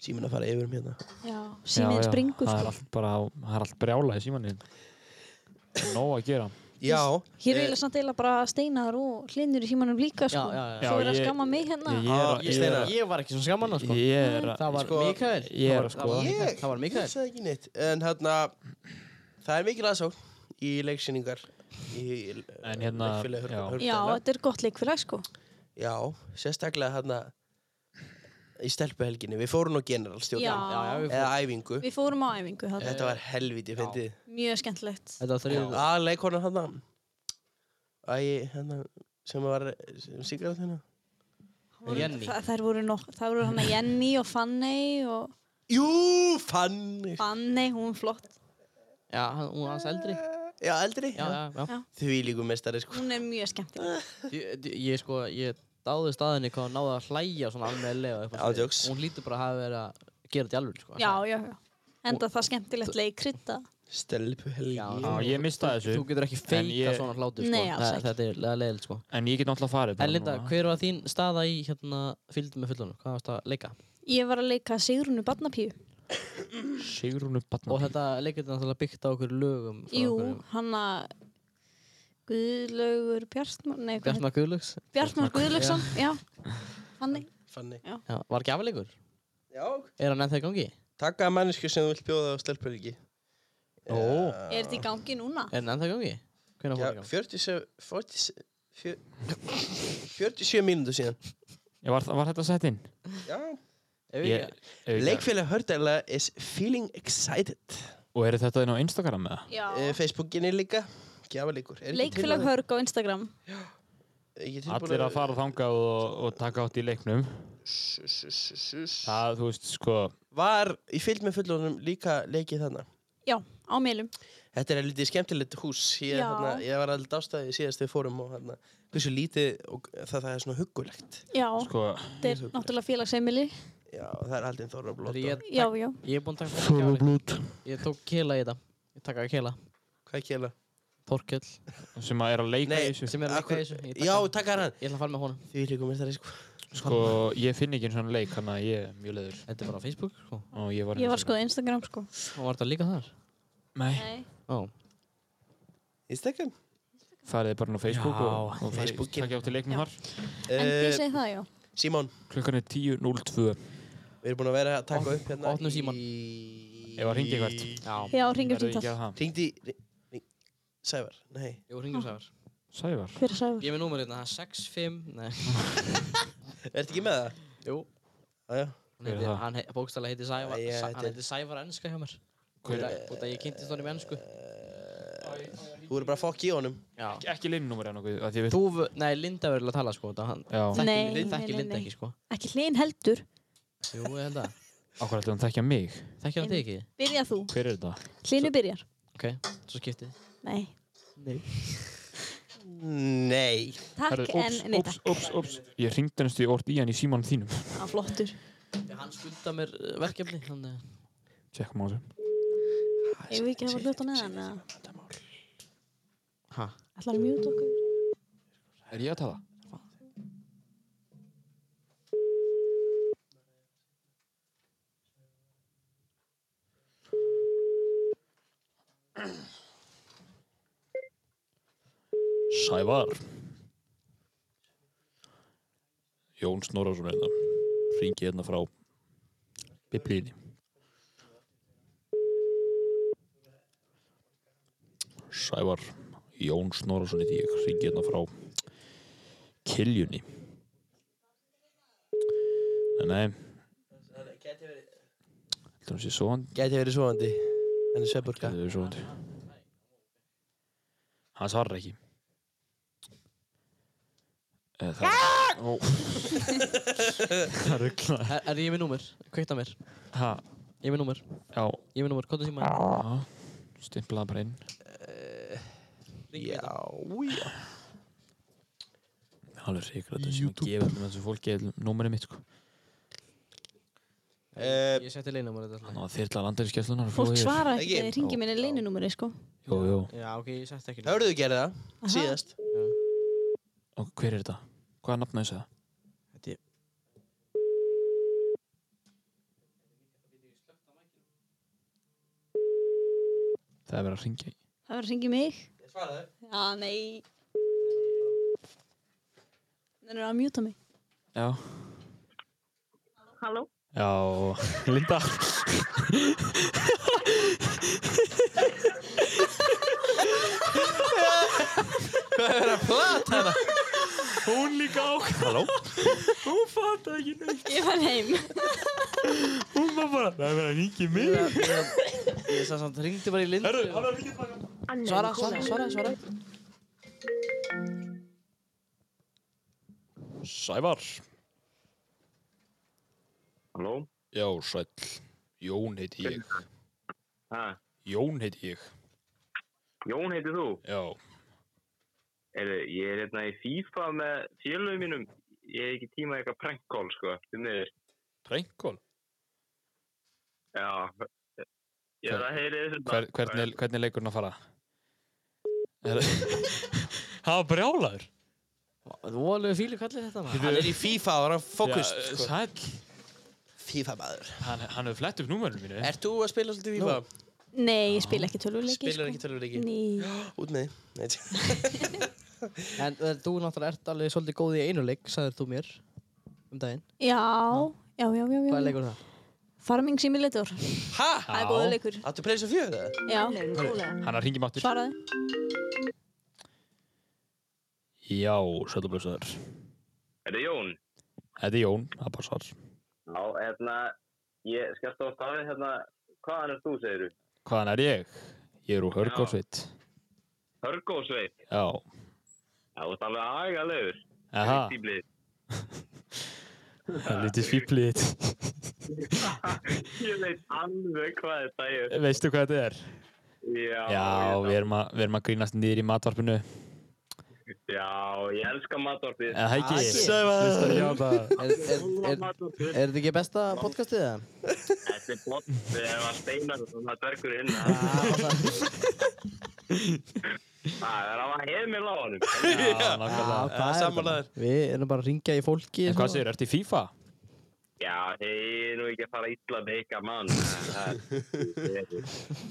S9: Síminn að fara yfir um hérna
S10: Já, símiðin springur
S7: Það er
S10: sko.
S7: allt bara, á- það er allt brjála í símanni Nó að gera
S9: Já
S10: Hér er eiginlega samt eiginlega bara steinar og hlinur í símanum líka sko.
S5: Já, já, já.
S10: Svo
S7: Já,
S10: er að
S7: ég-
S10: skamma mig hérna
S7: Ég er að-
S9: Ég
S7: ég er
S9: steina
S7: að-
S5: Ég var ekki svona skamman, sko.
S7: Ég er að
S5: Það var
S9: Sko,
S5: Mikael.
S7: Ég
S5: Það
S7: er að
S5: var-
S7: skoða
S9: Ég-
S5: Það var
S9: Ég
S5: Mikael.
S9: sagði ekki neitt En hérna Það er mikil aðsókn Í leiksýningar Í
S7: En hérna, já.
S10: Já, þetta er gott leikfélag sko.
S9: já Sérstaklega hérna Í stelpuhelginni Við fórum á
S10: Já,
S5: Já,
S9: generalstjóðan
S5: já, við
S9: Eða æfingu
S10: við fórum á æfingu þarna.
S9: Þetta var helviti fyndið
S10: Mjög skemmtilegt
S5: Þetta var þrjú.
S9: Aðleikonan hérna Æ, hérna Sem var Sem sigrað hérna
S5: Jenny.
S10: Þa, þær voru nokk, það voru hann Jenny og Fanney og
S9: Jú, fann
S10: Fanney, hún er flott
S5: Já, hann- hún var hans eldri.
S9: Já, eldri
S5: Já, já, já.
S9: Því líku mestari sko
S10: hún er mjög skemmtileg
S5: Ég, d- ég sko, ég dáði staðinni hvað hún náði að hlæja svona almennilega og eitthvað
S9: Já,
S5: svoleiðis.
S9: jokes.
S5: Hún lítur bara að hafa verið að gera þetta í alveg, sko.
S10: Já, já, já Enda það skemmtilegt leikrytta
S9: Stelpuhelgi
S5: Já,
S7: Já, ég mista
S5: Þú
S7: þessu
S5: getur ekki
S7: En
S5: feika
S7: ég-
S5: svona hlátur, sko.
S10: Nei, alls
S5: Það-
S10: ekki.
S5: Þetta er lega leiðilegt, sko.
S7: En ég get náttúrulega farið bara
S5: En Linda,
S7: núna.
S5: hver var þín staða í hérna fylgdum með fullunum? Hvað varst að leika?
S10: Ég var að leika Sigrunu Barnapíu
S7: Sigrúnu Batna
S5: Og þetta leikir þetta náttúrulega byggt á okkur lögum. frá
S10: Jú,
S5: einhverjum-
S10: hann að Guðlaugur Bjartmar Nei, hvað
S5: Bjartmar Guðlöks.
S10: heit- Bjartmar Guðlaugsson Já, Fanney
S9: Fanni
S5: Já, var ekki afleikur?
S9: Já
S5: Er hann ennþá í gangi?
S9: Takka að mannesku sem þú vilt bjóða á stelpuhelgi
S5: Ó.
S10: Er þetta í gangi núna?
S5: Er hann ennþá í gangi? Hvernig fór
S9: Já,
S5: hann í gangi?
S9: 47 47 fjö- 47 mínútur síðan
S7: var, var þetta sett inn?
S9: Já.
S5: Ef
S7: Ég-
S5: ekki-
S7: Ef ég-
S9: Leikfélag Hördæla is feeling excited
S7: Og eru þetta inn á Instagram eða?
S10: Já
S9: uh, Facebookinni líka Gjafalíkur
S10: Leikfélag Hörg á Instagram
S7: Allir að fara þangað og, og taka átt í leiknum Það, þú veist, sko
S9: Var í fylgd með fullorðunum líka leikið þarna
S10: Já, á meilum
S9: Þetta er lítið skemmtilegt hús Ég,
S10: Já.
S9: þarna, ég var alltaf ástæði síðast við fórum og þarna Hversu lítið og það, það er svona huggulegt
S10: Já,
S7: Sko,
S10: þetta er náttúrulega félagsheimili
S9: Já, það er haldin þóra blótt
S5: Ég-
S9: og-
S10: Já, já
S5: Ég er búinn að taka fólk af Ég tók kela í þetta. Ég taka kela.
S9: Hvað kjela?
S5: Þorkell.
S7: sem að er að leika
S9: Nei,
S7: í þessu
S5: Sem er að leika í þessu. Ég taka
S9: Já,
S5: hann.
S9: takkar hann
S5: Ég ætla að fara með honum.
S9: Því líkum er það sko
S7: Sko, ég finn ekki einn svona leik Þannig að ég er mjög leiður
S5: Þetta er bara á Facebook, sko.
S7: Og ég var
S10: Ég var sko á Instagram sko
S5: Og var þetta líka þar?
S7: Nei,
S10: Nei,
S5: Ó.
S9: Instagram
S7: farið bara inn á Facebook
S5: Já,
S7: og, og farið
S9: Facebookin.
S7: taka átt í leiknum þar
S10: en ég
S9: uh,
S10: segi það já
S9: Simón,
S7: Klukkan er 10.02
S9: við erum búin að vera að taka
S5: Opn-
S9: upp hérna
S5: opnum símann.
S9: í-
S7: Ef að hringi eitthvert.
S5: Já.
S10: Já, ringjum
S7: Verður
S10: sem
S7: ekki að
S10: það
S7: það
S9: Hringdi í- hring- Sævar, nei
S5: Jú, ringjum sæðar.
S7: Sævar
S10: Hver er sæður?
S5: Ég er með númerið hérna, það er 65... Nei.
S9: Ertu ekki með það?
S5: Jú.
S9: Aðja
S5: Hann
S7: Hver er
S5: heiti,
S7: það?
S5: hann hei, bókstæðlega heiti Sævar,
S9: Æ, ég
S5: Sæ,
S9: heiti-
S5: hann heiti Sævar Enska hjá mér.
S7: Hver
S5: Út af- Út af ég kynntist honum í ennsku.
S9: Þú verður bara að fokk í honum
S5: Já.
S7: Ekki linnúmer en okkur, því við...
S5: Þú, v- nei, Linda verður að tala sko þetta hann.
S7: Já,
S5: Þekki,
S10: Nei, nei,
S5: þekki
S10: nei,
S5: Linda
S10: nei.
S5: ekki sko.
S10: Ekki hlinn heldur.
S5: Jú, ég held að.
S7: okkur ætlum hann þekkja mig.
S5: Þekki hann þig ekki?
S10: Byrja þú.
S7: Hver er þetta?
S10: Hlinu byrjar.
S5: Ok, svo skiptið.
S10: Nei.
S9: Nei
S10: Takk en nei
S7: Ups,
S10: takk.
S7: ups, ups. Ég ringdi næstu í orð í hann í símanum þínum.
S10: Á flottur.
S5: Hann skulda mér eh, verkefni, hann... eh,
S7: Tjekkum á þessu.
S10: Ég vil ekki hafa hlut á neðan. eða?
S5: Ha?
S10: Ætlar hann mjút okkur?
S7: Er ég að tala?
S1: Sævar Jón Snorarsson er hérna Ringi hérna frá Biblíni Sævar Jón Snorarsson heiti ég Ringi hérna frá Kiljunni Nei, nei Heldur hann sé svo hann
S9: Gæti verið svoandi En er svepurka
S1: Getur verið svo hann Hann svarar ekki
S7: Eh, Það er... Ó,
S5: Er, er ég með númer? Kveikta mér.
S7: hæ,
S5: Ég er með númer.
S7: já,
S5: Ég er með númer. Kóta síma.
S7: stimplaði bara inn.
S9: Já, já
S7: Það er alveg sikur að þetta sem að gefa með þessu fólki er númerið mitt, sko.
S9: Eh,
S5: Ég seti leiðnumar þetta alltaf.
S7: Ná, þyrla landarinskjæslunar og
S10: Fólk
S7: flóðir.
S10: svara ekki
S9: Ekki?
S10: þegar þeir ringi minni leinunúmeri, sko.
S7: Jú, jú.
S5: Já, ok, ég seti ekki
S9: Hörðu þú gerði það
S10: Aha.
S9: Síðast
S7: Og hver er þetta? Hvað er nafnum þessu það?
S5: Þetta er-
S7: Það er verið að ringja í.
S10: Það var að ringi mig.
S9: Svaraðu
S10: Já, nei. Þannig að mjúta mig.
S7: Já.
S6: Halló?
S7: Já, Linda.
S1: Hún líka á Halló
S10: Ég var heim.
S1: Hún var bara Það er verið að ringi mig
S5: Ég sagði samt, ringdi bara í Lindu.
S1: Herru, hann er að ringi tilbaka
S5: Svara, svara, svara, svara.
S1: Sævar
S6: Halló?
S1: Já, sæll Jón heiti ég
S6: Ha,
S1: Jón heiti ég
S6: Jón heitir þú?
S1: Já
S6: Er, ég er hérna í FIFA með félögum mínum. Ég hef ekki tíma í eitthvað prankkól, sko. Þið miður.
S7: Prænkól.
S6: Já. Ég er að heyri þessu.
S7: Hver, hvernig, er- hvernig er leikurinn að fara? Er- Það var brjálaður.
S5: Þú alveg fílu kallið þetta maður.
S9: Hann er í FIFA og hann fókust
S7: Já,
S9: sko.
S7: Sæll.
S9: FIFA maður
S7: Hann, hann hefur flett upp númerinu mínu.
S9: Ert þú að spila svolítið FIFA?
S10: Nei, ég spila ekki tölvuleiki, sko.
S9: Spilar ekki tölvuleiki
S10: Nei.
S9: Út með því Nei, tjú.
S10: Mm.
S5: En eh, þú náttúrulega ert alveg svolítið góð í einu leik, sagðir þú mér um daginn.
S10: Já, já, já, já,
S5: Hvað er
S10: já.
S5: leikur það?
S10: Farming Simulator.
S9: Ha?
S10: Það er góða leikur.
S9: Áttu pleysa fjöðu það?
S10: Já,
S7: Hann er að ringi máttur.
S10: svaraði.
S1: Já, sæll og blessaður
S6: Er það Jón?
S1: Þetta er Jón, það passar
S6: Já, hérna, ég skal stóð stafið hérna, hvaðan er þú, segir þú?
S1: Hvaðan er ég? Ég er úr Hörgársveit.
S6: Hörgósveit.
S1: Já.
S6: Já, þú ert alveg agalegur.
S1: Aha,
S6: Stíblið.
S7: það er lítið fýblið þitt.
S6: Ég veit alveg hvað þetta er.
S7: Veistu hvað þetta er?
S6: Já,
S7: Já,
S6: ég-
S7: við erum að, við erum að grínast niður í matvarpinu.
S6: já, ég elska matvarpið.
S7: Eða það ekki?
S5: Ekki.
S7: Hlustar ég á það?
S5: Er, er, er,
S6: Matvarpið.
S5: er þetta ekki besta podcastið það?
S6: Þetta er blott, það var steinar og það dvergur inn. Það er að hafa hefð mér láganum.
S7: Já, nákvæmlega.
S9: Það er samanlæður
S5: Við erum bara að ringja í fólki. sko.
S7: En hvað segir, ertu í FIFA?
S6: Já, ég er nú ekki að fara illa með ykkar mann.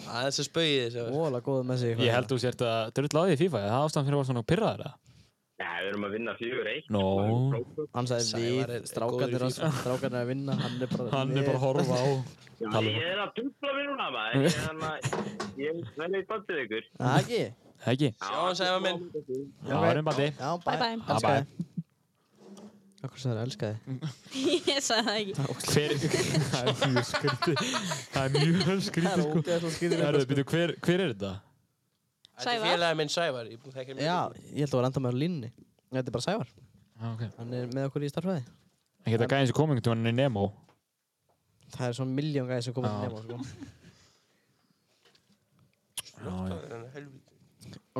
S9: Það er svo spauðið þessu
S5: Óla góða með sig. sko.
S7: Ég held þú sért að drull á því í FIFA. eða Það ástæðan fyrir að vera svona pyrraður eða?
S6: Já, við erum að vinna fjögur eitt.
S7: Nó.
S5: Hann sagði
S9: Sævar
S5: við,
S9: er góður
S5: strákarnir
S9: í
S5: að, strákarnir að vinna, hann er bara...
S7: Hann er bara að horfa á. um
S6: Ég er að dubla mér núna, maður. Ég er að, ég er vel eitt bandið ykkur.
S5: Það ekki?
S7: Það ekki?
S9: Já, hann sagði að minn
S7: Já, það er um bandi.
S5: Já, bæ.
S10: Bye, bye.
S7: Bye,
S5: Elskaði. Akkur sem það er elskaði.
S10: Ég sagði það ekki.
S7: Hver... það er mjög skrítið. Það er mjög skrítið, sko.
S5: ógeðslega skrítið.
S7: Herðu, býtu, hver, hver er þetta?
S9: Þetta er
S10: Sævar.
S9: félagið minn Sævar, ég þekkir mig.
S5: Já, ég held að vera enda með á línni. Þetta er bara Sævar. Hann er með okkur í starfræði.
S8: En geta gæðin sem komið til hann í Nemo.
S5: Það er svona miljón gæði sem koma til
S8: Já.
S5: nema, sko.
S9: Helvítið.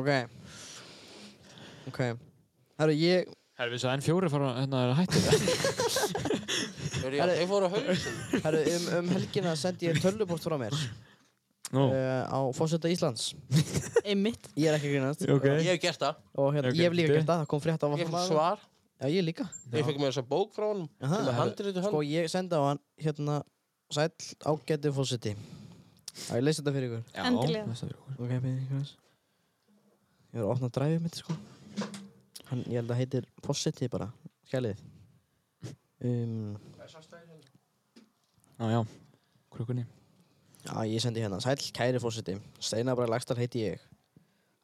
S5: Ok. Ok. Herru, ég...
S8: Herru, við svo N4 fara hérna að hætti
S9: Þeir fóru á hausinn.
S5: Herru, um, um helgina sendi ég tölvuport frá mér
S8: Nú,
S5: uh, á fórseta Íslands.
S10: Einmitt.
S5: Ég er ekki að grínast.
S8: ok.
S9: Ég hef gert það.
S5: Og hérna,
S8: Ok,
S5: ég hef líka
S8: byrju.
S5: gert það. Það kom frétt á
S9: Ég
S5: Vaffan
S9: fekk svar.
S5: Já, ég líka.
S9: Ég fekk mér þessa bók frá honum.
S5: Aha,
S9: Sem er
S5: herru,
S9: handritu hann.
S5: Sko, ég sendi á hann, hérna, sæll ágæti fórseti. Já, ég leysi þetta fyrir ykkur.
S10: Endilega.
S5: Ok, beðið ykkur aðeins. Ég var að opna dræfið mitt, sko. Hann, ég held að heitir Fossetti bara, skælið. Um,
S8: Já, já. Krukkunni.
S5: já, ég sendi hérna. Sæll, kæri Fossetti. Steinar bara Lagstad heiti ég.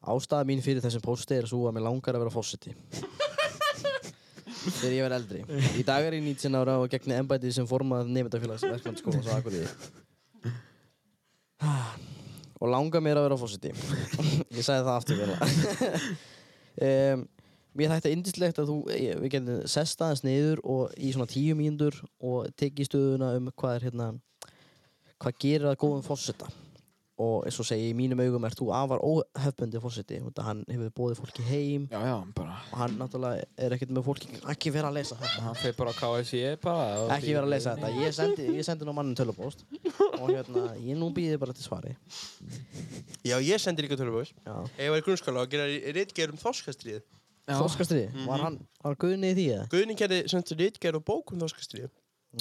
S5: Ástæða mín fyrir þessum pósti er svo að mér langar að vera Fossetti. Þegar ég verð eldri. Í dag er ég 19 ára og gegni embætið sem formað nefndafélags verkefnarskóla svo akkuríði. Og langar mér að vera Fossetti. ég sagði það aftur vel um, mér þætti indislegt að þú ég- við getum sest aðeins niður og í svona tíu mínútur og tekið stöðuna um hvað er hérna hvað gerir að góðum fósita og eins og segi í mínum augum er þú afar óhefbundi fósiti út að hann hefur bóðið fólki heim
S7: Já, já, bara
S5: og hann náttúrulega er ekkert með fólki ekki vera að lesa þetta
S7: Hann feir bara á KFC bara og-
S5: ekki vera að lesa þetta ég sendi, ég sendi nú mannin tölupóst og hérna ég nú býði bara til svari
S9: Já, ég sendi líka tölubóis.
S5: Já.
S9: Ef ég var í grunnskóla og gera ritgerð um þorskastriðið.
S5: þorskastriði,
S7: Mhm.
S5: var hann var guðni í því eða?
S9: Guðni gerði sendi ritgerð og bók um þorskastriðið.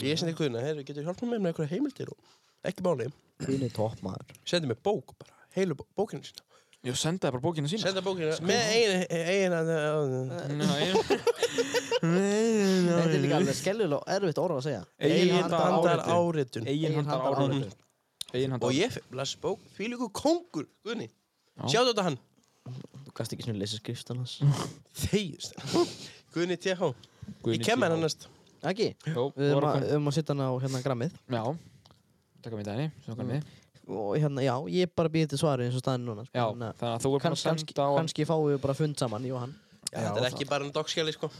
S9: Ég sendi Guðna, heyrðu, getur hjálpað mér með einhverja heimildir og ekki máli.
S5: guðni toppmaður
S9: Sendi mér bók bara, heilu bó- bókina sína.
S7: Ég sendaði bara bókina sína
S9: Senda bókina Sko. með eigin, eigin, eigin,
S5: Þetta er líka alveg skellulega og erfitt orð að segja.
S9: eigin handar áritun.
S7: Egin handar
S5: Eiginhandar
S7: áritun Egin handar
S9: Og ég fekk bless bók, því líku kóngur, Guðni. Sjáðu þetta hann.
S5: Þú gast ekki svona leysa skriftan hans.
S7: Mhm.
S9: Þegist. Guðni TH. Ég kem með hann næst.
S5: Ekki?
S7: Jó,
S5: Við erum
S7: voru að
S5: að, um að setja hann á hérna grammið.
S7: Já Mm. Takk að mér dæni, svo kannið
S5: Og hérna, já, ég bara býði til svari eins og staðin núna.
S7: Já, þannig að þú er bara að
S5: Kanski, kannski,
S7: senda á hann
S5: kannski fáum við bara fund saman, ég og hann.
S9: Já, þetta er ekki bara en dagskjali, sko.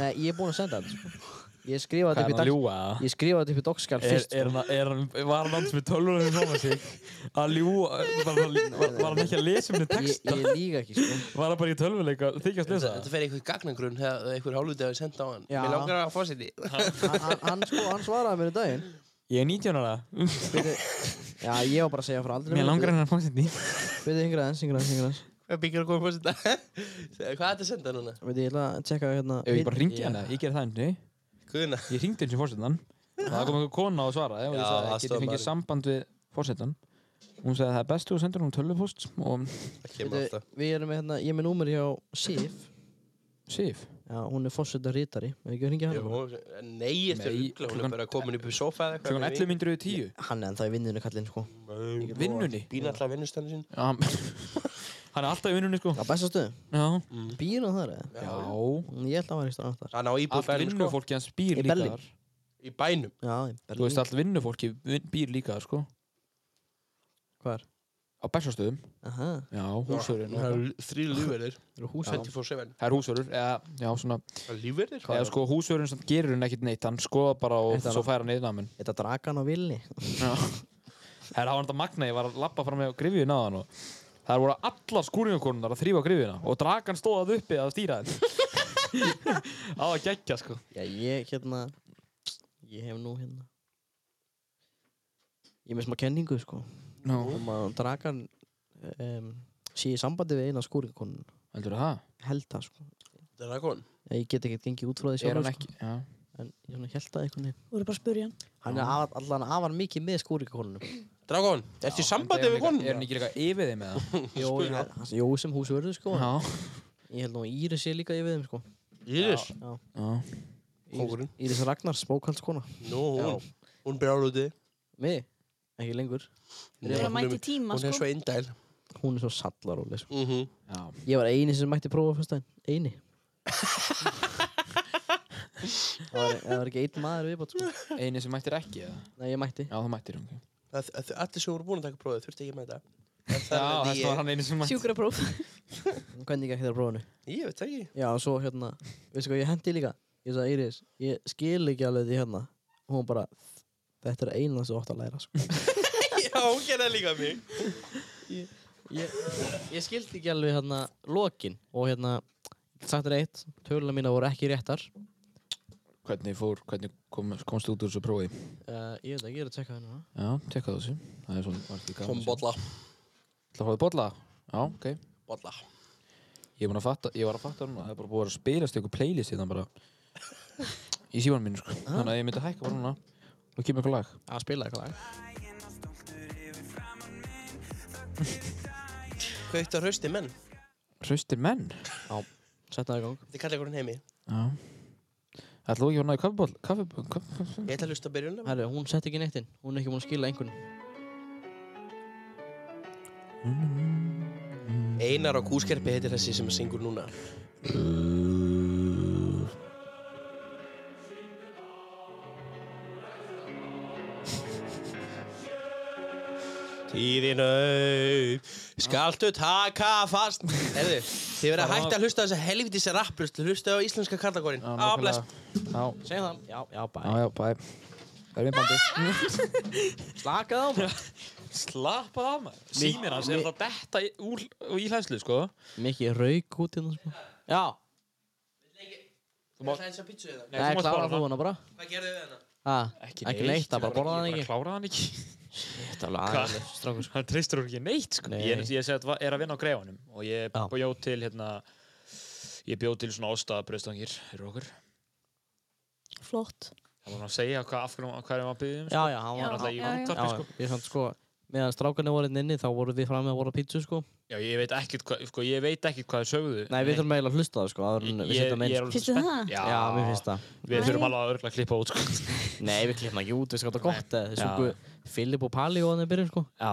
S5: Nei, ég er búinn að senda hann, sko. Ég skrifaði
S8: Hvað
S5: þetta
S8: er hann
S5: upp í
S8: að
S5: dag...
S8: ljúga það?
S5: Ég skrifaði þetta upp í dogskjál
S8: Er,
S5: fyrst. sko.
S8: er hann, að- er hann, var hann alls með tölvunum í fóma sig að ljúa, var, var, var, var hann ekki að lesa um þið
S5: Ég,
S8: texta,
S5: ég líga ekki, sko.
S8: var hann bara í tölvuleika, þykjast lesa
S9: Þetta fer einhver gagnagrunn þegar einhver hálfutið hefur sendt á hann.
S5: Já.
S9: Mér langar að fá sér því.
S5: Hann, hann- hann, sko, hann svaraði mér í daginn.
S8: Ég er 19 ára,
S5: Byrju, já, ég var bara að segja frá aldrei.
S8: mér langar hann að fóma sér
S5: Byrju, hingra aðeins, hingra aðeins, hingra aðeins.
S9: Hvað byggir að koma fór sér þetta? Hvað er þetta að senda núna?
S5: Veit, ég ætla að tjekka hérna...
S7: Ef ég bara ringi hann Ég ger það henni
S9: Guðna.
S7: Ég ringdi henni sem fórsetan Það kom einhver kona og svaraði og
S9: Já,
S7: ég sagði Ég
S9: aðstoðarmaður.
S7: geti fengið samband við fórsetan Hún sagði það er best þú sendur hún tölvupost og
S9: Það kemur
S5: Við,
S9: alltaf.
S5: við erum með hérna, ég er með númer hjá Sif
S7: Sif
S5: Já, hún er fórsölda rítari Við ekki að ringja hann
S9: Jú, Nei, þetta er
S7: Nei,
S9: ruggla. Hún
S7: klukkan-
S9: er bara komin upp í sofa eða
S7: Klukkan 11 myndir við 10
S5: Hann er ennþá í vinnunni kallinn sko
S9: Klukkan
S7: Vinnunni
S9: Býna alltaf að vinnustæðinu sín.
S7: Já, Hann hann er alltaf í vinnunni sko
S5: Á besta stöðu
S7: Já
S5: Býr hann þar eða?
S7: Já
S5: Mm, Ég ætla að vera í stöðan þar
S9: Hann á íbúð
S7: Allt
S9: bænum, sko.
S7: vinnufólki hans býr
S5: Í
S7: líka
S5: Berlín.
S7: þar
S9: Í bænum.
S5: Já, í
S7: Þú veist
S5: Berlín
S7: allt vinnufólki vin- býr líka þar sko
S5: Hvar?
S7: Á Bessastöðum
S5: Aha,
S7: Já, húsvörðin
S9: Það eru þrý lífverðir.
S5: það eru hús
S9: 24-7.
S7: Það er húsvörður eða já svona
S9: Það er lífverðir?
S7: eða sko húsvörðin sem gerur hann ekkert neitt hann skoða bara og
S5: Eitt
S7: svo
S5: annað.
S7: fær hann yfirnamen
S5: Þetta dragan á villi
S7: Það er hann þetta magna, ég var að lappa fram með grifjun á hann og það voru allar skúringakonunnar að þrýfa grifjuna og dragan stóð að uppi að stýra þeim. á að gegja sko.
S5: Já, ég hérna Ég hef nú hérna Ég er með smá kenningu sko
S7: Nú,
S5: Om að dragan um, Sé í sambandi við eina skúringakonun
S7: heldur það?
S5: Held það sko
S9: Það er rakon.
S5: Ég get ekkert gengið út frá því
S7: Er
S5: sjálfur,
S7: hann
S5: sko.
S7: ekki? Já.
S5: En ég svona held það einhvern veginn
S10: Þú eru bara að spurja hann.
S5: Hann er afar, allan afar mikið með skúringakonunum.
S9: Dragon, ertu í sambandi
S7: Er hann
S9: við
S7: líka-
S9: konum?
S7: Er hann ekki líka yfir þeim með það?
S5: Jó, ég- hann- Jó, sem húsvörður sko.
S7: Já.
S5: Ég held nú að Íris sé líka yfir þeim sko.
S9: Íris?
S7: Já.
S9: Kóngurinn.
S5: Íris, Íris Ragnars, bókaldskona.
S9: Nú, hún. Hún brjálar úti.
S5: Mig? Ekki lengur.
S10: Þú eru að
S9: Hún
S10: mæta
S9: er-
S10: í tíma,
S9: Hún er
S10: sko.
S9: svo indæl.
S5: Hún er svo sallaróli sko.
S9: Mhm.
S7: Já.
S5: Ég var eini sem mætti prófa fyrst daginn. Eini. það, var, það var ekki einn maður viðbót sko.
S7: Einu sem mættir ekki eða?
S5: Nei, ég mætti.
S7: Já, það mættir hún.
S9: Það- það- Allir sem voru búin að taka prófið þurfti ekki með þetta.
S4: Já, þetta var hann einu sem mætti.
S10: Sjúkrapróf.
S5: Hvernig gekk þetta prófunu?
S9: Ég veit það ekki.
S5: Já, og svo hérna, veistu hvað ég hendi líka? Ég sagði Íris, ég skil ekki alveg því hérna. Og hún bara, þetta er eina sem þú átt að læra, sko.
S9: Já, hún gerði líka mig.
S5: ég, ég skildi ekki alveg hérna lokin og hérna, ég get sagt þér eitt, tölunar mína voru ekki réttar.
S4: Hvernig fór, hvernig kom, komst þú út úr þessu prófi?
S5: Uh, ég veit ekki, ég er að tjekka hérna.
S4: Já, tekka þessu. Það er svona, var ekki gaman.
S9: Kom bolla.
S4: Það hóði bolla? Já, ok.
S9: Bolla.
S4: Ég, er búinn að fatta, ég var að fatta núna, það er bara búið að spilast ykkur playlist hérna bara í símanum mínu,
S7: Ah.
S4: sko. Þannig að ég myndi að hækka bara núna og kemur ykkur lag.
S5: Að spila eitthvað lag.
S9: Kveikt á hrausti menn.
S4: Hraustir menn?
S5: Já, setna það í gang.
S9: Þetta kallar ykkur heimi.
S4: Já. Ætlaðu ekki að næja kaffiból? Kaffiból? Kaffiból?
S9: Ég ætla að hlusta að byrjunum.
S5: Herru, hún sett ekki neitt inn, hún er ekki búin að skila einhvern.
S9: Einar á kúskerpi heitir þessi sem syngur núna. Tíðin auð, skaltu taka fast. Herðu, þið verða hægt að hlusta á þessa helvitis rapplust, hlusta á íslenska karlakórin.
S4: Já,
S9: Á,
S7: Ah,
S9: bless.
S4: Já,
S5: Segjum það, já, já, bæ.
S4: já, já, bæ. Það er minn bandi.
S5: Slakað á mig.
S7: Slappað af maður Símir hans er það detta í- úr og í hlæslu sko
S5: Mikið rauk út hérna, sko. Já,
S9: Þú mátt hægt að pítsu þið það.
S7: þú
S5: það
S7: mátt
S5: er klára þú
S7: borða hana.
S5: hana bara.
S9: Hvað gerðu
S7: hérna?
S9: við hana?
S5: Ha, ekki neitt, það bara borða hann
S7: Ég
S5: ekki.
S7: bara kláraði hann ekki
S5: Þetta er alveg
S7: Hva?
S5: aðeins, strákur.
S7: Hann treystur okkur ekki neitt sko
S5: Nei.
S7: Ég, er- ég segi að það er að vinna á greifanum Og ég
S5: Já.
S7: bjóð til hérna Ég bjóð til svona ástæðabröðstangir fyrir okkur
S10: Flott.
S7: Það var hann að segja hvað af hverju hvað er maður að byggja um
S5: Já, já, hann var
S10: Já,
S7: Hann alltaf í
S10: já, já.
S7: vandarpi
S5: Já,
S7: sko
S5: ég samt sko, meðan strákarnir voru hérna inni þá voru við fram með að voru pítsu sko.
S7: Já, ég veit ekkert hvað, sko, ég veit ekkert hvað þið sögðu
S5: Nei, við þurfum eiginlega að hlusta á það sko, áður en við setjum
S7: ég er
S5: einn.
S7: alveg
S10: Finnst þér
S7: spennt.
S10: það?
S7: Já,
S5: Já, mér finnst það.
S7: Við
S10: Æ.
S7: þurfum alveg að örgla að klippa út, sko
S5: Nei, við klippum ekki út, við skáum þetta gott. eða Þeir
S7: Já.
S5: sungu Filip og Pali og þannig byrjun sko.
S7: Já,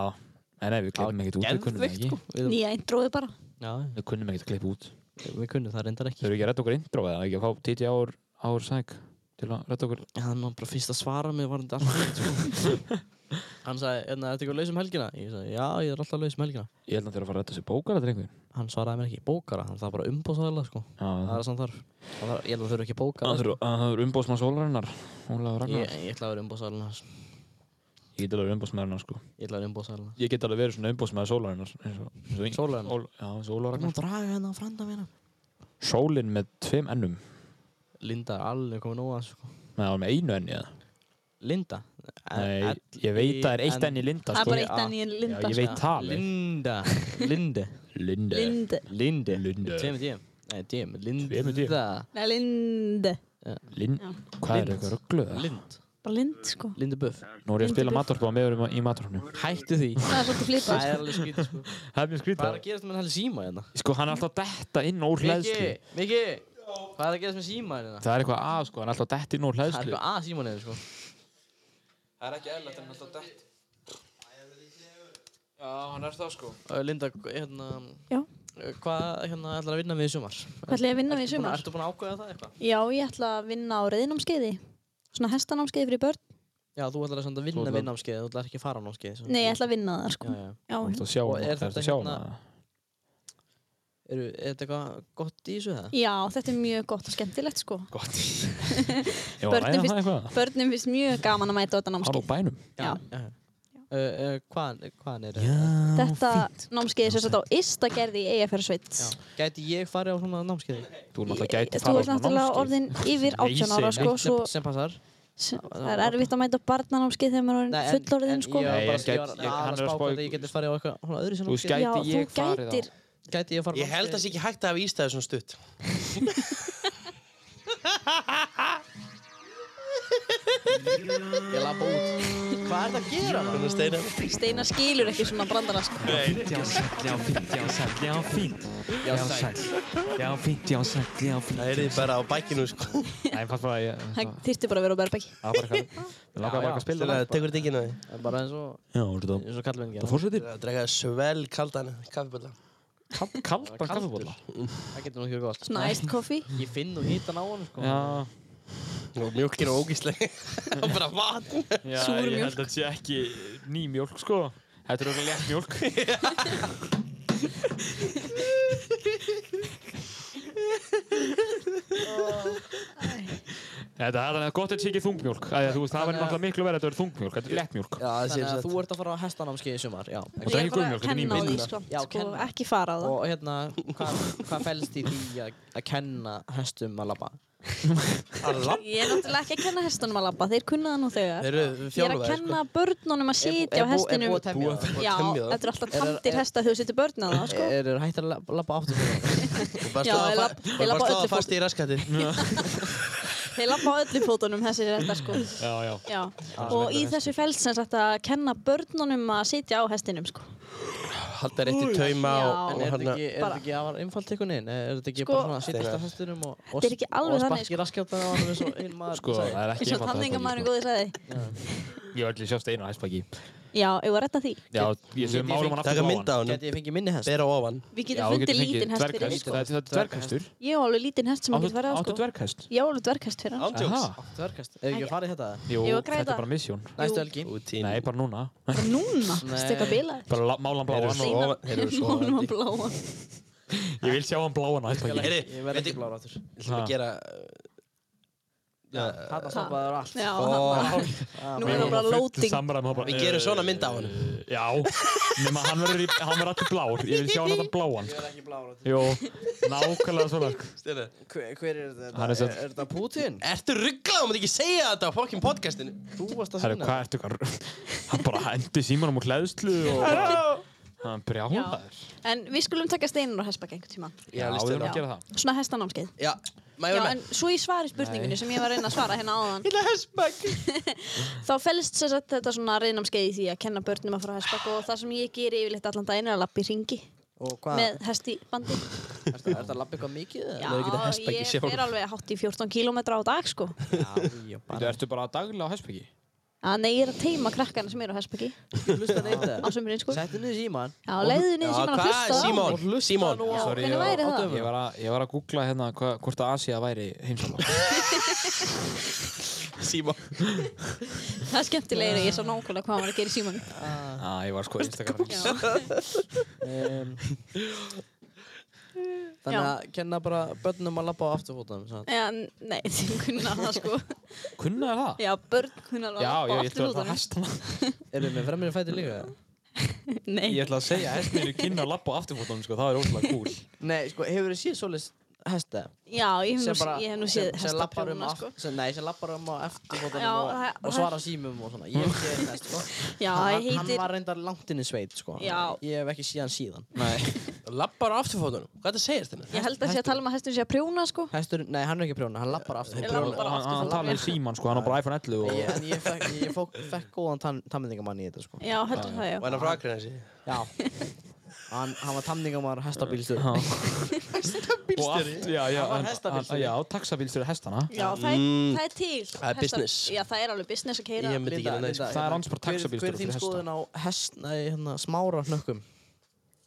S7: en nei, við klippum ekkert út, við kunnum
S5: Geðveikt,
S7: ekki
S5: sko. Við,
S10: Nýja intróið bara.
S5: já,
S7: Við kunnum ekkert að klippa út
S5: við kunnum það reyndar
S7: Þau
S5: ekki.
S7: eru ekki að redda okkur intro eða ekki að fá títi ár, ár sæk til að redda okkur
S5: Hann var bara fyrst að svara mig, var þetta alltaf veit sko. Hann sagði, hérna, ertu eitthvað laus um helgina? Ég sagði, já, ég er alltaf laus um helgina.
S7: Ég held að þeirra að fara að redda sér bókar að drengur
S5: Hann svaraði mér ekki, bókara, hann það bara umbóðsæðilega sko. Það
S7: Já,
S5: er sann þarf. Það þarf- Ég held að þau eru ekki bókara. sko.
S7: það þurfa- það er umbóðsmann sólarinnar
S5: Ég,
S7: Ólafur Ragnar
S5: ég ætla að vera umbóðsælun hans.
S7: Ég get alveg umbóðsmaðurinn hans, sko
S5: Ég ætla að vera umbóðsælun hans.
S7: Ég get alveg verið svona umbóðsmaður sólarinnar eins og- eins og Ing-
S5: Sólarinnar?
S7: Ól- Já, eins og Ólafur
S5: Nú
S7: Ragnar
S5: draga hérna á frænda mína.
S7: Sólin með tveim ennum
S5: Linda er alveg komin óa, sko.
S7: Nei, það var með einu enni, eða?
S5: Linda?
S7: Nei, ég veitt að það er eitt enni Linda,
S10: Það er
S7: sko
S10: bara eitt enn í
S7: Já,
S10: linda. sko.
S7: ég veit það alveg
S5: Linda. Linde.
S7: Linde
S10: Linde.
S5: Linde.
S7: Linde.
S5: Tveimur tíum. Nei, tíum. Linda.
S7: Tveimur tíum.
S10: Nei, Linde.
S7: Lind, hvað er eitthvað ruggluð?
S5: Lind.
S10: Bara Lind, sko.
S5: Lindu Buff.
S7: Nú er ég að spila matorpa og meður í matorpnu.
S5: Hættu því.
S10: Það er svolítið flipað,
S5: Það er
S10: sko.
S5: alveg skýt, sko.
S7: Það er
S5: Hvað
S7: mjög
S5: er
S7: skrítið.
S5: að gerast með hann síma hérna?
S7: Sko, hann er alltaf að detta inn úr hlæðslu.
S5: Miki. Hvað er að gerast með síma hérna?
S7: Það er eitthvað að, sko, hann er alltaf að detta inn úr
S5: Það er
S7: hlæðslu.
S5: eitthvað að síma hérna, sko.
S4: Það er ekki eðlilegt en alltaf dætt. Já, hann er það sko.
S5: Ö, Linda, hérna...
S10: Já.
S5: ö, Hvað hérna ætlar að vinna við í sumar?
S10: Hvað ætla ég að vinna við í
S5: Ertu búin að-
S10: sumar?
S5: Ertu búin að ákveða það eitthvað?
S10: Já, ég ætla að vinna á reyðinámskeiði. Svona hestanámskeiði fyrir börn.
S5: Já, þú ætlar að senda
S7: Þú
S5: vinna
S7: ætlar-
S5: við námskeið, þú ætlar ekki að fara á námskeið.
S10: Nei, ég ætla að vinna það,
S5: Já,
S10: sko.
S5: já.
S10: Já,
S7: Þú ert að sjá
S5: Og
S7: hann,
S5: er
S7: það
S5: þetta
S7: að sjá hann.
S5: hérna- Eru, er þetta eitthvað gott í þessu það?
S10: já, þetta er mjög gott og skemmtilegt, sko.
S7: Gott. Ég var að
S10: Börnin
S7: ræða
S10: fyrst-
S7: það eitthvað.
S10: Börnum finnst mjög gaman að mæta á þetta
S7: Hann á
S10: námskeið.
S7: bænum.
S10: Já.
S5: já. Uh, uh, hvaðan, hvaðan er
S7: Já.
S10: Þetta námskeið er sérstætt á Ystagerði í Eyjafjörðsveit.
S5: Gæti ég farið á svona námskeiði?
S7: Þú er náttúrulega gæti að
S10: Þú
S7: fara á
S10: ert
S7: svona
S10: náttúrulega
S7: námskeið.
S10: orðin yfir
S7: Nei,
S10: 18
S7: segi
S10: ára, sko,
S5: sem,
S10: svo
S5: sem passar
S10: það er erfitt að mæta á barnanámskeið þegar maður er
S5: Nei,
S10: orðinn
S5: en-
S10: fullorðin, sko.
S5: En ég var
S7: Nei,
S5: bara ég var
S7: ég gæti- ég-
S5: aðallega
S7: hann er
S5: að spá
S7: að spá í-
S5: hvort að ég geti farið á eitthvað svona öðru sem
S7: Þú
S5: námskeið.
S7: skæ-
S10: Já,
S7: Gæti
S10: þú
S7: ég farið á-
S10: gætir.
S5: Gæti ég farið á
S9: Ég held að það sé
S5: námskeið?
S9: ekki hægt að hafa ístæði svona stutt.
S5: Ég labba út. Hvað er það að gera það?
S9: Þannig að steina.
S10: Steinar skilur ekki svona brandara, sko.
S7: Já, sæll, já, fínt, já, sæll, já, fínt. Já, sæll. Já, fínt, já, sæll, já, fínt.
S9: Það er þið bara á bækinu, sko.
S7: Nei, fannst bara að ég...
S10: Það þýrti bara að vera á Berbæki.
S7: Það var bara eitthvað. Mér langaði bara eitthvað að spila
S9: Þannig
S7: það.
S9: að tekur þetta ekki náði.
S5: Það er Bara eins og,
S7: Já, voru þetta-
S5: eins og kallmenn
S7: það
S5: gera.
S7: fórsetið?
S9: Það drekka svel kaldan kaffibölla.
S7: Kal- Kaldan
S5: Kaldur.
S7: kaffibólla.
S5: Það getur nú ekki verið gott.
S10: Svona iced coffee.
S5: Ég finn nú hítan á hann, sko.
S7: Já.
S9: Og mjölkin og ógísleg. Og bara vatn.
S7: Já,
S10: Súr
S7: ég
S10: mjólk.
S7: held að þetta sé ekki ný eh, mjólk sko Þetta er auðvitað létt mjólk Þetta er þannig að gott að þetta sé ekki þungmjólk af því að þú veist, Það var
S5: Þannig að-
S7: náttúrulega miklu verið að þetta er þungmjólk, þetta er létt mjólk
S5: Þannig að þú ert að fara á hestanamskeið í sumar, já.
S7: Og það er ekki guðmjólk, þetta er
S10: kenna á því
S7: nýmjólk
S10: sko,
S5: Já,
S10: sko
S5: kenna.
S10: ekki fara á það
S5: Og hérna, hvað hva fælst í því að að kenna hestum að labba?
S9: Að
S10: Ég er náttúrulega ekki að kenna hestunum að labba, þeir kunna það nú þegar.
S5: Þeir eru
S10: ég er að
S5: þjálfaðir,
S10: kenna börnunum að
S5: er bú-
S10: sitja á
S5: er
S10: hestinum.
S5: búið að temja
S9: sko.
S5: það? Búið
S10: Já,
S5: að temja það?
S10: þetta er
S5: Er-
S10: alltaf
S5: Eh.
S10: tamdir
S5: er-
S10: hesta þegar þú setur börn að það, sko.
S5: Er það hægt að la- labba áttu fyrir það?
S9: Bara
S10: Já,
S9: sláða
S10: ég labb-
S9: fa-
S10: ég
S9: bara
S10: labba
S9: sláða
S10: öllu
S9: fast í raskatið.
S10: Þeir labba á öllu fótunum þessir hestar, sko.
S7: Já, já.
S10: Já,
S9: Ah.
S10: og í þessu
S7: sko.
S10: fælst sem sagt að kenna börnunum að sitja á hestinum, sko.
S9: Halda rétt í tauma
S10: Já.
S9: og,
S5: En
S9: og
S5: er þetta ekki, er
S9: hérna
S5: þetta
S10: Sko, Bara-
S5: ekki afar einfalt einhvern veginn? Er þetta ekki
S10: Sko-
S5: bara svona að sittast á hestinum og, og,
S10: Þetta er ekki alveg
S5: og
S10: þannig, sko.
S5: sparki raskjáttan á hann eins og hinn maður
S7: Sko,
S5: sagði?
S7: það er
S10: Eins
S7: ekki
S10: og tanningamaðurinn góði sagði.
S7: Ég var allir sjást einu á hæspaki
S10: Já, ég var rétt að því.
S7: Já, ég sem málum hann aftur
S9: Taka mynd á honum.
S5: Gæti ég fengið minni hest?
S9: hérna- Bera ofan
S10: Við getum fundið lítinn hest fyrir því, sko.
S7: Þetta er dverghestur
S10: Ég á alveg lítinn hest sem ég
S7: Áttu
S10: get farið á,
S7: áttu
S10: sko.
S7: dverghest?
S10: Ég á alveg dverghest fyrir hann, sko.
S9: Ándjóks
S7: Aha.
S5: Dvergast, er ekki að fara í þetta?
S7: Jú,
S10: Ég var að
S7: þetta
S10: græða.
S7: er bara misjón
S5: Næstu helgi
S7: Nei, bara núna
S10: Núna, stekka bilaðir.
S7: Bara la- mála hann bláan og-
S9: Ofan- Þeir eru svo
S10: Mánum að bláa.
S7: Ég vil sjá hann bláan á hæspaki
S9: Heyri,
S5: Ég verð ekki blára áttur
S9: Þú að gera uh,
S5: Þetta stoppaður allt Ah,
S10: Já,
S9: Ó,
S10: Nú er það bara loading.
S9: Við gerum svona mynd af honum.
S7: eh, Já, nema hann verður í- hann verður alltaf blár Ég vil sjá hann alltaf bláan
S5: Ég verð ekki blára áttur
S7: Jó, nákvæmlega svona sko.
S9: Steinar.
S5: Hver hver er þetta?
S7: Hann er
S5: Er,
S7: satt-
S5: er þetta Putin?
S9: Ertu rugglað? Þú mátt ekki segja þetta á fokkin podcastinu
S5: Þú varst að
S7: Herru,
S5: sinna
S7: hvað ertu hvað? Hann bara hendi símanum úr hlæðslu og bara, hann brjálaður.
S10: En við skulum taka steinar á hestbakk einhvern tíma.
S7: Já,
S9: Já,
S7: við erum
S10: Já.
S7: að gera það.
S10: Svona hestanámskeið.
S9: Já,
S10: Já,
S9: maður
S10: en svo í svari spurningunni sem ég var að reyna að svara hérna áðan
S9: Hilla hessbæk
S10: þá felst sem sagt þetta svona reynámskeið í því að kenna börnum að fara á hestbakk og það sem ég geri yfirleitt allan daginn er að lappa í ringi
S5: Og hvað?
S10: með hest í bandi
S5: Er þetta er þetta að labba eitthvað mikið?
S10: Já,
S9: Maður getur hestbaki
S10: ég
S9: sjálf.
S10: fer alveg hátt í 14 km á dag sko
S5: Já, já,
S7: Þú
S5: bara
S7: ertu bara daglega á hestbyggi?
S10: að nei, ég er að teima krakkana sem eru á hestbakki
S5: Hlusta neitt
S10: á
S5: það
S10: sömurinn sko Já,
S5: Settu niður síman
S10: leiðu niður sem hann að
S9: Hvað,
S10: hlusta á
S9: Simón? Simón
S10: Já, hvernig væri það?
S7: Ég var að, ég var að googla hérna hva, hvort að Asia væri heimsálfa.
S9: Simón
S10: Það er skemmtilegir ég sá nákvæmlega hvað hann var að gera í síman
S7: Já, ég var sko Instagram.
S5: um, Þannig að kenna bara börnum að labba á afturfótum svona.
S10: Já, nei, þeim kunna það sko
S7: Kunnaði það?
S10: Já, börn kunna alveg
S7: Já,
S10: að
S7: já,
S10: lappa á
S7: ég ætla að fara
S10: afturfótunum.
S7: að hestana.
S5: Eru með fremri fæti líka?
S10: Nei,
S7: Ég ætla að segja hestinu kynna að lappa á afturfótunum, sko, það er ótrúlega cool.
S5: Nei, sko, hefur þið séð svoleiðis hesta?
S10: já, ég hef
S5: Sem
S10: nú-
S5: bara-
S10: ég hef nú
S5: sem-
S10: séð
S5: sem labbar um
S10: hestaprjóna
S5: aft-
S10: sko
S5: sem- Nei, sem lappar um á
S10: Já,
S5: eftirfótunum og,
S10: það-
S5: og
S10: það-
S5: svara símum og svona Ég hef séð hest, sko
S10: Já,
S5: hann,
S10: ég
S5: hann
S10: heitir
S5: var reyndar langt inn í sveit, sko
S10: Já.
S5: Ég hef ekki séð hann síðan
S9: Lappar á afturfótunum Hvað þetta segir þetta?
S10: Ég held að sé að tala um að hestur sé að prjóna sko
S5: Hestur, nei, hann er ekki að prjóna, hann lappar aftur
S10: Ég labba
S7: Hann,
S10: bara
S7: hann
S10: afturfótunum.
S7: talaði um síman, sko, hann á bara iPhone 11 og...
S5: Ég, en ég fekk, ég fók, fekk góðan tamningamann í þetta sko
S10: Já, heldur það já
S9: Og hennar frá Akranesi
S5: Já Hann, hann var tamningamann hestabílstur
S7: Já. Og allt, já, já,
S5: Hann var
S7: hann-
S5: hestabílstjóri.
S7: hann- já, taxabílstjóri hestana.
S10: Já, það er, það er til
S9: Það er
S10: hestar-
S9: business.
S10: Já, það er alveg business að keira
S9: Ég myndi ekki hérna sko.
S7: Það er hans bara taxabílstjóri
S5: Hver er þín
S7: fyrir hesta.
S5: skoðun á hest, nei, hérna, smára hnökkum?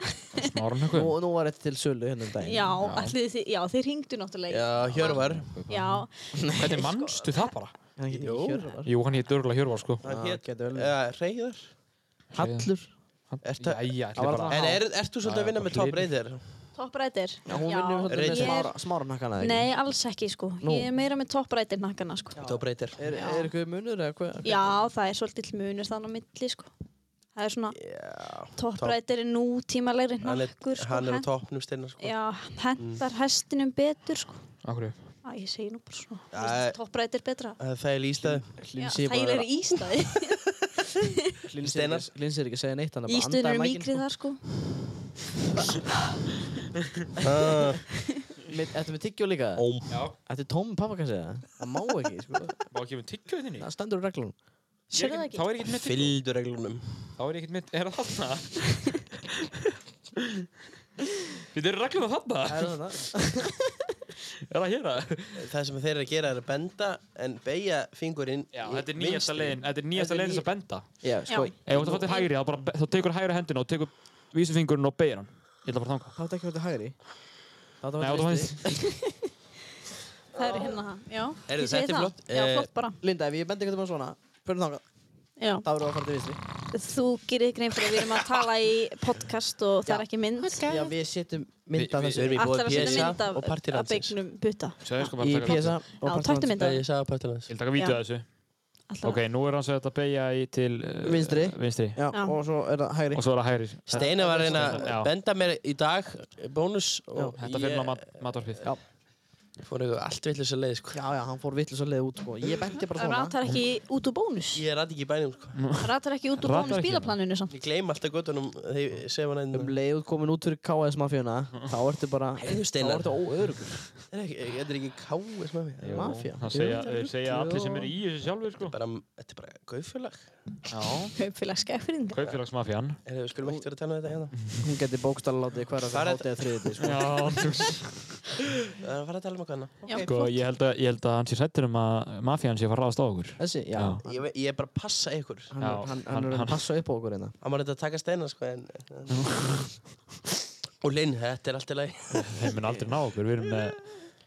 S7: Smáran
S5: Nú,
S7: eitthvað.
S5: nú var þetta til sölu hérna um daginn
S10: Já, allir þið, já, þið ringdu náttúrulega
S9: Já, Hjörvar
S10: í- Já,
S7: Hvernig mannstu það bara?
S5: Hann getur
S9: Jú.
S5: ekki hjörðar
S7: Jú, hann hétt örgulega Hjörvar sko
S9: Hann
S5: Já,
S9: hét
S5: getur vel verið.
S9: uh, Reyðar
S5: Hallur
S9: Ertu-
S7: Jæja, ætli
S5: Það var
S7: bara
S5: það.
S9: En er, ert þú svolítið að vinna
S7: bara
S9: með top
S7: hlýr.
S9: reyðir?
S10: topprætir
S5: Já, hún vinnur svolítið
S9: Reyðar.
S5: með smára, smára hnakkana eða
S10: Nei, alls ekki sko
S5: Nú.
S10: Ég er meira með topprætir nakkana sko
S9: Top reyðir
S5: Er, er eitthvað munur eða hvað?
S10: Já, það er svolítið munur þannig á milli sko Það er svona, topprætir er nútímalegri
S9: Hann er,
S10: nakkur sko
S9: hann er á
S10: hent-
S9: topnum steinar sko
S10: Já, hentar hestinum betur sko
S7: Akkur
S10: Æ, ég segi nú bara
S9: Já,
S10: svona Topprætir betra
S9: Það er þægileg ístæð
S10: Já,
S5: Hlinsir
S10: Það er í ístæði
S9: Steinar.
S5: Hlinsir ekki að segja neitt hann er bara að
S10: Ístöðin
S5: anda í
S10: eru
S5: mækinn, sko.
S10: mikrið þar sko
S5: Með- Ertu með tyggjó líka?
S9: Óm.
S5: Já. Ertu tóm pappakassi eða? Það má ekki, sko.
S7: Má ekki með tyggju þinni?
S5: Það stendur úr reglunum.
S10: Sérðu
S7: Þá
S10: það ekki?
S7: er ég ekkert með tyggju
S9: Fylgdu reglunum
S7: Þá er ég ekkert með, er það þarna? Við erum reglum það þarna?
S5: Það er það.
S7: Er það hérna?
S9: Það sem þeir eru að gera er að benda En beigja fingurinn
S7: Já,
S9: í
S7: þetta er nýjasta
S9: vinstri.
S7: leiðin Þetta er nýjasta
S5: Þetta er
S7: leiðin þess
S5: ný-
S7: að benda
S5: Já, sko.
S10: Já.
S7: Ef þú ert að fá til hægri, þá bara be- þá tekur hægri hendina og tekur vísufingurinn og beigir hann Ég ætla bara þanga
S5: Það átti ekki að vera til hægri. Það
S7: Nei,
S5: átti að
S7: þú
S5: vera til
S7: veist-
S5: vinstri.
S10: Það er hérna, já.
S9: Heyrðu,
S10: ég segi
S9: þetta er
S10: það.
S9: flott.
S10: Já,
S9: Eh,
S10: flott bara.
S5: Linda, ef ég bendi eitthvað um svona, fyrir þangað.
S10: Já.
S5: Það verður að fara til vinstri.
S10: þú gerir grein fyrir að við erum að tala í podcast og það er ekki mynd
S5: Já, við setjum mynd af
S9: Við-
S5: þessu
S9: við erum í boði
S10: Allar að setja
S9: PSA
S10: mynd af,
S9: og Party
S10: af
S9: Landsins. sko.
S10: beignum buta
S9: Sæðiskapa
S5: Í PSA og
S10: Já,
S5: Party
S10: taktu
S5: Lands.
S10: mynd af
S9: Ég sagði partilans
S7: Ég vil taka vítið
S10: Já.
S7: að þessu.
S10: Allavega.
S7: Ok, nú er hans að þetta beigja í til... Uh,
S5: Vinstri.
S7: Vinstri.
S5: Já,
S10: Já.
S5: og svo er það hægri
S7: Og svo er það hægri.
S9: Steina var að reyna
S7: Já.
S9: að benda mér í dag eh, Bónus og
S7: Þetta fyrir maður mat, matvarpið.
S5: Já.
S9: ég fór eitthvað allt villis að leið sko.
S5: Já, já, hann fór vitlis að leiða út sko Ég benti bara
S10: það
S5: svona
S10: ratar ekki út úr bónus
S9: Ég rætti ekki í bænum sko.
S10: það ratar ekki út úr
S7: Ratar
S10: bónus
S7: ekki.
S10: bílaplaninu samt
S9: Ég gleym alltaf göttunum þegar ég sef hann
S5: Um
S9: einn
S5: leið út komin út fyrir KS mafíuna Þá ertu bara
S9: Heyrðu,
S5: Þá
S9: Steinar.
S5: ertu óöðrugur
S9: Þetta er ekki- þetta er ekki káis með mér
S5: Mafía
S7: Það segja, þeir segja allir sem eru í þessu sjálfur, sko.
S9: Bara, þetta er bara gaufélag
S7: Já.
S10: kaupfélags skæfringa
S7: Kaupfélagsmafjan.
S9: Við skulum ekkert vera að tala um þetta hérna
S5: Hún geti bókstala látið hverja fyrir
S9: Hvar er
S5: hátið að þriðið sko.
S7: Já, þú-
S9: Það er
S7: Mm.
S9: að fara að tala um eitthvað annað
S7: sko, ég held að, ég held að hann sé sættur um að mafjan sé að fara að ráðast á okkur.
S5: Þessi, já,
S7: Já.
S9: Ég, ve- ég er bara að passa ykkur
S5: Hann,
S7: Já,
S5: hann,
S7: hann-
S5: hann er
S7: hann-
S5: að passa upp á okkur hérna
S9: Hann var þetta að taka steina sko en, en... Og Linn, þetta er allt í lagi
S7: Þeir mun aldrei ná okkur. Við erum með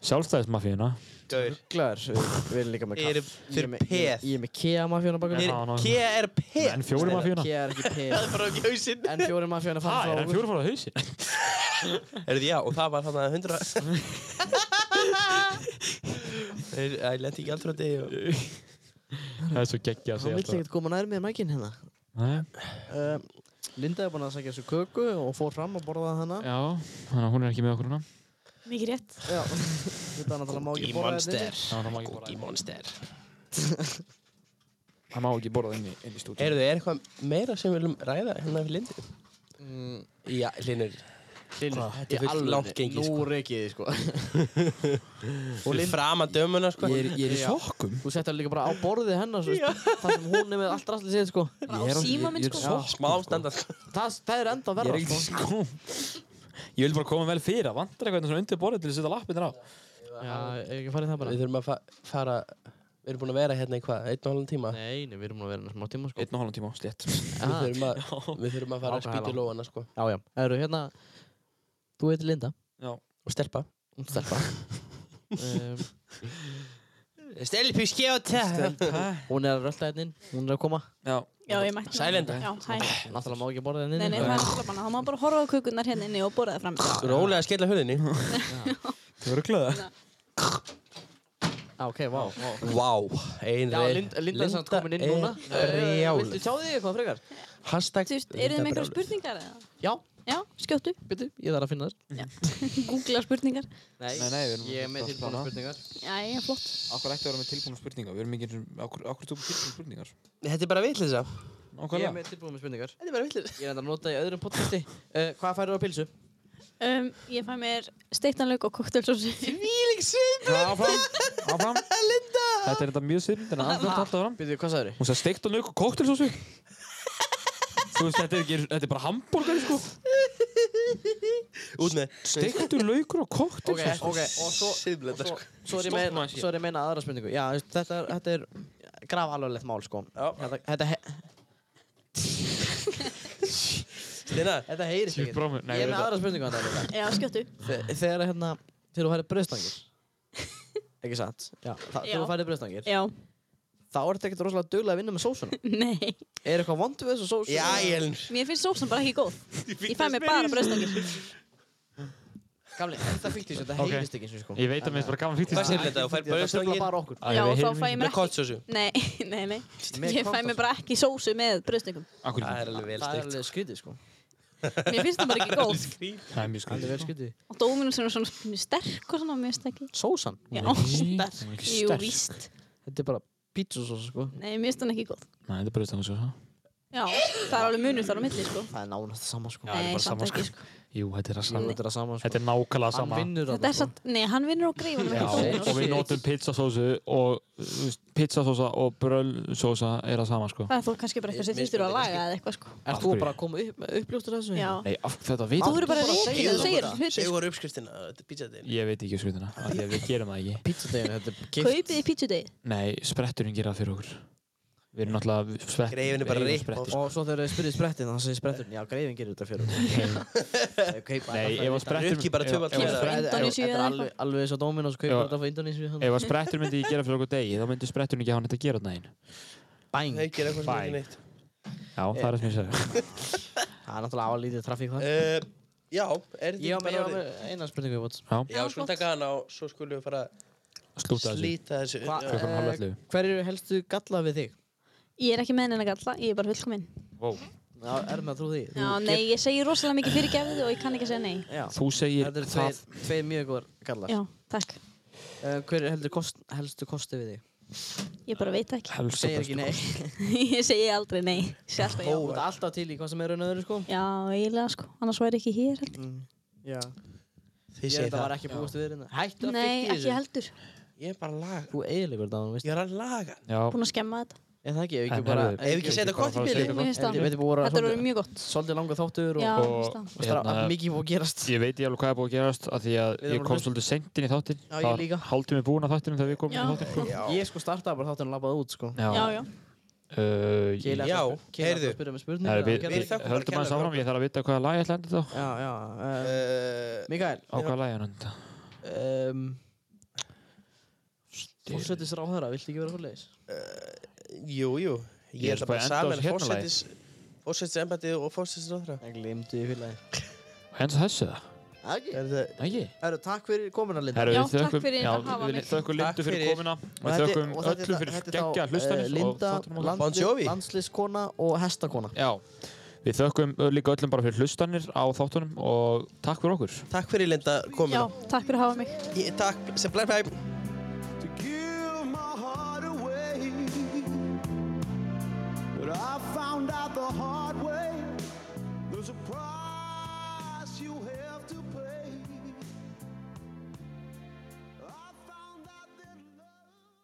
S7: sjálfstæðismafíuna.
S9: Gaur
S5: Glæður, við, við erum líka með
S9: Ég er
S5: kaff Ég er
S9: fyrir
S5: með- ég er-
S9: peð.
S5: Ég er með KEA mafíuna baka
S7: Ég
S5: mig
S7: Já, ná, ná.
S9: Kea er peð
S7: En fjóri mafíuna.
S5: KEA er ekki
S9: Það
S5: peð
S9: er bara á kjósin
S5: En fjóri mafíuna
S7: Hæ,
S5: fann
S7: er
S5: frá
S7: hann fjóri fór á hausin?
S9: Erðu já, og það var þarna 100 Þeir, æ, lendi ekki aldrei á degi og...
S7: Það er svo geggja að
S5: Hann
S7: segja
S5: vill ekkert koma nær með mækinn hérna
S7: alltaf.
S5: Uh, Linda er búin að sækja þessu köku og fór fram og borðaði hana
S9: sko.
S7: Já, þannig að hún er ekki með okkur núna.
S10: mikið rétt
S5: Já, þetta er náttúrulega má ekki borða
S9: monster
S7: Já, það má ekki borða
S9: Góki monster
S4: Hann má ekki borða inn í, inn í stúdíu
S9: Erðu, er eitthvað meira sem við viljum ræða hérna við Lindu?
S5: Mm,
S9: Já, Linnur
S5: Linda,
S9: þetta er fullt langt gengið,
S5: Nú
S9: sko.
S5: reykið þið sko
S9: Og Lind Frama dömuna sko
S4: Ég er, ég er í
S5: Já.
S4: sokkum
S5: Þú settir líka bara á borðið hennar svo, Það sem hún er með allt rastlið séð sko
S10: bara á síma minn
S4: ég er
S10: sko
S4: svo-
S9: Smá standart
S5: Það, það er enda
S7: Ég er
S5: verra
S7: ekki
S5: sko
S7: sko Ég vil bara koma vel fyrir, það vantar eitthvað svona undir borðið til að setja lappinir á
S5: Já, ég er ekki farið það bara
S9: Við þurfum að fa fara Við erum búin að vera hérna í hvað? Einn og halvan tíma?
S5: Nei, nei, við erum nú að vera hérna smá tíma sko
S4: Einn og halvan tíma, slétt
S9: Við
S5: Ah,
S9: þurfum að, við þurfum að fara að
S5: Ákveða
S9: spýta í
S5: langt.
S9: lóana sko
S5: Já, já, eru hérna Þú heitir Linda
S9: Og stelpa
S5: hún Stelpa um,
S9: Stelpu skjóta
S5: Hún er að rölda hérna inn Hún er að koma
S4: Já,
S10: já ég mætti
S9: Silent.
S10: já hæ
S5: Náttúrulega má ekki borða hérna
S10: nei
S5: inn
S10: nei það er alltaf banna þá má bara horfa á kökurnar hérna inni og borða það fram
S9: Rólega að skella hurðinni
S4: þú verður glöða
S5: Já, Ah, ok, vá, vá
S9: Vá, ein
S5: Já,
S9: reyð.
S5: Linda, Linda er samt komin inn núna Eh,
S9: brjáluð.
S5: Viltu tjá þig eitthvað frekar?
S9: Hashtag
S10: þú veist eru þið með
S9: Linda
S10: einhverja
S9: brjáluð.
S10: spurningar eða?
S5: Já,
S10: já skjóttu
S5: byrju, ég þarf að finna þér
S10: googla spurningar
S4: Nei,
S5: Nei,
S4: nei, við erum
S5: ég er með
S4: að
S5: tilbúna
S4: plana.
S5: spurningar
S10: já flott
S4: Akkur ætti að vera með tilbúna spurningar Við erum ekki Akkur, akkur tókum tilbúna spurningar
S9: Þetta er bara vitlisa
S5: Ég
S4: Nákvæmlega
S5: er með tilbúna spurningar
S9: Þetta er bara vitlisa
S5: Ég er enda að nota í öðrum podcasti uh, Hvað færðu á pilsu?
S10: um, ég fæ mér steiktanlaug og koktelsósu
S4: Áfram, áfram Linda
S7: Þetta er þetta mjög sýrnd, en að þetta alltaf fram
S5: Byrju, hvað sagður?
S7: Hún sagði steikt og lauk og kóktelsósu Þú veist, þetta er, ekki, þetta er bara hambúrgar, sko
S9: Út með
S7: Steiktur laukur og
S5: Ok,
S7: kóktelsósu
S5: ok, og svo
S9: Siðblenda sko
S5: Svo er ég meina, svo er ég meina aðra spurningu Já, þú veist, þetta er, þetta er graf alveglegt mál, sko
S9: Já.
S5: Þetta, þetta, he-
S9: Stina
S5: þetta heyrist
S7: Ég
S5: ekki
S7: brámi- nei,
S5: Ég er
S7: ég
S5: með
S7: veit
S5: aðra spurningu að þetta
S10: já skjóttu
S5: Þe- Þegar, hérna, þegar þú færið bröðstangir Ekki satt? Já, þa- þegar þú
S10: Já.
S5: færið bröðstangir
S10: já
S5: Þá er þetta ekkert rosalega duglega að vinna með sósuna
S10: nei
S5: Er eitthvað vondu við þessu sósu?
S9: Já, Elin
S10: mér finnst sósan bara ekki góð ég fæ mér bara bröðstangir
S5: Gamli, þetta fylgti þessu, þetta
S7: Ok.
S5: heyrist ekki eins og sko
S7: Ég veit að mér finnst bara gaman fítið
S9: Hvað segir þetta? Þú fær
S5: Þetta tröfla
S9: bröðstangir
S5: bara okkur
S10: já og þá fæ ég mér
S9: Með
S10: ekki
S9: kottsósu
S10: nei nei nei
S5: Með
S10: ég fæ mér bara ekki sósu með bröðstöngum
S7: Akkur ekki,
S9: Það er alveg vel
S5: Það er
S9: steikt
S5: alveg skrítið sko
S10: mér finnst það bara ekki góð
S7: það er
S5: Það er
S7: mjög skrítið
S5: vel skrítið
S10: og dóminus er svona pínu sterk og svona mér finnst það ekki
S5: Sósan?
S10: já
S7: Nei,
S10: sterk
S7: hún er ekki
S10: jú
S7: sterk.
S10: víst
S5: Þetta er bara pítsusósa sko
S10: nei mér finnst það ekki góð
S7: Nei, þetta er bara utan þessu
S10: já það er alveg munur þar á milli sko
S5: Það er nánast það sama sko
S10: nei samt
S7: sama,
S10: ekki sko
S7: Jú, þetta er það
S5: Jú,
S7: sama
S5: Þetta er það sama sko
S7: Þetta er nákvæmlega
S5: Hann
S7: sama
S5: vinnur
S10: þetta
S5: þarna, sko.
S10: er satt nei hann vinnur á greifunum
S7: Já,
S10: ekki
S7: og
S10: dóminus
S7: við notum pizzasósu og þú veist, pizzasósa og brölsósa er það sama, sko
S10: það er þó kannski bara eitthvað sem þýstur að laga eða eitthvað sko
S5: Ert þú bara að koma upp, uppljóstur þessu?
S10: já
S7: Nei, af, þetta veit
S10: þú eru bara
S5: bara að segja
S10: reikið þú segir
S5: það.
S10: hluti
S9: Segur uppskriftina uh, Þetta er pizza deil
S7: Ég veit ekki skrutina, af því að við gerum það ekki
S5: Pítsadeginu, þetta er gift
S10: kaupið í pítsudegi
S7: Nei, spretturinn gera það fyrir okkur Við erum náttúrulega sprettur
S9: Greifin er bara rip
S7: sprettur
S5: Og svo þegar þið spyrir sprettin, þannig segir sprettin Já, greifin gerir þetta fyrir okkur." Þau kaupa
S7: Nei,
S5: þetta
S7: ef
S5: frá
S7: að sprettur
S9: Rukki bara
S7: ef-
S9: tvöfalt
S7: ef
S9: meira.
S7: að sprett-
S5: Þetta
S10: Indonesíu
S5: þetta er
S10: eða
S5: alveg, alveg eins og Dominos kaupir
S7: Já.
S5: þetta frá Indonesia hann.
S7: Ef að sprettur myndi gera fyrir okkur degi þá myndi spretturinn ekki hafa neitt að gera þarna einn
S5: Bang
S9: Það er ekki eitthvað sem
S7: Bye.
S9: ekki neitt
S7: Já, það er það sem ég segir
S5: Það er náttúrulega álítið trafík það
S9: Eh, Já, er þetta
S5: Ég
S9: ekki
S5: var með- ég
S9: bara
S5: var
S9: orðið?
S5: með eina spurningu við bótt
S7: Já.
S9: Já,
S4: sko,
S9: skulum taka hana og svo skulum við fara
S7: Slúta þessu.
S9: Slíta þessu
S5: Hva-
S9: Já.
S7: Klukkan hálf
S5: eh,
S7: ellefu.
S5: Hver eru helstu galla við þig?
S10: Ég er ekki með henni galla, ég er bara fullkominn.
S7: Wow.
S5: Já, er með að trú því
S10: Já, nei, ég segi rosalega mikið fyrir gefið og ég kann ekki að segja nei.
S7: Þú segir
S5: Þetta eru tveir, tveir mjög góðar gallar
S10: Já, takk.
S5: Eh, Hver eru heldur kost, helstu kosti við þig?
S10: Ég bara veit ekki.
S5: Þú segir ekki nei
S10: ég segi aldrei nei. Ég Segi alltaf
S5: Þú ert
S10: já.
S5: alltaf til í hvað sem er raun og öðru sko
S10: Já, eiginlega sko, annars væri ég ekki hér heldur.
S5: Já
S9: Þið
S5: Ég
S9: segið
S5: þetta
S9: það.
S5: var ekki búist við hérna Hættu að
S10: Nei,
S5: fylgja
S10: ekki
S5: þessu
S10: heldur.
S9: Ég er bara að laga
S5: Þú eiginlegur það, veist
S9: Ég er að laga
S7: Já,
S10: Búin að skemma þetta.
S5: Er það ekki, ef
S7: En
S5: ekki bara
S7: herðu,
S9: Ef við ekki setja gott í bílið
S10: Mér finnst það.
S5: Þetta er bara
S10: Þetta voru mjög gott.
S5: Svolítið langa þáttur og
S10: Já, mér finnst
S7: Og-
S10: það.
S5: Og það
S7: Hérna-
S5: er mikið búið að gerast
S7: ég veit ég alveg hvað er búið að gerast af því að
S5: Við
S7: ég
S5: erum
S7: kom
S5: að-
S7: svolítið seint inn í þáttinn
S5: Já, ég
S7: Það var
S5: líka.
S7: hálftími búinn að þáttinum þegar við komum
S10: Já.
S7: inn í þáttinn sko.
S5: Ég sko startaði bara þáttur og labbaði út sko
S10: Já, já.
S7: Uh, ég-
S5: Keila
S9: Já,
S5: ætlar- Keila ætlar
S9: heyrðu.
S5: að spyrja með
S7: Nei,
S5: spurningu
S7: Við
S5: og
S7: við
S5: gerði-
S9: þökkum bara
S7: höldum aðeins
S9: kærlega
S7: áfram, ég þarf að vita hvaða lag ég ætla að enda þetta á
S5: Já, já eh,
S9: Eh,
S5: Mikael
S7: Á hvaða lag ég ætla að enda
S5: um, Fórsetis ráðherra, viltu ekki vera fórleis?
S9: Jú, jú Ég
S7: Ég
S9: er
S7: er
S9: það bara
S7: bara að enda á
S9: saman
S7: þessu hérna lagi.
S9: Fórsetis Fórsetis embættið og fórsetis ráðra
S5: Ég glimtu í fylagi
S7: Hens þessu það?
S5: Það
S9: Er það
S7: Ekki
S5: eru takk fyrir komuna Linda
S7: Herru,
S10: Já,
S7: við
S10: takk
S7: þökkum-
S10: fyrir
S7: já,
S10: að hafa
S7: við
S10: mig.
S7: Þökkum
S9: Takk
S7: Lindu fyrir
S9: fyrir.
S7: komina
S5: Og
S7: Við
S5: þetta-
S7: þökkum
S5: og þetta er
S7: öllum
S5: þá-
S7: fyrir
S5: þetta er þá,
S7: geggja
S5: eh,
S7: hlustanir og
S5: Linda,
S7: þáttunum okkar.
S5: land,
S9: Bon Jovi.
S5: landsliðskona og hestakona
S7: Já, við þökkum ö, líka öllum bara fyrir hlustanir á þáttunum og takk fyrir okkur
S9: Takk fyrir Linda
S10: Já,
S9: komina
S10: takk fyrir að hafa mig.
S9: Ég- Takk sem blæm blæm